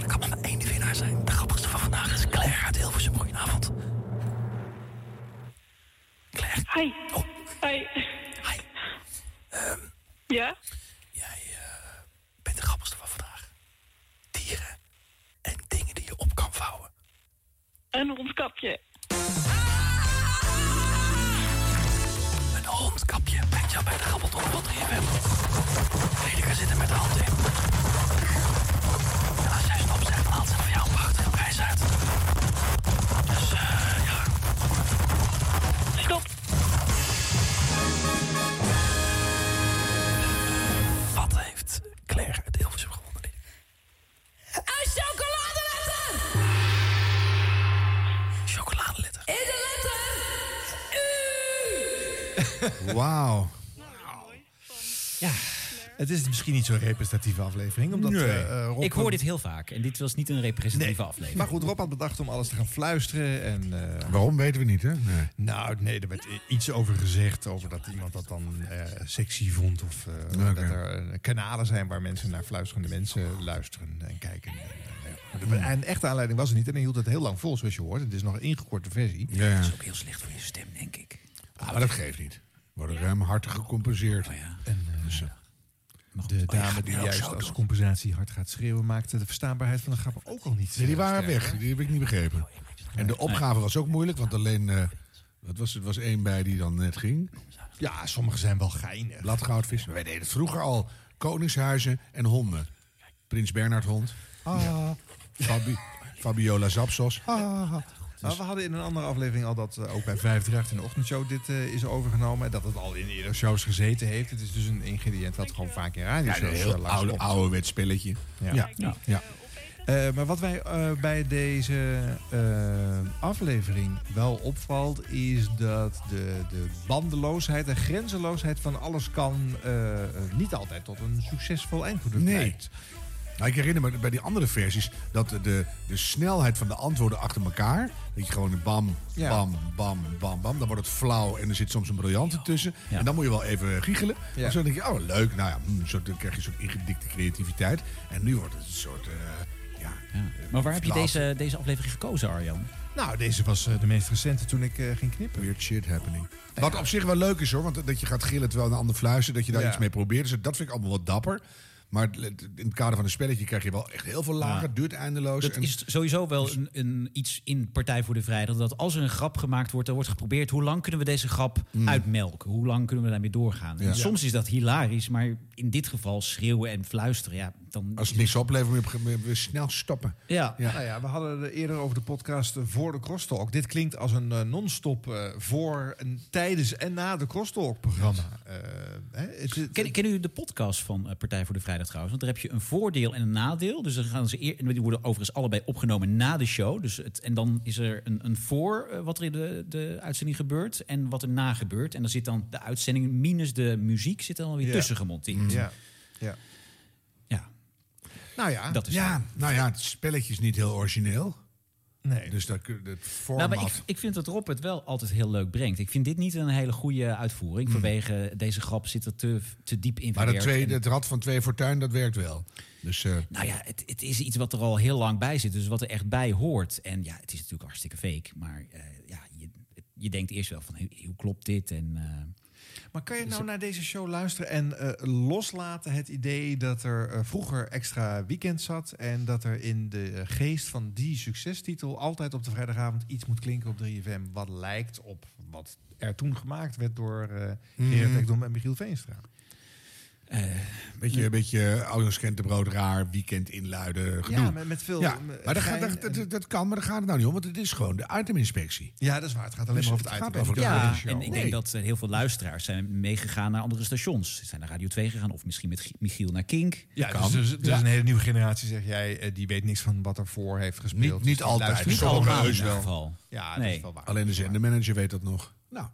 Speaker 21: Er kan maar maar één winnaar zijn. De grappigste van vandaag is Claire uit Hilversum. Goedenavond. Claire.
Speaker 10: Hi. Hi.
Speaker 21: Hi. Ehm,
Speaker 10: Ja?
Speaker 21: jij eh, bent de grappigste van vandaag. Dieren en dingen die je op kan vouwen.
Speaker 10: Een rondkapje.
Speaker 21: Een hondkapje brengt jou bij de grabbelton wat er in hem. Redeker zit er met de hand in. En als jij stopt, zegt de hand zit voor jou een prachtige prijs uit. Dus, eh, ja. Stop. Wat heeft Claire uit Hilversum gewonnen?
Speaker 10: Een chocoladeletter!
Speaker 21: Chocoladeletter.
Speaker 10: In de letter U!
Speaker 2: Wauw.
Speaker 31: Ja,
Speaker 2: Het is misschien niet zo'n representatieve aflevering. Omdat,
Speaker 3: Nee.
Speaker 2: eh, eh, Rob-
Speaker 3: ik hoor dit heel vaak. En dit was niet een representatieve aflevering.
Speaker 2: Maar goed, Rob had bedacht om alles te gaan fluisteren. En, eh,
Speaker 1: Waarom weten we niet, hè?
Speaker 2: Nou, nee, er werd i- iets over gezegd. Over dat iemand dat dan eh, sexy vond. Of eh,
Speaker 1: Oké.
Speaker 2: dat er eh, kanalen zijn waar mensen naar fluisterende mensen luisteren en kijken. En, eh, ja.
Speaker 1: Hmm.
Speaker 2: Maar de- En echte aanleiding was er niet. En hij hield het heel lang vol, zoals je hoort. Het is nog een ingekorte versie. Ah,
Speaker 1: Ja. Dat is
Speaker 2: ook heel slecht voor je stem, denk ik.
Speaker 1: Ah, maar dat geeft niet. Worden ruimhartig gecompenseerd.
Speaker 2: En, eh, de
Speaker 1: Oh,
Speaker 2: dame die juist als compensatie hard gaat schreeuwen... maakte de verstaanbaarheid van de grappen ook al niet.
Speaker 1: Nee, die waren weg. Die heb ik niet begrepen. En de opgave was ook moeilijk, want alleen... eh, wat was, het was één bij die dan net ging.
Speaker 2: Ja, sommige zijn wel geinig.
Speaker 1: Bladgoudvis. Maar wij deden het vroeger al. Koningshuizen en honden. Prins Bernhard hond. Ah. Fabi- Fabiola Zapsos. Ah.
Speaker 2: Maar we hadden in een andere aflevering al dat eh, ook bij 538 in de ochtendshow dit eh, is overgenomen. En dat het al in eerder shows gezeten heeft. Het is dus een ingrediënt wat gewoon vaak in
Speaker 1: Ja,
Speaker 2: radio eh,
Speaker 1: een heel oude, ouderwets spelletje.
Speaker 2: Ja.
Speaker 1: Ja.
Speaker 2: Ja. Eh, maar wat wij eh, bij deze eh, aflevering wel opvalt, is dat de, de bandeloosheid en grenzeloosheid van alles kan eh, eh, niet altijd tot een succesvol eindproduct
Speaker 1: Nee.
Speaker 2: leidt.
Speaker 1: Nou, ik herinner me bij die andere versies dat de, de snelheid van de antwoorden achter elkaar. Dat je gewoon bam,
Speaker 2: Ja.
Speaker 1: bam, bam, bam, bam. Dan wordt het flauw en er zit soms een briljante tussen. En dan moet je wel even giechelen.
Speaker 2: Ja.
Speaker 1: En zo denk je, oh leuk. Nou ja, hm, zo, dan krijg je een soort ingedikte creativiteit. En nu wordt het een soort. eh, ja,
Speaker 3: Maar waar heb je
Speaker 1: flauw.
Speaker 3: deze, deze aflevering gekozen, Arjan?
Speaker 2: Nou, deze was eh, de meest recente toen ik eh, ging knippen.
Speaker 1: Weird shit happening. Wat op zich wel leuk is hoor, want dat je gaat gillen terwijl een ander fluistert, dat je daar
Speaker 2: Ja.
Speaker 1: iets mee probeert. Dus dat vind ik allemaal wat dapper. Maar het- het- in het kader van een spelletje krijg je wel echt heel veel lagen,
Speaker 3: Ja.
Speaker 1: duurt eindeloos.
Speaker 3: Dat
Speaker 1: en- dus
Speaker 3: is sowieso wel een, een iets in Partij voor de Vrijdag. Dat als er een grap gemaakt wordt, dan wordt geprobeerd... hoe lang kunnen we deze grap uitmelken? Hoe lang kunnen we daarmee doorgaan?
Speaker 1: Mm. Ja.
Speaker 3: En soms is dat hilarisch, maar in dit geval schreeuwen en fluisteren... Ja, dan
Speaker 1: Als het niks oplevert, moet je op een gegeven moment snel stoppen.
Speaker 3: Ja.
Speaker 2: Nou ja, we hadden het eerder over de podcast eh, voor de Crosstalk. Dit klinkt als een eh, non-stop eh, voor, en, tijdens en na de Crosstalk-programma.
Speaker 1: eh,
Speaker 3: Ken, kennen jullie de podcast van eh, Partij voor de Vrijdag trouwens? Want daar heb je een voordeel en een nadeel. Dus dan gaan ze eer, en die worden overigens allebei opgenomen na de show. Dus het, en dan is er een, een voor eh, wat er in de, de uitzending gebeurt en wat er na gebeurt. En dan zit dan de uitzending minus de muziek zit er dan weer
Speaker 2: Ja.
Speaker 3: tussen
Speaker 1: Mm.
Speaker 3: gemonteerd.
Speaker 2: Ja. Ja. Nou ja.
Speaker 3: Dat is
Speaker 1: ja, nou ja, het spelletje is niet heel origineel.
Speaker 2: Nee.
Speaker 1: Dus dat, kun- dat format...
Speaker 3: Nou, maar ik, ik vind dat Rob het wel altijd heel leuk brengt. Ik vind dit niet een hele goede uitvoering. Vanwege deze grap zit er te, te diep in
Speaker 1: Mm. maar dat
Speaker 3: verwerkt.
Speaker 1: twee,
Speaker 3: En-
Speaker 1: het rad van twee fortuin, dat werkt wel. Dus, eh,
Speaker 3: Nou ja, het, het is iets wat er al heel lang bij zit. Dus wat er echt bij hoort. En ja, het is natuurlijk hartstikke fake. Maar eh, ja, je, je denkt eerst wel van, hoe, hoe klopt dit? En, eh,
Speaker 2: Maar kan je nou naar deze show luisteren en eh, loslaten het idee dat er eh, vroeger extra weekend zat en dat er in de eh, geest van die succestitel altijd op de vrijdagavond iets moet klinken op 3FM wat lijkt op wat er toen gemaakt werd door eh
Speaker 1: Mhm.
Speaker 2: Gerard Ekdom en Michiel Veenstra.
Speaker 3: eh,
Speaker 1: beetje, een beetje ouders kent de brood raar, weekend inluiden, gedoe.
Speaker 2: Ja, met- met veel,
Speaker 1: Ja,
Speaker 2: eh,
Speaker 1: maar dat,
Speaker 2: gein
Speaker 1: gaat, dat, dat, dat kan, maar daar gaat het nou niet om. Want het is gewoon de iteminspectie.
Speaker 2: Ja, dat is waar. Het gaat alleen
Speaker 1: Dus
Speaker 2: maar over het,
Speaker 1: het gaat
Speaker 2: item.
Speaker 1: over de
Speaker 3: ja,
Speaker 1: show.
Speaker 3: en ik
Speaker 1: Nee.
Speaker 3: denk dat eh, heel veel luisteraars zijn meegegaan naar andere stations. Ze zijn naar Radio 2 gegaan of misschien met G- Michiel naar Kink.
Speaker 2: Ja,
Speaker 3: Kan.
Speaker 2: dus, dus, dus
Speaker 3: Ja.
Speaker 2: een hele nieuwe generatie, zeg jij, eh, die weet niks van wat ervoor heeft gespeeld.
Speaker 1: Niet,
Speaker 2: Dus
Speaker 1: niet
Speaker 2: die
Speaker 1: altijd,
Speaker 2: luistert
Speaker 1: niet
Speaker 2: sommige
Speaker 1: allemaal
Speaker 2: heus
Speaker 1: in ieder geval.
Speaker 2: Ja, dat is wel waar.
Speaker 1: Alleen de zendermanager weet dat nog.
Speaker 2: Nou,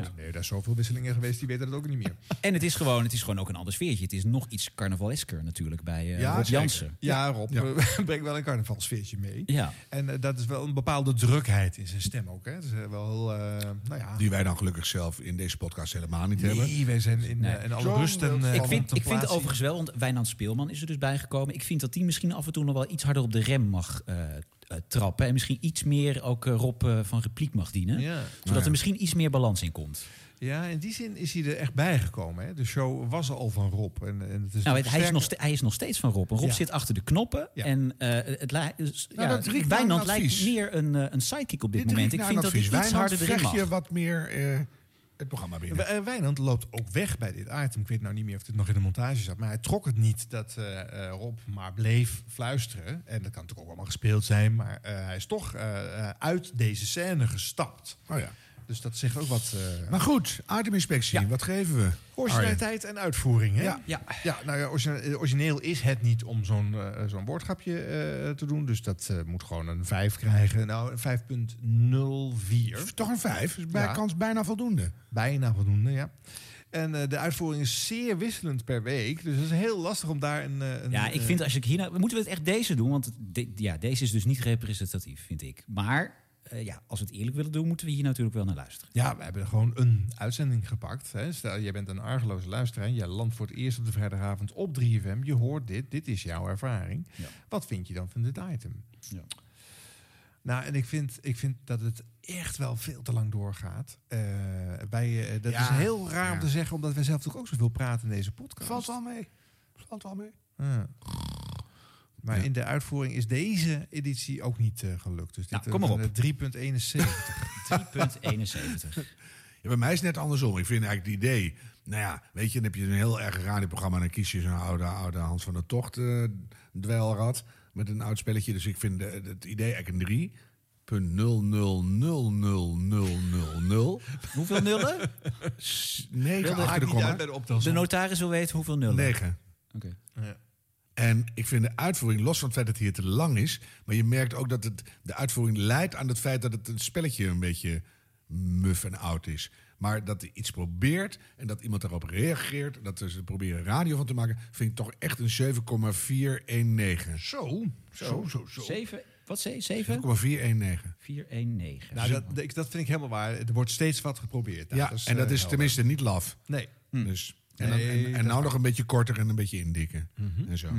Speaker 2: nou nee, daar is zoveel wisselingen geweest, die weten dat ook niet meer.
Speaker 3: En het is, gewoon, het is gewoon ook een ander sfeertje. Het is nog iets carnavalesker natuurlijk bij eh, Rob
Speaker 2: zeker.
Speaker 3: Jansen.
Speaker 2: Ja, Rob
Speaker 3: Ja.
Speaker 2: eh, brengt wel een carnavalsfeertje mee.
Speaker 3: Ja.
Speaker 2: En eh, dat is wel een bepaalde drukheid in zijn stem ook. Hè. Het is eh, wel, heel, eh, nou ja.
Speaker 1: Die wij dan gelukkig zelf in deze podcast helemaal niet hebben.
Speaker 2: Nee, wij zijn in,
Speaker 3: Nee.
Speaker 2: eh, in alle rust en eh,
Speaker 3: ik vind, ik vind
Speaker 2: contemplatie.
Speaker 3: overigens wel, want Wijnand Speelman is er dus bijgekomen. Ik vind dat die misschien af en toe nog wel iets harder op de rem mag eh, eh, trappen. En misschien iets meer ook eh, Rob eh, van repliek mag dienen.
Speaker 2: Ja.
Speaker 3: Zodat
Speaker 2: Nou ja.
Speaker 3: er misschien iets meer balans in komt.
Speaker 2: Ja, in die zin is hij er echt bij gekomen. Hè. De show was al van Rob. En, en het is nog
Speaker 3: nou, het- hij, is
Speaker 2: Dus sterker-
Speaker 3: nog ste- hij is nog steeds van Rob. En Rob
Speaker 2: Ja.
Speaker 3: zit achter de knoppen. En eh, het li- dus,
Speaker 1: Nou,
Speaker 3: ja,
Speaker 1: dat riekt naar
Speaker 3: Wijnand
Speaker 1: een
Speaker 3: lijkt
Speaker 1: advies.
Speaker 3: meer een, eh, een sidekick op dit,
Speaker 1: Dit riekt
Speaker 3: moment. Ik
Speaker 1: naar
Speaker 3: vind
Speaker 1: een
Speaker 3: dat
Speaker 1: advies.
Speaker 3: hij iets
Speaker 1: Wijnand,
Speaker 3: harder erin
Speaker 1: vecht
Speaker 3: mag.
Speaker 1: je wat meer eh, het programma binnen.
Speaker 2: En Eh, Wijnand loopt ook weg bij dit item. Ik weet nou niet meer of dit nog in de montage zat. Maar hij trok het niet dat eh, eh, Rob maar bleef fluisteren. En dat kan natuurlijk ook allemaal gespeeld zijn. Maar eh, hij is toch eh, eh, uit deze scène gestapt.
Speaker 1: Oh ja.
Speaker 2: Dus dat zegt ook wat... eh,
Speaker 1: Maar goed, iteminspectie, wat geven we?
Speaker 2: Originaliteit en uitvoering, hè?
Speaker 1: Ja.
Speaker 3: Ja,
Speaker 2: nou ja, origine- origineel is het niet om zo'n eh, zo'n woordgrapje eh, te doen. Dus dat eh, moet gewoon een 5 krijgen. Nou, een 5.04.
Speaker 1: Toch een 5? Is bij kans bijna voldoende.
Speaker 2: Bijna voldoende, ja. En eh, de uitvoering is zeer wisselend per week. Dus het is heel lastig om daar een... eh, een
Speaker 3: Ja, ik
Speaker 2: eh,
Speaker 3: vind als ik hier nou... Moeten we het echt deze doen? Want het- de- ja, deze is dus niet representatief, vind ik. Maar eh, ja, als we het eerlijk willen doen, moeten we hier natuurlijk wel naar luisteren.
Speaker 2: Ja, we hebben gewoon een uitzending gepakt. Hè. Stel, jij bent een argeloze luisteraar. en Jij landt voor het eerst op de vrijdagavond op 3FM. Je hoort dit. Dit is jouw ervaring. Wat vind je dan van dit item? Nou, en ik vind, ik vind dat het echt wel veel te lang doorgaat. Eh, wij, eh, dat
Speaker 1: Ja,
Speaker 2: is heel raar om
Speaker 1: ja.
Speaker 2: te zeggen, omdat wij zelf natuurlijk ook zoveel praten in deze podcast.
Speaker 1: Valt wel mee. Valt wel mee.
Speaker 2: Ja. Maar in de uitvoering is deze editie ook niet eh, gelukt. Dus dit,
Speaker 1: Nou, kom maar op.
Speaker 2: eh, 3.71.
Speaker 3: 3.71.
Speaker 1: Ja, bij mij is het net andersom. Ik vind eigenlijk het idee... Nou ja, weet je, dan heb je een heel erg radioprogramma... en dan kies je zo'n oude, oude Hans van der Tocht eh dweilrad... met een oud spelletje. Dus ik vind eh, het idee eigenlijk een 3.0000000.
Speaker 3: Hoeveel nullen?
Speaker 1: Negen achter de komma.
Speaker 3: De notaris wil weten hoeveel nullen.
Speaker 1: Negen.
Speaker 3: Oké.
Speaker 1: En ik vind de uitvoering, los van het feit dat hij hier te lang is... maar je merkt ook dat het, de uitvoering leidt aan het feit... dat het een spelletje een beetje muf en oud is. Maar dat hij iets probeert en dat iemand daarop reageert... dat ze er proberen radio van te maken... vind ik toch echt een 7,419. Zo, zo, zo, zo.
Speaker 3: 7, wat zei je? 7?
Speaker 1: 7,419.
Speaker 3: 419.
Speaker 2: Nou, dat, dat- ik- dat vind ik helemaal waar. Er wordt steeds wat geprobeerd.
Speaker 1: Ja, en dat
Speaker 2: eh,
Speaker 1: is
Speaker 2: helder.
Speaker 1: tenminste niet laf.
Speaker 2: Nee.
Speaker 1: Dus, en dan, en-
Speaker 2: Nee,
Speaker 1: en,
Speaker 2: dat
Speaker 1: nou nog
Speaker 2: kan.
Speaker 1: een beetje korter en een beetje indikken. En zo.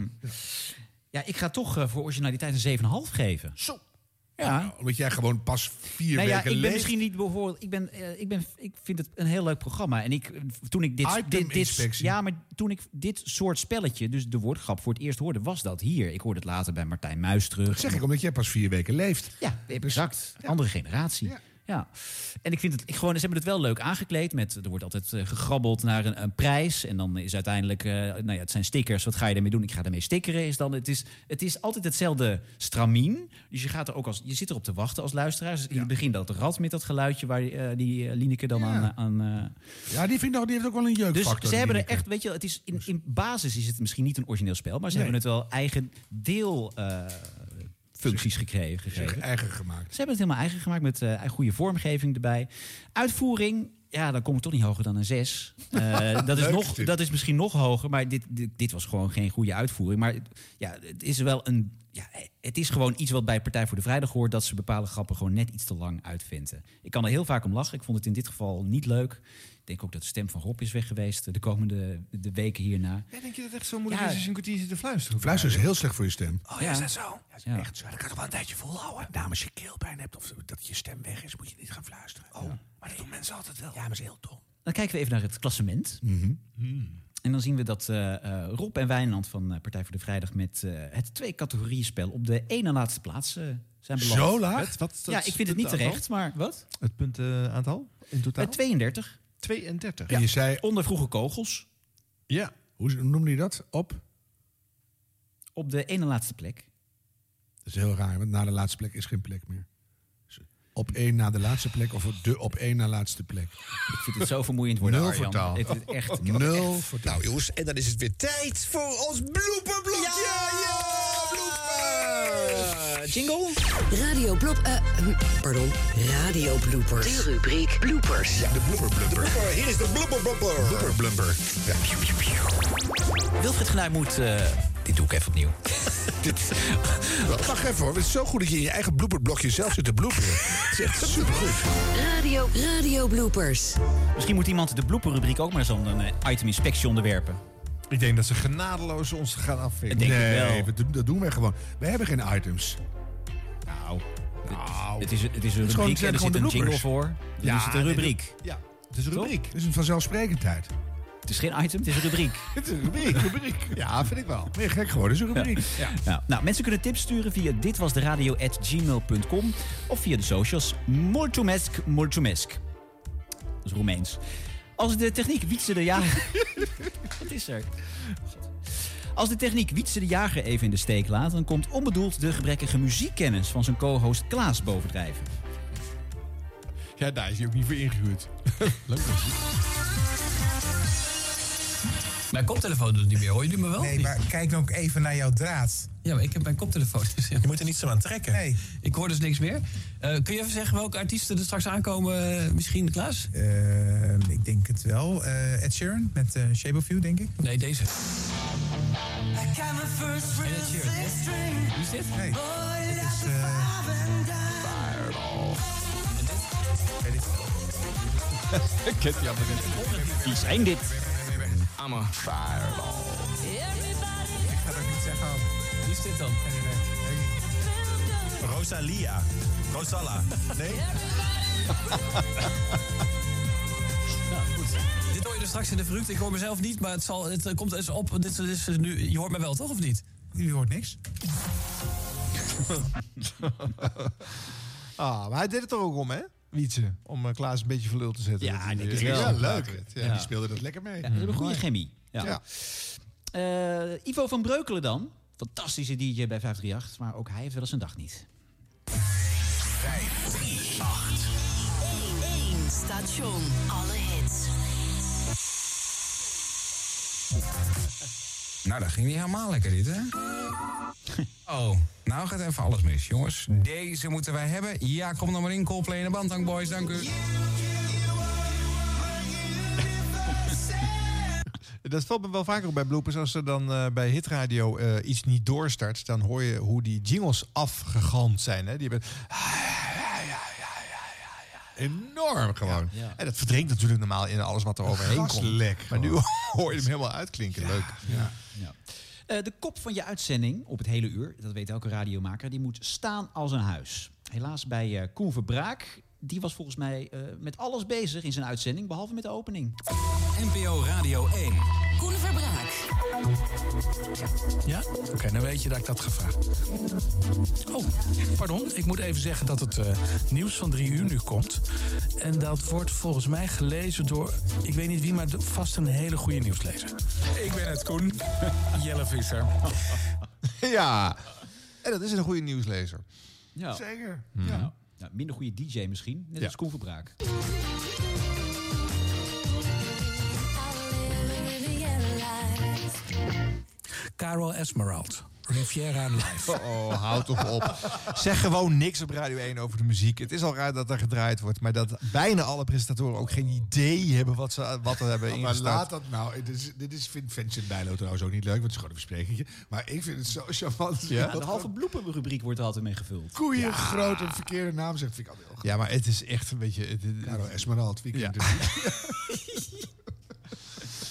Speaker 3: Ja, ik ga toch eh, voor originaliteit een 7,5 geven.
Speaker 1: Zo.
Speaker 3: Ja.
Speaker 1: Nou, omdat jij gewoon pas vier
Speaker 3: Nou ja, ik
Speaker 1: weken
Speaker 3: ben
Speaker 1: leeft.
Speaker 3: misschien niet bijvoorbeeld. Ik, ben, eh, ik, ben, ik vind het een heel leuk programma. En ik, eh, toen ik dit, dit, dit.
Speaker 1: Iteminspectie.
Speaker 3: Ja, maar toen ik dit soort spelletje, dus de woordgrap voor het eerst hoorde, was dat hier. Ik hoorde het later bij Martijn Muis terug.
Speaker 1: Zeg ik, omdat jij pas vier weken leeft. Dus-
Speaker 3: Ja, exact. Andere generatie. Ja. En ik vind het ik gewoon, ze hebben het wel leuk aangekleed. Met, er wordt altijd eh, gegrabbeld naar een, een prijs. En dan is uiteindelijk, eh, nou ja, het zijn stickers. Wat ga je daarmee doen? Ik ga daarmee stickeren. Is dan, het, is, het is altijd hetzelfde stramien. Dus je, gaat er ook als, je zit erop te wachten als luisteraar. Dus in het begin dat rad met dat geluidje waar eh, die eh, Lineke dan aan... aan eh,
Speaker 1: Ja, die, vindt, ook- die heeft ook wel een
Speaker 3: dus
Speaker 1: jeukfactor.
Speaker 3: ze hebben er
Speaker 1: Dineke.
Speaker 3: echt, weet je, het is in, in basis is het misschien niet een origineel spel, maar ze
Speaker 1: Dus- Nee.
Speaker 3: hebben het wel eigen deel eh, functies gekregen. gegeven.
Speaker 1: eigen gemaakt.
Speaker 3: Ze hebben het helemaal eigen gemaakt met eh, goede vormgeving erbij. Uitvoering, ja, dan kom ik toch niet hoger dan een 6. Eh, dat, is
Speaker 1: Leuk
Speaker 3: nog,
Speaker 1: dit.
Speaker 3: dat is misschien nog hoger, maar dit, dit, dit was gewoon geen goede uitvoering. Maar het- ja, het is wel een. Ja, het is gewoon iets wat bij Partij voor de Vrijdag hoort, dat ze bepaalde grappen gewoon net iets te lang uitvinden. Ik kan er heel vaak om lachen. Ik vond het in dit geval niet leuk. Ik denk ook dat de stem van Rob is weg geweest eh, de komende de weken hierna.
Speaker 2: Ja, denk je dat het echt zo moeilijk
Speaker 3: Ja.
Speaker 2: is als je een kwartier zit te fluisteren?
Speaker 1: Fluisteren is heel slecht voor je stem.
Speaker 2: Oh,
Speaker 3: ja, is
Speaker 2: dat
Speaker 1: zo?
Speaker 3: is Ja. echt
Speaker 1: zo. Dat kan toch wel een tijdje volhouden. Nou, als je keelpijn hebt of dat je stem weg is, moet je niet gaan fluisteren. Oh, maar dat doen mensen altijd wel. Ja, maar is heel dom.
Speaker 3: Dan kijken we even naar het klassement.
Speaker 1: Mhm.
Speaker 3: Hmm. En dan zien we dat eh, eh, Rob en Wijnand van eh, Partij voor de Vrijdag met eh, het twee categorieën spel op de één na laatste plaats eh, zijn beland.
Speaker 2: Zo laag? Wat? Wat is dat
Speaker 3: ja, ik vind het niet
Speaker 2: aantal?
Speaker 3: terecht, maar wat?
Speaker 2: Het puntenaantal in totaal?
Speaker 3: Eh, 32.
Speaker 2: 32.
Speaker 1: En je zei...
Speaker 3: Onder vroege kogels.
Speaker 2: Ja.
Speaker 1: Hoe noemde je dat? Op? Dat
Speaker 3: Op de ene laatste plek.
Speaker 1: is heel raar, want na de laatste plek is geen plek meer. Dus Op één na de laatste plek of de op één na laatste plek. Ik
Speaker 3: vind het zo vermoeiend worden,
Speaker 1: Nul
Speaker 3: Arjan.
Speaker 1: voor taal.
Speaker 3: Het is echt- ik heb het
Speaker 1: Nul
Speaker 3: echt-
Speaker 1: voor taal. Nou jongens, en dan is het weer
Speaker 12: Tijd voor ons blooperblokje! Ja,
Speaker 3: jingle.
Speaker 18: Radio blop... eh, hm, pardon. Radio bloopers. De rubriek bloopers.
Speaker 12: de blooper blooper. Hier is de blooper blooper. Blooper blooper.
Speaker 3: Wilfried Genuij moet... eh, dit doe ik even opnieuw.
Speaker 12: Dit- Wacht even hoor, het is zo goed dat je in je eigen blooperblokje zelf zit te bloeperen. Het is echt supergoed.
Speaker 18: Radio, radio bloopers.
Speaker 3: Misschien moet iemand de blooperrubriek ook maar zo'n eh, item inspectie onderwerpen.
Speaker 2: Ik denk dat ze genadeloos ons gaan afvinken.
Speaker 3: Denk ik
Speaker 1: nee,
Speaker 3: wel.
Speaker 1: we doen- dat doen wij gewoon. We hebben geen items.
Speaker 3: Nou, het, is, het is een
Speaker 1: Het is gewoon-
Speaker 3: rubriek
Speaker 1: zijn
Speaker 3: en
Speaker 1: gewoon
Speaker 3: er zit
Speaker 1: de
Speaker 3: een
Speaker 1: bloopers.
Speaker 3: jingle voor. Dan
Speaker 1: Ja,
Speaker 3: is het een
Speaker 1: nee,
Speaker 3: rubriek.
Speaker 2: Ja, het is een rubriek.
Speaker 1: Het is een vanzelfsprekendheid.
Speaker 3: Het is geen item, het is een rubriek.
Speaker 2: het is een rubriek, rubriek. Ja, vind ik wel.
Speaker 1: Nee, gek geworden, het is een rubriek.
Speaker 2: Ja.
Speaker 3: Nou, nou, mensen kunnen tips sturen via ditwasderadio.gmail.com of via de socials. Mulțumesc, mulțumesc. Dat is Roemeens. Als de techniek Wietse de Jager... Wat is er? God. Als de techniek Wietse de Jager even in de steek laat... dan komt onbedoeld de gebrekkige muziekkennis van zijn co-host Klaas bovendrijven.
Speaker 2: Ja, daar is hij ook niet voor ingehuurd. Leuk muziek.
Speaker 21: Mijn koptelefoon doet het niet meer, hoor jullie me wel?
Speaker 4: Nee, maar kijk dan ook even naar jouw draad.
Speaker 21: Ja, maar ik heb mijn koptelefoon. Dus je moet er niet zo aan trekken. Nee. Ik hoor dus niks meer. Eh, kun je even zeggen welke artiesten er straks aankomen? eh, Misschien Klaas?
Speaker 4: Eh, ik denk het wel. Eh, Ed Sheeran met eh, Shape of You, denk ik.
Speaker 21: Nee, deze.
Speaker 32: Wie
Speaker 21: is dit?
Speaker 32: Nee. Dit is...
Speaker 21: Ik ken die andere
Speaker 32: niet.
Speaker 21: Wie zijn dit? I'm a eh,
Speaker 4: Ik ga dat ook niet zeggen.
Speaker 21: Wie is dit dan?
Speaker 7: Rosalia. Rosala. Nee?
Speaker 21: Dit hoor je dus straks in de verrukt. Ik hoor mezelf niet, maar het, zal, het eh, komt eens op. Dit is dus nu, je hoort me wel, toch? Of niet?
Speaker 4: Je hoort niks.
Speaker 2: Ah, maar hij deed het er ook om, hè? Wietse. Om eh, Klaas een beetje verlul te zetten.
Speaker 3: Ja,
Speaker 2: Dat
Speaker 3: nee,
Speaker 2: hij,
Speaker 3: dit
Speaker 2: eh,
Speaker 3: is
Speaker 2: ja,
Speaker 3: wel
Speaker 2: leuk.
Speaker 3: leuk.
Speaker 2: Ja,
Speaker 3: Ja.
Speaker 2: Die speelde dat lekker mee.
Speaker 3: Ja, ze hebben goede
Speaker 2: Mooi.
Speaker 3: chemie. Ja.
Speaker 2: Ja.
Speaker 3: Eh, Ivo van Breukelen dan. Fantastische DJ bij 538, maar ook hij heeft wel eens een dag niet.
Speaker 10: 1 station. Alle hits.
Speaker 7: Nou, dat ging niet helemaal lekker dit, hè? Oh, nou gaat even alles mis, jongens. Deze moeten wij hebben. Ja, kom dan maar in, Coldplay en de Bandang Boys, dank u.
Speaker 2: Dat valt me wel vaker op bij bloopers. Als er dan eh, bij hitradio eh, iets niet doorstart... dan hoor je hoe die jingles afgegalmd zijn. Hè? Die hebben... Enorm gewoon.
Speaker 1: Ja.
Speaker 2: En dat verdrinkt natuurlijk normaal in alles wat er overheen komt.
Speaker 1: Gaslek
Speaker 2: Maar nu
Speaker 1: gewoon.
Speaker 2: hoor je hem helemaal uitklinken. Leuk.
Speaker 3: Eh, de kop van je uitzending op het hele uur, dat weet elke radiomaker, die moet staan als een huis. Helaas bij eh Koen Verbraak, die was volgens mij eh, met alles bezig in zijn uitzending, behalve met de opening.
Speaker 21: NPO Radio 1.
Speaker 10: Koen Verbraak.
Speaker 21: Ja? Oké, dan weet je dat ik dat ga vragen. Oh, pardon. Ik moet even zeggen dat het eh, nieuws van drie uur nu komt. En dat wordt volgens mij gelezen door, ik weet niet wie, maar de- vast een hele goede nieuwslezer. Ik ben het, Koen. Jelle Visser.
Speaker 2: ja. En dat is een goede nieuwslezer.
Speaker 3: Ja.
Speaker 2: Zeker.
Speaker 3: Ja. Nou, minder goede DJ misschien, net
Speaker 2: Ja.
Speaker 3: als Koen Verbraak.
Speaker 21: Carol Esmeralda. Riviera Live.
Speaker 2: Oh, houd toch op. Zeg gewoon niks op Radio 1 over de muziek. Het is al raar dat er gedraaid wordt, maar dat bijna alle presentatoren ook geen idee hebben wat ze wat er hebben
Speaker 1: maar
Speaker 2: ingestart.
Speaker 1: laat dat nou. Dit, is, dit is, vindt Vincent Bijlo trouwens ook niet leuk, want het is gewoon een versprekingje. Maar ik vind het zo charmant.
Speaker 3: Ja,
Speaker 1: dat
Speaker 3: de halve
Speaker 1: gewoon
Speaker 3: bloepenrubriek wordt er altijd mee gevuld.
Speaker 1: koeien
Speaker 3: Ja.
Speaker 1: groot een verkeerde naam zegt. Vind ik altijd heel
Speaker 2: Ja, maar het is echt een beetje... Het, het-
Speaker 1: Caro Esmeralda, wie kent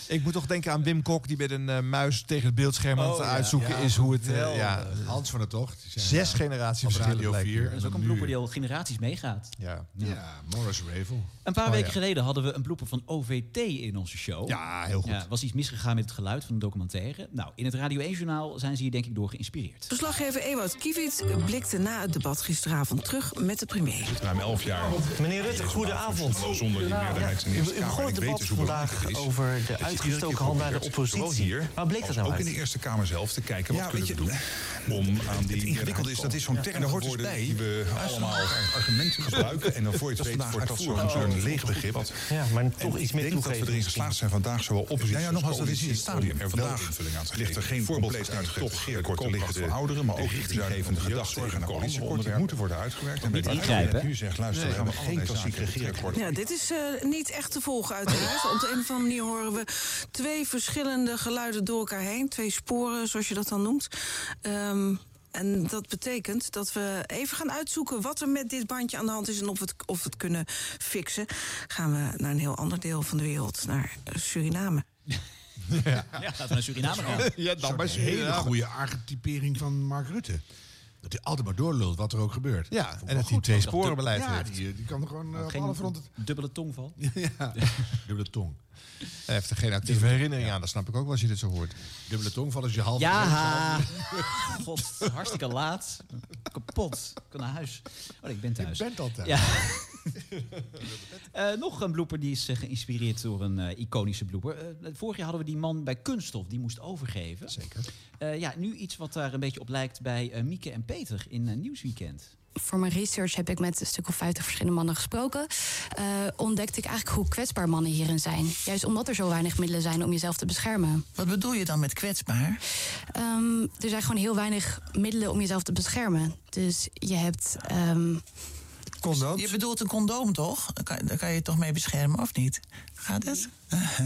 Speaker 2: Ik moet toch denken aan Wim Kok, die met een eh, muis tegen het beeldscherm aan het
Speaker 1: Oh, ja.
Speaker 2: uitzoeken
Speaker 1: Ja,
Speaker 2: is hoe het... eh,
Speaker 1: wel,
Speaker 2: ja,
Speaker 1: eh, Hans van der Tocht. die zei,
Speaker 2: Zes
Speaker 1: ja,
Speaker 2: generaties
Speaker 1: op
Speaker 2: verschil
Speaker 1: Radio
Speaker 2: lijkt me.
Speaker 1: 4.
Speaker 3: Dat is ook een blooper die al generaties meegaat.
Speaker 2: Ja.
Speaker 1: Ja, Morris Ravel.
Speaker 3: Een paar
Speaker 1: Oh,
Speaker 3: weken
Speaker 1: ja.
Speaker 3: geleden hadden we een blooper van OVT in onze show.
Speaker 1: Ja, heel goed.
Speaker 3: was iets misgegaan met het geluid van de documentaire. Nou, in het Radio 1-journaal zijn ze hier denk ik door geïnspireerd.
Speaker 22: Verslaggever Ewout Kiviet blikte na het debat gisteravond terug met de premier.
Speaker 7: Ruim elf jaar.
Speaker 22: Meneer Rutte,
Speaker 3: Oh,
Speaker 22: goedenavond.
Speaker 7: Zonder die meerderheid in de Eerste Kamer.
Speaker 22: U begon het
Speaker 7: Ik weet
Speaker 22: debat
Speaker 7: dus hoe belangrijk
Speaker 22: vandaag
Speaker 7: het is.
Speaker 22: over de
Speaker 7: Dat je iedere
Speaker 22: uitgestoken
Speaker 7: keer
Speaker 22: hand naar de
Speaker 7: probeert, zowel
Speaker 22: oppositie.
Speaker 7: hier
Speaker 22: Waar bleek dat
Speaker 7: als
Speaker 22: nou
Speaker 7: ook
Speaker 22: uit?
Speaker 7: in de Eerste Kamer zelf te kijken wat
Speaker 22: Ja,
Speaker 7: kunnen we
Speaker 22: weet
Speaker 7: doen om aan die... meerderheid
Speaker 22: ingewikkelde is,
Speaker 7: te
Speaker 22: dat is zo'n
Speaker 7: komen.
Speaker 22: term, daar hoort dus
Speaker 7: woorden
Speaker 22: bij.
Speaker 7: Die we allemaal als argumenten gebruiken en dan voor je het
Speaker 22: Dat is
Speaker 7: weet
Speaker 22: vandaag
Speaker 7: wordt dat zo'n
Speaker 22: uitvoerig.
Speaker 7: zo'n leeg begrip.
Speaker 22: Ja, maar
Speaker 7: En
Speaker 22: toch iets meer
Speaker 7: Ik denk dat we
Speaker 22: toegeven.
Speaker 7: erin geslaagd zijn vandaag zowel oppositie
Speaker 22: Ja, ja,
Speaker 7: als
Speaker 22: nogmaals, dat is in het
Speaker 7: coalitie
Speaker 22: stadium.
Speaker 7: om er
Speaker 22: Wel
Speaker 7: vandaag
Speaker 22: invulling aan te
Speaker 7: ligt er
Speaker 22: geven.
Speaker 7: geen
Speaker 22: Voorbeeld
Speaker 7: compleet
Speaker 22: uit de
Speaker 7: uitgelegd
Speaker 22: toch
Speaker 7: geerkorten
Speaker 22: koopkracht
Speaker 7: liggen de
Speaker 22: voor ouderen,
Speaker 7: maar ook richtinggevende gedachten en coalitieakkoord die moeten worden uitgewerkt. En
Speaker 22: Niet
Speaker 7: weet
Speaker 22: ingrijpen,
Speaker 7: je
Speaker 22: hè?
Speaker 7: nu zegt, luister,
Speaker 22: Nee,
Speaker 7: we gaan
Speaker 22: maar
Speaker 7: geen klassiek regeerakkoord.
Speaker 22: Ja, dit is eh, niet echt te volgen uiteraard. Op de een of andere manier horen we twee verschillende geluiden door elkaar heen. Twee sporen, zoals je dat dan noemt. Ehm, en dat betekent dat we even gaan uitzoeken wat er met dit bandje aan de hand is... en of we het, of we het kunnen fixen. Gaan we naar een heel ander deel van de wereld, naar eh, Suriname.
Speaker 2: Ja,
Speaker 3: laten we naar Suriname gaan.
Speaker 1: Ja, dan maar een hele goede archetypering van Mark Rutte. Dat hij altijd maar doorlult wat er ook gebeurt.
Speaker 2: Ja,
Speaker 1: Vond ik
Speaker 2: en
Speaker 1: wel
Speaker 2: dat hij
Speaker 1: goed.
Speaker 2: twee
Speaker 1: Dat-
Speaker 2: sporenbeleid
Speaker 1: ja,
Speaker 2: heeft.
Speaker 1: Die, die kan er gewoon eh, op
Speaker 3: Geen
Speaker 1: alle fronten...
Speaker 3: dubbele tongval.
Speaker 1: Ja, dubbele tong.
Speaker 2: Hij heeft er geen actieve herinnering aan, dat snap ik ook wel als je dit zo hoort.
Speaker 1: Dubbele tongval is je half.
Speaker 3: Ja, ha. God, hartstikke laat. Kapot. Ik kan naar huis. Oh, nee, ik ben thuis.
Speaker 1: Je bent al thuis.
Speaker 3: Ja. Eh, nog een blooper die is eh, geïnspireerd door een eh, iconische blooper. Eh, vorig jaar hadden we die man bij Kunststof, die moest overgeven.
Speaker 2: Zeker.
Speaker 3: ja, nu iets wat daar een beetje op lijkt bij eh, Mieke en Peter in eh, Nieuwsweekend.
Speaker 33: voor mijn research heb ik met een stuk of 50 verschillende mannen gesproken. eh, ontdekte ik eigenlijk hoe kwetsbaar mannen hierin zijn. Juist omdat er zo weinig middelen zijn om jezelf te beschermen.
Speaker 23: Wat bedoel je dan met kwetsbaar?
Speaker 33: Ehm, er zijn gewoon heel weinig middelen om jezelf te beschermen. Dus je hebt. ehm,
Speaker 23: Condoom. Je bedoelt een condoom, toch? Daar kan, daar kan je je toch mee beschermen, of niet? Gaat het?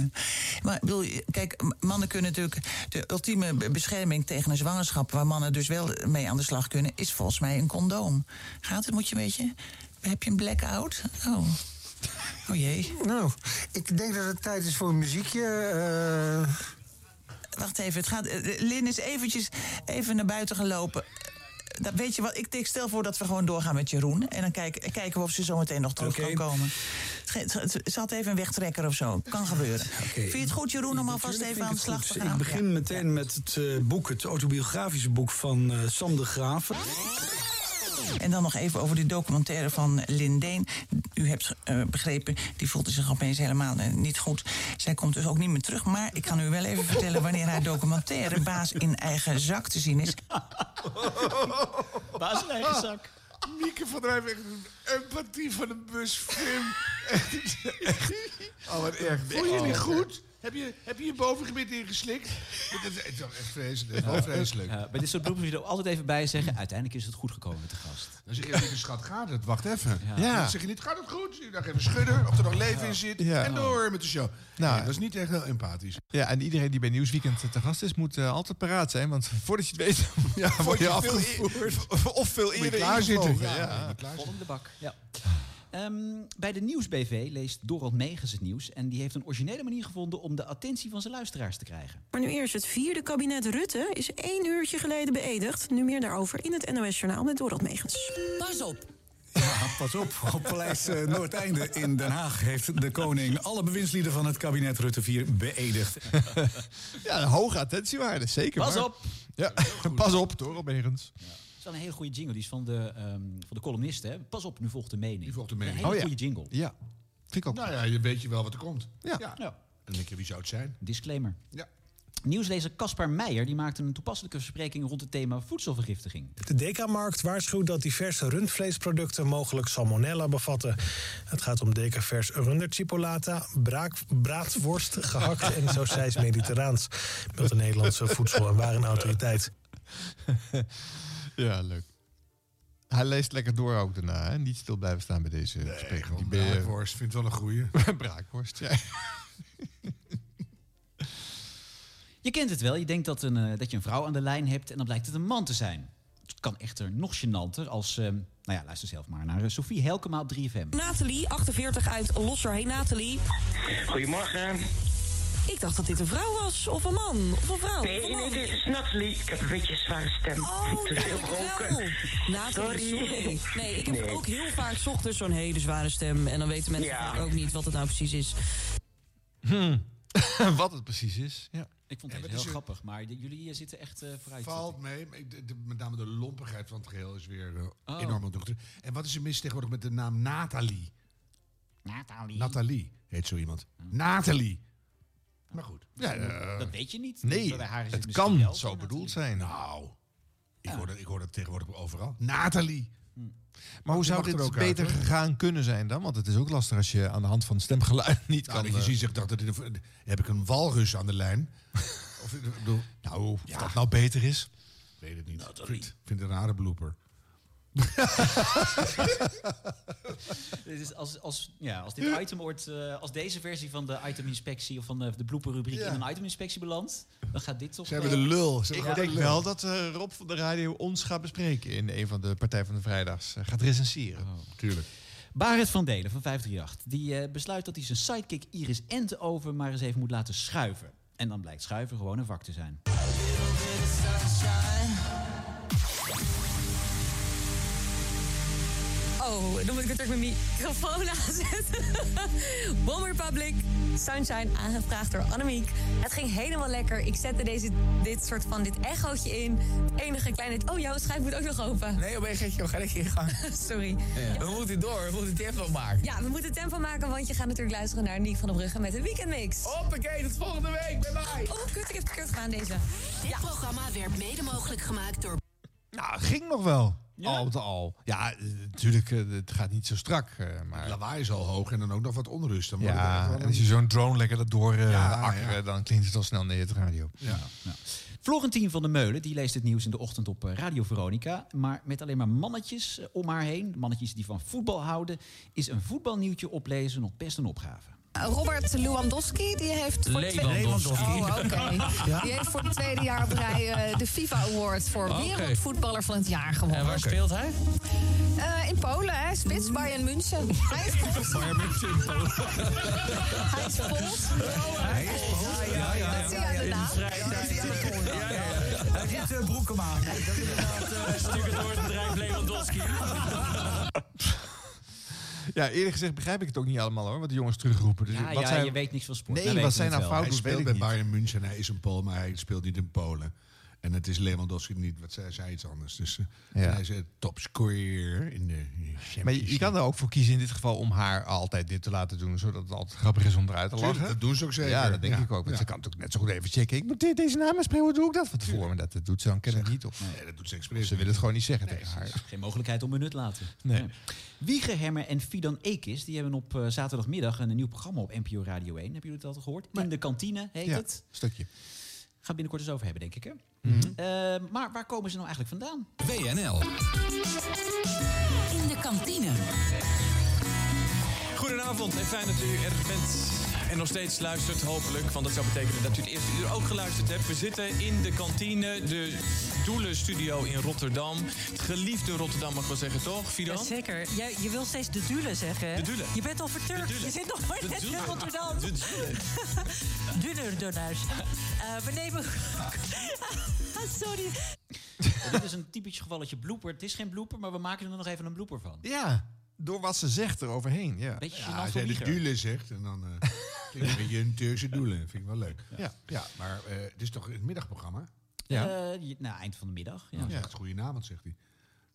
Speaker 23: maar ik bedoel, kijk, mannen kunnen natuurlijk... De ultieme be- bescherming tegen een zwangerschap... waar mannen dus wel mee aan de slag kunnen... is volgens mij een condoom. Gaat het, moet je een beetje... Heb je een blackout? Oh. Oh jee.
Speaker 34: Nou, ik denk dat het tijd is voor een muziekje.
Speaker 7: eh.
Speaker 23: Wacht even, het gaat... eh, Lin is eventjes even naar buiten gelopen... Eh, Dat, weet je wat, ik, ik stel voor dat we gewoon doorgaan met Jeroen. En dan kijk, kijken we of ze zo meteen nog terug kan komen. Het ge- het- het- Ze had even een wegtrekker of zo. Kan gebeuren. Vind je het goed, Jeroen, om alvast even aan de slag te gaan?
Speaker 7: Ik begin meteen met het eh, boek, het autobiografische boek van eh, Sam de Graaf.
Speaker 23: En dan nog even over die documentaire van Lin Deen. U hebt eh, begrepen, die voelde zich opeens helemaal eh, niet goed. Zij komt dus ook niet meer terug. Maar ik kan u wel even vertellen wanneer haar documentaire Baas in eigen zak te zien is.
Speaker 1: Baas eigen zak. Mieke van der Heijden, echt een empathie van een busfilm.
Speaker 17: Oh, wat erg.
Speaker 1: Voel je je niet
Speaker 17: Oh.
Speaker 1: goed? Heb je, heb je je bovengebied ingeslikt? Dat is toch echt eh, vreselijk. Dat is wel
Speaker 3: Ja.
Speaker 1: vreselijk.
Speaker 3: Ja, bij Eh, dit soort beroepen moet je er altijd even bij zeggen... uiteindelijk is het goed gekomen met de gast.
Speaker 1: Dan zeg je tegen schat, gaat het? Wacht even.
Speaker 3: Ja.
Speaker 1: Dan zeg je niet, gaat het goed? Je dacht even schudden of er nog leven in zit.
Speaker 2: Ja.
Speaker 1: En door met de show.
Speaker 2: Nou,
Speaker 1: Nee, dat is niet echt heel empathisch.
Speaker 2: Ja, en iedereen die bij Nieuwsweekend te gast is, moet eh, altijd paraat zijn. Want voordat je het weet, ja, word je
Speaker 3: Voordat je veel
Speaker 2: afgevoerd. Of veel
Speaker 3: Moet je
Speaker 2: eerder
Speaker 3: klaarzitten.
Speaker 2: ingevlogen,
Speaker 3: Ja,
Speaker 2: ja.
Speaker 3: moet je klaarzitten. Vol in de bak. Ja. Ehm, bij de Nieuwsbv leest Dorald Megens het nieuws... en die heeft een originele manier gevonden om de attentie van zijn luisteraars te krijgen.
Speaker 35: Maar nu eerst, het vierde kabinet Rutte is één uurtje geleden beëdigd. Nu meer daarover in het NOS-journaal met Dorot Megens.
Speaker 17: Pas op.
Speaker 7: Ja, pas op. Op Paleis eh, Noordeinde in Den Haag heeft de koning alle bewindslieden van het kabinet Rutte 4 beëdigd.
Speaker 2: Ja, een hoge attentiewaarde, zeker.
Speaker 3: Pas
Speaker 2: maar.
Speaker 3: op.
Speaker 2: Ja, pas op, Dorald Megens.
Speaker 3: Dat is wel een hele goede jingle. Die is van de, ehm, van de columnist. Hè? Pas op, nu volgt de mening. Die volgt de Een hele
Speaker 1: Oh ja.
Speaker 3: goede jingle.
Speaker 2: Ja, vind ik ook.
Speaker 1: Nou ja, je weet je wel wat er komt.
Speaker 2: Ja.
Speaker 1: Dan denk je, wie zou het zijn?
Speaker 3: Disclaimer.
Speaker 1: Ja.
Speaker 3: Nieuwslezer Caspar Meijer die maakte een toepasselijke verspreking rond het thema voedselvergiftiging.
Speaker 36: De Dekamarkt waarschuwt dat diverse rundvleesproducten mogelijk salmonella bevatten. Het gaat om Dekavers runderchipolata, braak- braadworst, gehakt en sausijs mediterraans. Meldt de Nederlandse Voedsel- en Warenautoriteit.
Speaker 2: Ja, leuk. Hij leest lekker door ook daarna, hè? Niet stil blijven staan bij deze spreker. Die ben je-
Speaker 1: Braakworst, vind het wel een goeie.
Speaker 2: Braakworst, ja.
Speaker 3: Je kent het wel, je denkt dat, een, eh, dat je een vrouw aan de lijn hebt en dan blijkt het een man te zijn. Het kan echter nog gênanter als, ehm, nou ja, luister zelf maar naar eh, Sophie Helkema op 3FM.
Speaker 10: Nathalie, 48 uit Losser. Hey Nathalie.
Speaker 4: Goedemorgen.
Speaker 10: Ik dacht dat dit een vrouw was, of een man, of een vrouw. of
Speaker 4: Nee,
Speaker 10: een
Speaker 4: nee,
Speaker 10: man. Oh,
Speaker 4: dit is Nathalie. Ik heb een beetje een zware stem. Te veel roken.
Speaker 10: Nathalie,
Speaker 4: Sorry.
Speaker 10: sorry. Nee, ik heb
Speaker 4: Nee.
Speaker 10: ook heel vaak 's ochtends zo'n hele zware stem. En dan weten mensen
Speaker 4: Ja.
Speaker 10: vaak ook niet wat het nou precies is.
Speaker 2: Wat het precies is. Ja.
Speaker 3: Ik vond
Speaker 1: Ja,
Speaker 3: het
Speaker 1: maar
Speaker 3: heel
Speaker 1: het is een-
Speaker 3: grappig, maar de- jullie eh, zitten echt eh, vooruit.
Speaker 1: Valt mee. maar ik- de- de- met name de lompigheid van het geheel is weer eh,
Speaker 3: Oh.
Speaker 1: enorm aan het doen. En wat is er mis tegenwoordig met de naam Nathalie?
Speaker 3: Nathalie.
Speaker 1: Nathalie heet zo iemand. Nathalie. Maar goed.
Speaker 3: Ja,
Speaker 27: eh,
Speaker 3: dat weet je niet.
Speaker 1: Nee,
Speaker 3: Bij haar is
Speaker 1: het
Speaker 3: misschien
Speaker 1: kan
Speaker 3: wel
Speaker 1: zo bedoeld zijn. Nou, ik, hoor dat, ik hoor dat tegenwoordig overal. Nathalie.
Speaker 2: Maar hoe
Speaker 1: Hm. Je
Speaker 2: zou
Speaker 1: mag er
Speaker 2: dit
Speaker 1: ook uit,
Speaker 2: beter
Speaker 1: hoor.
Speaker 2: gegaan kunnen zijn dan? Want het is ook lastig als je aan de hand van stemgeluid niet
Speaker 1: Nou,
Speaker 2: kan...
Speaker 1: dat je
Speaker 2: eh,
Speaker 1: ziet, zegt, dacht, dat dit een- heb ik een walrus aan de lijn? of, ik bedoel, nou, of
Speaker 2: dat nou beter is?
Speaker 1: weet het niet. Ik vind het een rare blooper.
Speaker 3: Dit is als, als, ja, als dit item wordt, eh, als deze versie van de iteminspectie of van de, de blooperrubriek
Speaker 2: Ja.
Speaker 3: in een iteminspectie belandt, dan gaat dit toch.
Speaker 2: Ze
Speaker 3: eh,
Speaker 2: hebben de lul.
Speaker 3: Ja.
Speaker 2: ik denk wel dat eh, Rob van de Radio ons gaat bespreken in een van de Partij van de Vrijdags. Eh, gaat recenseren.
Speaker 1: tuurlijk.
Speaker 3: Barend Oh. van Delen van 538, die eh, besluit dat hij zijn sidekick Iris Entenhoven maar eens even moet laten schuiven. En dan blijkt schuiven gewoon een vak te zijn.
Speaker 10: Oh, dan moet ik het ook mijn microfoon aanzetten. Bomber Public, Sunshine, aangevraagd door Annemiek. Het ging helemaal lekker. Ik zette deze, dit soort van dit echootje in. Het enige kleine... Oh, jouw schijf moet ook nog open. Nee, opeens gaat je gelijk in gang. Sorry.
Speaker 37: We moeten door, we moeten tempo maken.
Speaker 10: Ja, we moeten tempo maken, want je gaat natuurlijk luisteren naar Niek van der Brugge met een weekendmix. Hoppakee, tot volgende week, bye bye. Oh, kut, ik heb het verkeerd gedaan deze.
Speaker 38: Dit programma werd mede mogelijk gemaakt door
Speaker 2: Nou, ging nog wel. Al met al. Ja, eh, natuurlijk, eh, het gaat niet zo strak. eh, maar... Het
Speaker 1: lawaai is al hoog en dan ook nog wat onrust. Dan wordt het echt
Speaker 2: Ja,
Speaker 1: wel
Speaker 2: en
Speaker 1: een-
Speaker 2: als je zo'n drone lekker dat door eh,
Speaker 1: Ja,
Speaker 2: akkeren,
Speaker 1: ja.
Speaker 2: dan klinkt het al snel neer het radio.
Speaker 1: Ja.
Speaker 3: Florentien van der Meulen die leest het nieuws in de ochtend op eh, Radio Veronica. Maar met alleen maar mannetjes eh, om haar heen, mannetjes die van voetbal houden, is een voetbalnieuwtje oplezen nog best een opgave.
Speaker 11: Eh, Robert Lewandowski, die heeft voor het tweede-
Speaker 3: Lewandowski.
Speaker 11: Oh, oké.
Speaker 3: Ja.
Speaker 11: Die heeft voor het tweede jaar op rij eh, de FIFA Award voor
Speaker 21: Oh, Oké.
Speaker 11: wereldvoetballer van het jaar gewonnen.
Speaker 21: En waar speelt hij?
Speaker 11: Eh, in Polen, hè? Spits Bayern München. Hij is Pools. Hij is Pools. Hij is Pools. Ja, ja, Dat zie je aan de naam.
Speaker 21: Hij zit
Speaker 4: eh,
Speaker 21: uh, Broekema. Dat is inderdaad stukken door het bedrijf Lewandowski.
Speaker 2: Ja, eerlijk gezegd begrijp ik het ook niet allemaal hoor, wat de jongens terugroepen. Dus
Speaker 3: Ja,
Speaker 2: wat
Speaker 3: ja,
Speaker 2: zijn...
Speaker 3: je weet niks van sport.
Speaker 2: Nee, wat zijn nou
Speaker 1: Hij
Speaker 2: fouten? Weet
Speaker 1: speelt
Speaker 2: ik
Speaker 1: bij
Speaker 2: niet.
Speaker 1: Bayern München. Hij is een Pool, maar hij speelt niet in Polen. En het is Lewandowski niet. Wat zij zei iets anders. Dus eh,
Speaker 2: Ja.
Speaker 1: hij is eh, topscorer in de in de
Speaker 2: Maar
Speaker 1: Champions
Speaker 2: je, je kan er ook voor kiezen in dit geval om haar altijd dit te laten doen, zodat het altijd grappig is om eruit te
Speaker 1: Tuurlijk,
Speaker 2: lachen.
Speaker 1: dat doen ze ook zeker.
Speaker 2: Ja, dat denk
Speaker 1: Ja.
Speaker 2: ik ook. Want
Speaker 1: Ja.
Speaker 2: ze kan natuurlijk net zo goed even checken. Ik moet dit, deze naam spreken, hoe doe ik dat van tevoren? Maar dat, dat doet ze dan kennelijk niet. Of,
Speaker 1: nee, dat doet ze expres.
Speaker 2: Ze wil het gewoon niet zeggen
Speaker 3: Nee,
Speaker 2: tegen
Speaker 3: er is
Speaker 2: haar.
Speaker 3: geen mogelijkheid om hun nut laten.
Speaker 2: Nee.
Speaker 3: Wieger Hemmer en Fidan Ekis die hebben op eh, zaterdagmiddag een nieuw programma op NPO Radio 1. Hebben jullie dat al gehoord? In de kantine heet
Speaker 2: Ja,
Speaker 3: het.
Speaker 2: stukje.
Speaker 3: Gaan we binnenkort eens over hebben, denk ik. Hè?
Speaker 5: Mhm.
Speaker 3: Eh, maar waar komen ze nou eigenlijk vandaan?
Speaker 9: WNL.
Speaker 21: In de kantine. Goedenavond en fijn dat u er bent. En nog steeds luistert, hopelijk. Want dat zou betekenen dat u het eerste uur ook geluisterd hebt. We zitten in de kantine, de Doelenstudio in Rotterdam. Het geliefde Rotterdam, mag ik wel zeggen, toch, Fido?
Speaker 11: Zeker. Jij, je wil steeds de dule zeggen. hè?
Speaker 21: De dule.
Speaker 11: Je bent al verturkt.
Speaker 21: De dule.
Speaker 11: Je zit nog maar
Speaker 21: De
Speaker 11: net in
Speaker 21: dule.
Speaker 11: Rotterdam.
Speaker 21: De dule.
Speaker 11: Dunner door huis. Eh, we nemen... Sorry.
Speaker 3: dit is een typisch gevalletje blooper. Het is geen blooper, maar we maken er nog even een blooper van.
Speaker 2: Ja, door wat ze zegt eroverheen. Ja.
Speaker 3: Beetje
Speaker 1: Ja, als jij de doelen zegt, en dan eh klinkt het een beetje een Turkse doelen. Vind ik wel leuk. Ja, ja maar eh, het is toch het middagprogramma?
Speaker 3: Ja. nou, eind van de middag. Ja.
Speaker 1: Ja. Nou, zegt goedenavond, zegt hij.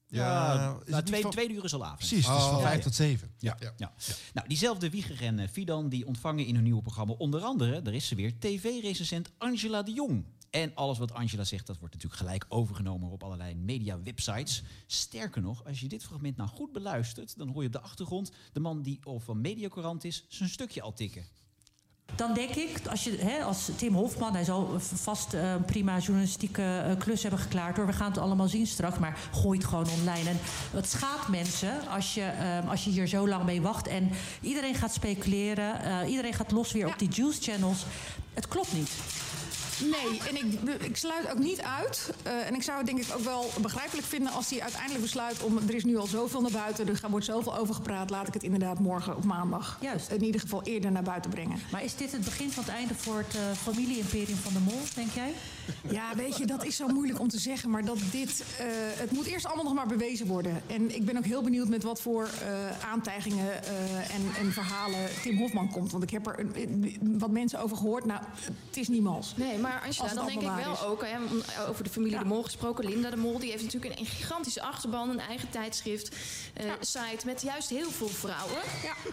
Speaker 3: Ja,
Speaker 1: is
Speaker 3: nou,
Speaker 1: het niet
Speaker 3: twee,
Speaker 1: van-
Speaker 3: tweede uur is al avond. Oh.
Speaker 2: Precies, dus van vijf tot zeven.
Speaker 3: Ja. Ja. Nou, diezelfde Wieger en eh, Fidan die ontvangen in hun nieuwe programma onder andere, daar is ze weer, tv-recensent Angela de Jong. En alles wat Angela zegt, dat wordt natuurlijk gelijk overgenomen op allerlei media-websites. Sterker nog, als je dit fragment nou goed beluistert, dan hoor je op de achtergrond de man die al van Mediacorant is, zijn stukje al tikken.
Speaker 11: Dan denk ik, als, je, hè, als Tim Hofman, hij zal vast eh, een prima journalistieke eh, klus hebben geklaard hoor. We gaan het allemaal zien straks, maar gooi het gewoon online. En het schaadt mensen als je, eh, als je hier zo lang mee wacht. En iedereen gaat speculeren, eh, iedereen gaat los weer op die juice channels. Het klopt niet.
Speaker 39: Nee, en ik, ik sluit ook niet uit. Eh, en ik zou het denk ik ook wel begrijpelijk vinden als hij uiteindelijk besluit om er is nu al zoveel naar buiten, er wordt zoveel over gepraat, laat ik het inderdaad morgen of maandag Juist. in ieder geval eerder naar buiten brengen.
Speaker 11: Maar is dit het begin van het einde voor het eh, familie-imperium van de mol, denk jij?
Speaker 39: Ja, weet je, dat is zo moeilijk om te zeggen. Maar dat dit. eh, het moet eerst allemaal nog maar bewezen worden. En ik ben ook heel benieuwd met wat voor eh, aantijgingen eh, en, en verhalen Tim Hofman komt. Want ik heb er eh, wat mensen over gehoord. Nou, het is niemals.
Speaker 13: Nee, maar Angela,
Speaker 39: Als het
Speaker 13: dan denk ik
Speaker 39: allemaal waar
Speaker 13: wel
Speaker 39: is.
Speaker 13: ook. Hè, om- eh, over de familie De Mol gesproken. Linda De Mol die heeft natuurlijk een gigantische achterban. Een eigen tijdschrift, eh, site met juist heel veel vrouwen.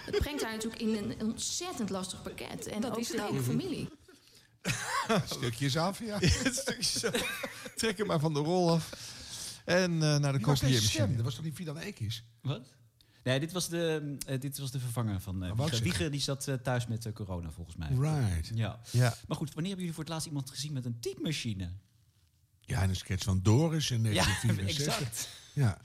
Speaker 13: Het brengt haar natuurlijk in een ontzettend lastig pakket. En
Speaker 39: Dat
Speaker 13: ook
Speaker 39: is het Mhm.
Speaker 13: de hele
Speaker 39: ook.
Speaker 13: familie.
Speaker 1: Stukjes af, ja.
Speaker 2: het stukje af. Trek hem maar van de rol af. En eh, naar de
Speaker 1: Die was geen
Speaker 2: kopieermachine.
Speaker 1: stem, dat was toch niet Fidan Ekis?
Speaker 3: Wat? Nee, dit was de, eh, dit was de vervanger van eh
Speaker 1: Oh, wou ik
Speaker 3: Wieger.
Speaker 1: zeggen.
Speaker 3: Wieger, die zat eh, thuis met eh, corona volgens mij.
Speaker 1: Right.
Speaker 3: Ja.
Speaker 2: Ja.
Speaker 3: Maar goed, wanneer hebben jullie voor het laatst iemand gezien met een typemachine?
Speaker 1: Ja, en een sketch van Doris in
Speaker 3: Ja,
Speaker 1: 1964.
Speaker 3: exact.
Speaker 1: Ja.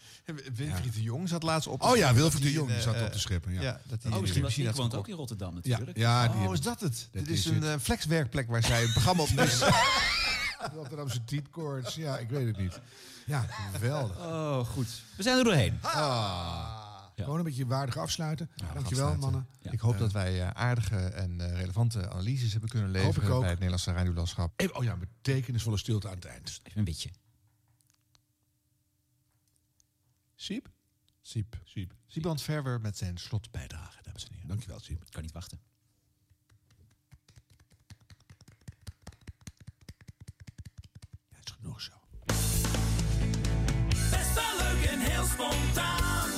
Speaker 2: Wilfried de Jong zat laatst op.
Speaker 1: Oh ja, Wilfried de
Speaker 2: die
Speaker 1: Jong
Speaker 2: in,
Speaker 1: die zat
Speaker 2: eh,
Speaker 1: op te scheppen. Ja.
Speaker 2: Ja, dat
Speaker 1: Oh,
Speaker 2: hij in de
Speaker 1: misschien was
Speaker 2: machine
Speaker 1: ik,
Speaker 2: had
Speaker 1: want
Speaker 2: gekocht.
Speaker 1: ook in
Speaker 3: Rotterdam
Speaker 1: natuurlijk. Ja, die
Speaker 2: oh,
Speaker 1: hebben-
Speaker 2: is dat het?
Speaker 1: dat
Speaker 2: Dit is,
Speaker 1: is
Speaker 2: een
Speaker 1: het.
Speaker 2: eh, flexwerkplek waar zij een programma opneemt.
Speaker 1: Rotterdamse tietkoorts, ja, ik weet het niet. Ja, geweldig. Ah.
Speaker 3: Oh, goed. We zijn er doorheen.
Speaker 1: Gewoon een beetje waardig afsluiten. Dankjewel,
Speaker 2: afsluiten.
Speaker 1: mannen.
Speaker 2: Ik hoop
Speaker 1: Eh,
Speaker 2: dat wij eh, aardige en eh, relevante analyses hebben kunnen
Speaker 1: Hoop ik
Speaker 2: leveren
Speaker 1: ook.
Speaker 2: bij het Nederlandse radiolandschap. Dus
Speaker 1: Even, oh ja, betekenisvolle stilte aan het eind.
Speaker 3: Even een beetje.
Speaker 1: Siep?
Speaker 2: Siep.
Speaker 1: Siep.
Speaker 2: Siebrand Verwer met zijn slotbijdrage, dames en heren.
Speaker 1: Dankjewel, Siep.
Speaker 3: Kan niet wachten.
Speaker 1: is genoeg zo.
Speaker 10: Best wel leuk en heel spontaan.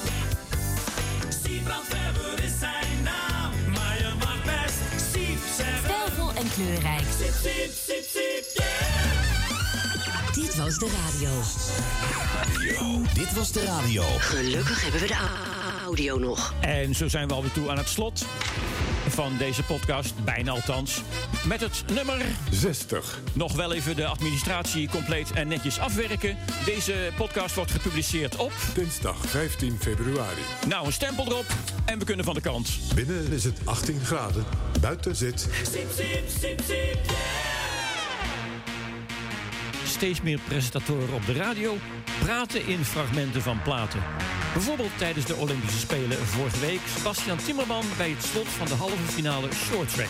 Speaker 10: Siebrand Verber is zijn naam. Maar je mag best Siep zeggen.
Speaker 4: Stijlvol en kleurrijk.
Speaker 10: Siep, siep, siep, siep, yeah.
Speaker 4: Dit
Speaker 40: was de radio.
Speaker 41: Dit was de radio.
Speaker 40: Gelukkig hebben we de a- audio nog.
Speaker 16: En zo zijn we alweer toe aan het slot van deze podcast, bijna althans, met het nummer 60. Nog wel even de administratie compleet en netjes afwerken. Deze podcast wordt gepubliceerd op...
Speaker 42: Dinsdag 15 februari.
Speaker 16: Nou, een stempel erop en we kunnen van de kant.
Speaker 42: Binnen is het 18 graden. Buiten zit.
Speaker 16: Steeds meer presentatoren op de radio praten in fragmenten van platen. Bijvoorbeeld tijdens de Olympische Spelen vorige week Sebastian Timmerman bij het slot van de halve finale Short Track.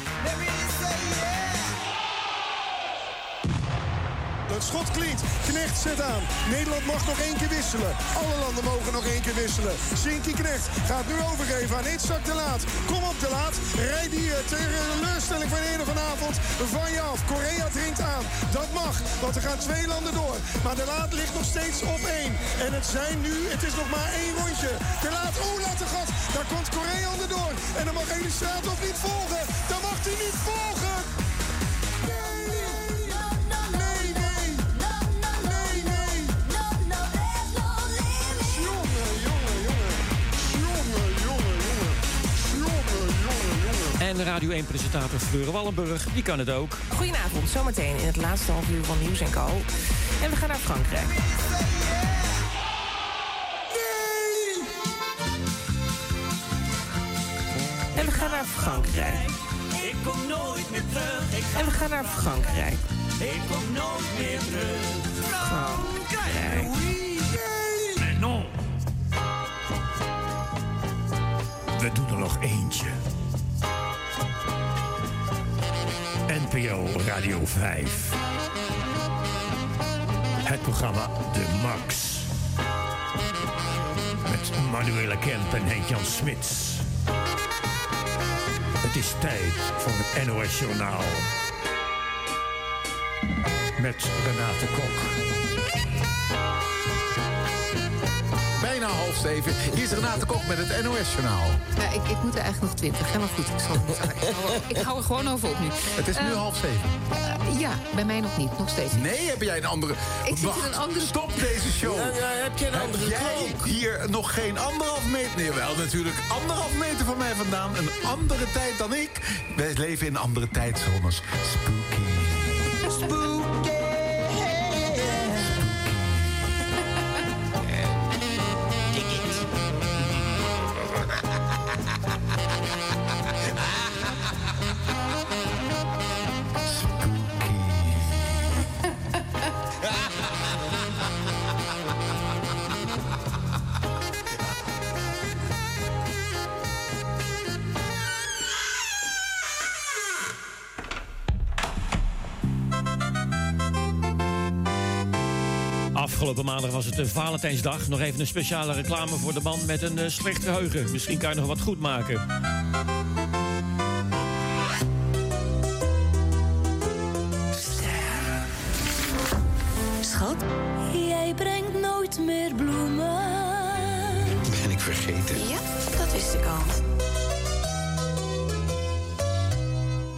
Speaker 17: Het schot klinkt. Knecht zet aan. Nederland mag nog één keer wisselen. Alle landen mogen nog één keer wisselen. Sinky Knecht gaat nu overgeven aan Itzak de Laat. Kom op de Laat. Rijd hier tegen de teleurstelling van eerder vanavond. Van je af. Korea dringt aan. Dat mag, want er gaan twee landen door. Maar de Laat ligt nog steeds op één. En het zijn nu, het is nog maar één rondje. De Laat, oh, laat de gat. Daar komt Korea onderdoor. En dan mag Elistraathoff niet volgen. Dan mag hij niet volgen. Nee, nee. Nee, nee. Jongen, jongen, jongen. Jongen, jongen, jongen. Jongen, jongen, jongen.
Speaker 16: En Radio 1-presentator Fleur Wallenburg, die kan het ook.
Speaker 22: Goedenavond, zometeen in het laatste half uur van Nieuws en Co. En we gaan naar Frankrijk. En we gaan naar Frankrijk.
Speaker 10: Ik kom nooit meer terug. Ik
Speaker 22: En we gaan naar Frankrijk.
Speaker 10: Ik kom nooit meer terug.
Speaker 22: Frankrijk.
Speaker 10: Mais non.
Speaker 26: We doen er nog eentje. NPO Radio 5. Het programma De Max. Met Manuela Kemp en Henk-Jan Smits. Het is tijd voor het NOS Journaal. Met Renate Kok.
Speaker 4: Bijna half zeven. Hier is Renate Kok met het NOS-journaal.
Speaker 43: Ja, ik, ik moet er eigenlijk nog twintig. Helemaal goed. Ik, zal het niet zeggen. ik, hou er, ik hou er gewoon over op nu.
Speaker 4: Het is nu
Speaker 43: Eh,
Speaker 4: half zeven.
Speaker 43: eh, ja, bij mij nog niet. Nog steeds niet.
Speaker 4: Nee, heb jij een andere...
Speaker 43: Ik zit
Speaker 4: Wacht,
Speaker 43: in een andere...
Speaker 4: Stop deze show.
Speaker 43: Ja, ja, heb je een andere
Speaker 4: jij hier nog geen anderhalf meter... Nee, wel natuurlijk anderhalf meter van mij vandaan. Een andere tijd dan ik. Wij leven in andere tijdzones. Spooky. Spooky.
Speaker 16: Afgelopen maandag was het eh, Valentijnsdag. Nog even een speciale reclame voor de man met een eh, slecht geheugen. Misschien kan je nog wat goed maken.
Speaker 10: Schat, jij brengt nooit meer bloemen.
Speaker 4: Ben ik vergeten.
Speaker 43: Ja, dat wist ik al.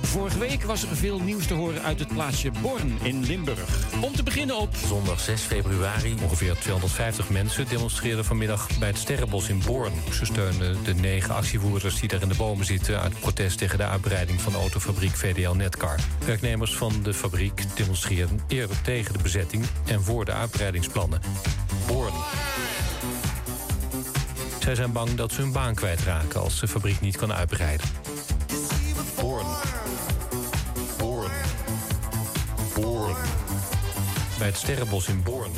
Speaker 16: Vorige week was er veel nieuws te horen uit het plaatsje Born in Limburg. Om te beginnen op
Speaker 44: Zondag 6 februari, ongeveer 250 mensen demonstreerden vanmiddag bij het Sterrenbos in Born. Ze steunden de negen actievoerders die daar in de bomen zitten uit protest tegen de uitbreiding van de autofabriek VDL Netcar. Werknemers van de fabriek demonstreerden eerder tegen de bezetting en voor de uitbreidingsplannen. Born. Zij zijn bang dat ze hun baan kwijtraken als de fabriek niet kan uitbreiden. Born. Born. Born bij het Sterrenbos in Born.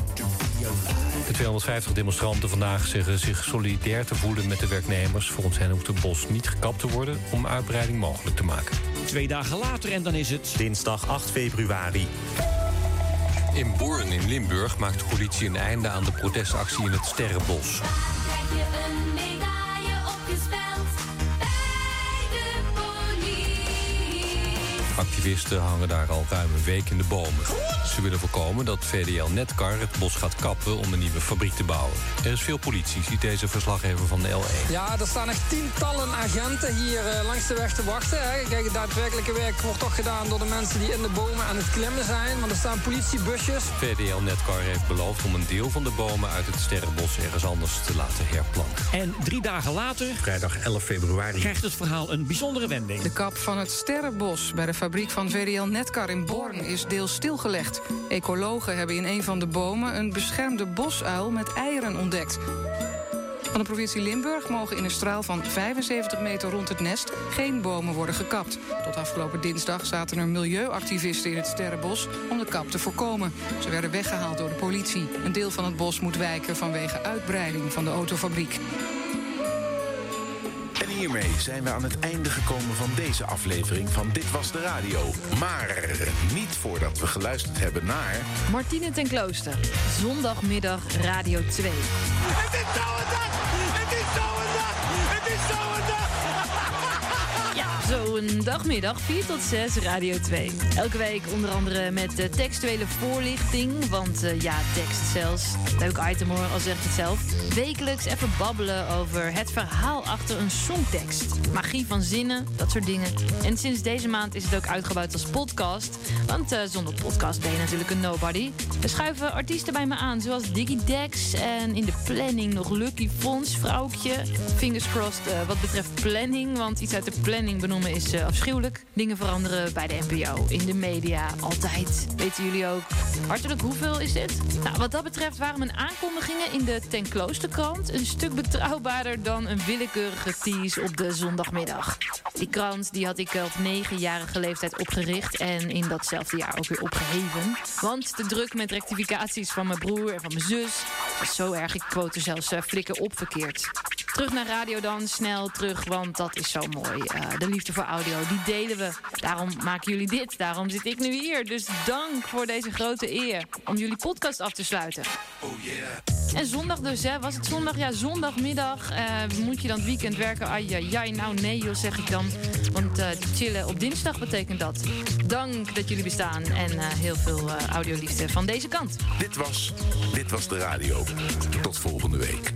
Speaker 44: De 250 demonstranten vandaag zeggen zich solidair te voelen met de werknemers. Volgens hen hoeft het bos niet gekapt te worden om uitbreiding mogelijk te maken.
Speaker 16: twee dagen later en dan is het...
Speaker 44: Dinsdag 8 februari. In Born in Limburg maakt de politie een einde aan de protestactie in het Sterrenbos.
Speaker 10: Krijg je een medaille opgespeld bij de politie.
Speaker 44: Activisten hangen daar al ruim een week in de bomen. Ze willen voorkomen dat VDL Netcar het bos gaat kappen om een nieuwe fabriek te bouwen. Er is veel politie, ziet deze verslaggever van de E. L1.
Speaker 14: Ja, er staan echt tientallen agenten hier eh, langs de weg te wachten. Hè. Kijk, het daadwerkelijke werk wordt toch gedaan door de mensen die in de bomen aan het klimmen zijn. Want er staan politiebusjes.
Speaker 44: VDL Netcar heeft beloofd om een deel van de bomen uit het Sterrenbos ergens anders te laten herplanten.
Speaker 8: En drie dagen later,
Speaker 44: Vrijdag 11 februari.
Speaker 8: krijgt het verhaal een bijzondere wending.
Speaker 43: De kap van het Sterrenbos bij de fabriek van VDL Netcar in Born is deels stilgelegd. Ecologen hebben in een van de bomen een beschermde bosuil met eieren ontdekt. Van de provincie Limburg mogen in een straal van 75 meter rond het nest geen bomen worden gekapt. Tot afgelopen dinsdag zaten er milieuactivisten in het Sterrenbos om de kap te voorkomen. Ze werden weggehaald door de politie. Een deel van het bos moet wijken vanwege uitbreiding van de autofabriek.
Speaker 4: En hiermee zijn we aan het einde gekomen van deze aflevering van Dit Was De Radio. Maar niet voordat we geluisterd hebben naar...
Speaker 13: Martine ten Klooster, zondagmiddag Radio 2.
Speaker 10: Het is zo'n dag! Het is zo'n dag! Het is zo'n dag!
Speaker 13: Ja, zo'n dagmiddag 4 tot 6 Radio 2. Elke week onder andere met eh, textuele voorlichting, want eh, ja, tekst zelfs. Leuk item hoor, al zegt het zelf. Wekelijks even babbelen over het verhaal achter een songtekst. Magie van zinnen, dat soort dingen. En sinds deze maand is het ook uitgebouwd als podcast. Want eh, zonder podcast ben je natuurlijk een nobody. Er schuiven artiesten bij me aan, zoals Diggy Dex en in de planning nog Lucky Fons, Vrouwtje. Fingers crossed eh, wat betreft planning, want iets uit de planning benoemen is eh, afschuwelijk. Dingen veranderen bij de NPO, in de media, altijd. Weten jullie ook. Hartelijk hoeveel is dit? Nou, wat dat betreft waren mijn aankondigingen in de Ten Kloosterkrant een stuk betrouwbaarder dan een willekeurige tease op de zondagmiddag. Die krant die had ik eh, op negenjarige leeftijd opgericht en in datzelfde jaar ook weer opgeheven. Want de druk met rectificaties van mijn broer en van mijn zus was zo erg, ik quote er zelfs eh, flikken op verkeerd. Terug naar radio dan, snel terug, want dat is zo mooi. Eh, de liefde voor audio, die delen we. Daarom maken jullie dit, daarom zit ik nu hier. Dus dank voor deze grote eer om jullie podcast af te sluiten.
Speaker 10: Oh yeah!
Speaker 13: En zondag dus, hè? Was het zondag? Ja, zondagmiddag. eh, moet je dan het weekend werken? Ai, ai, ai. Nou, nee, joh, zeg ik dan. Want eh, chillen op dinsdag betekent dat. Dank dat jullie bestaan en eh, heel veel eh, audioliefde van deze kant.
Speaker 4: Dit was... Dit was de radio. Tot volgende week.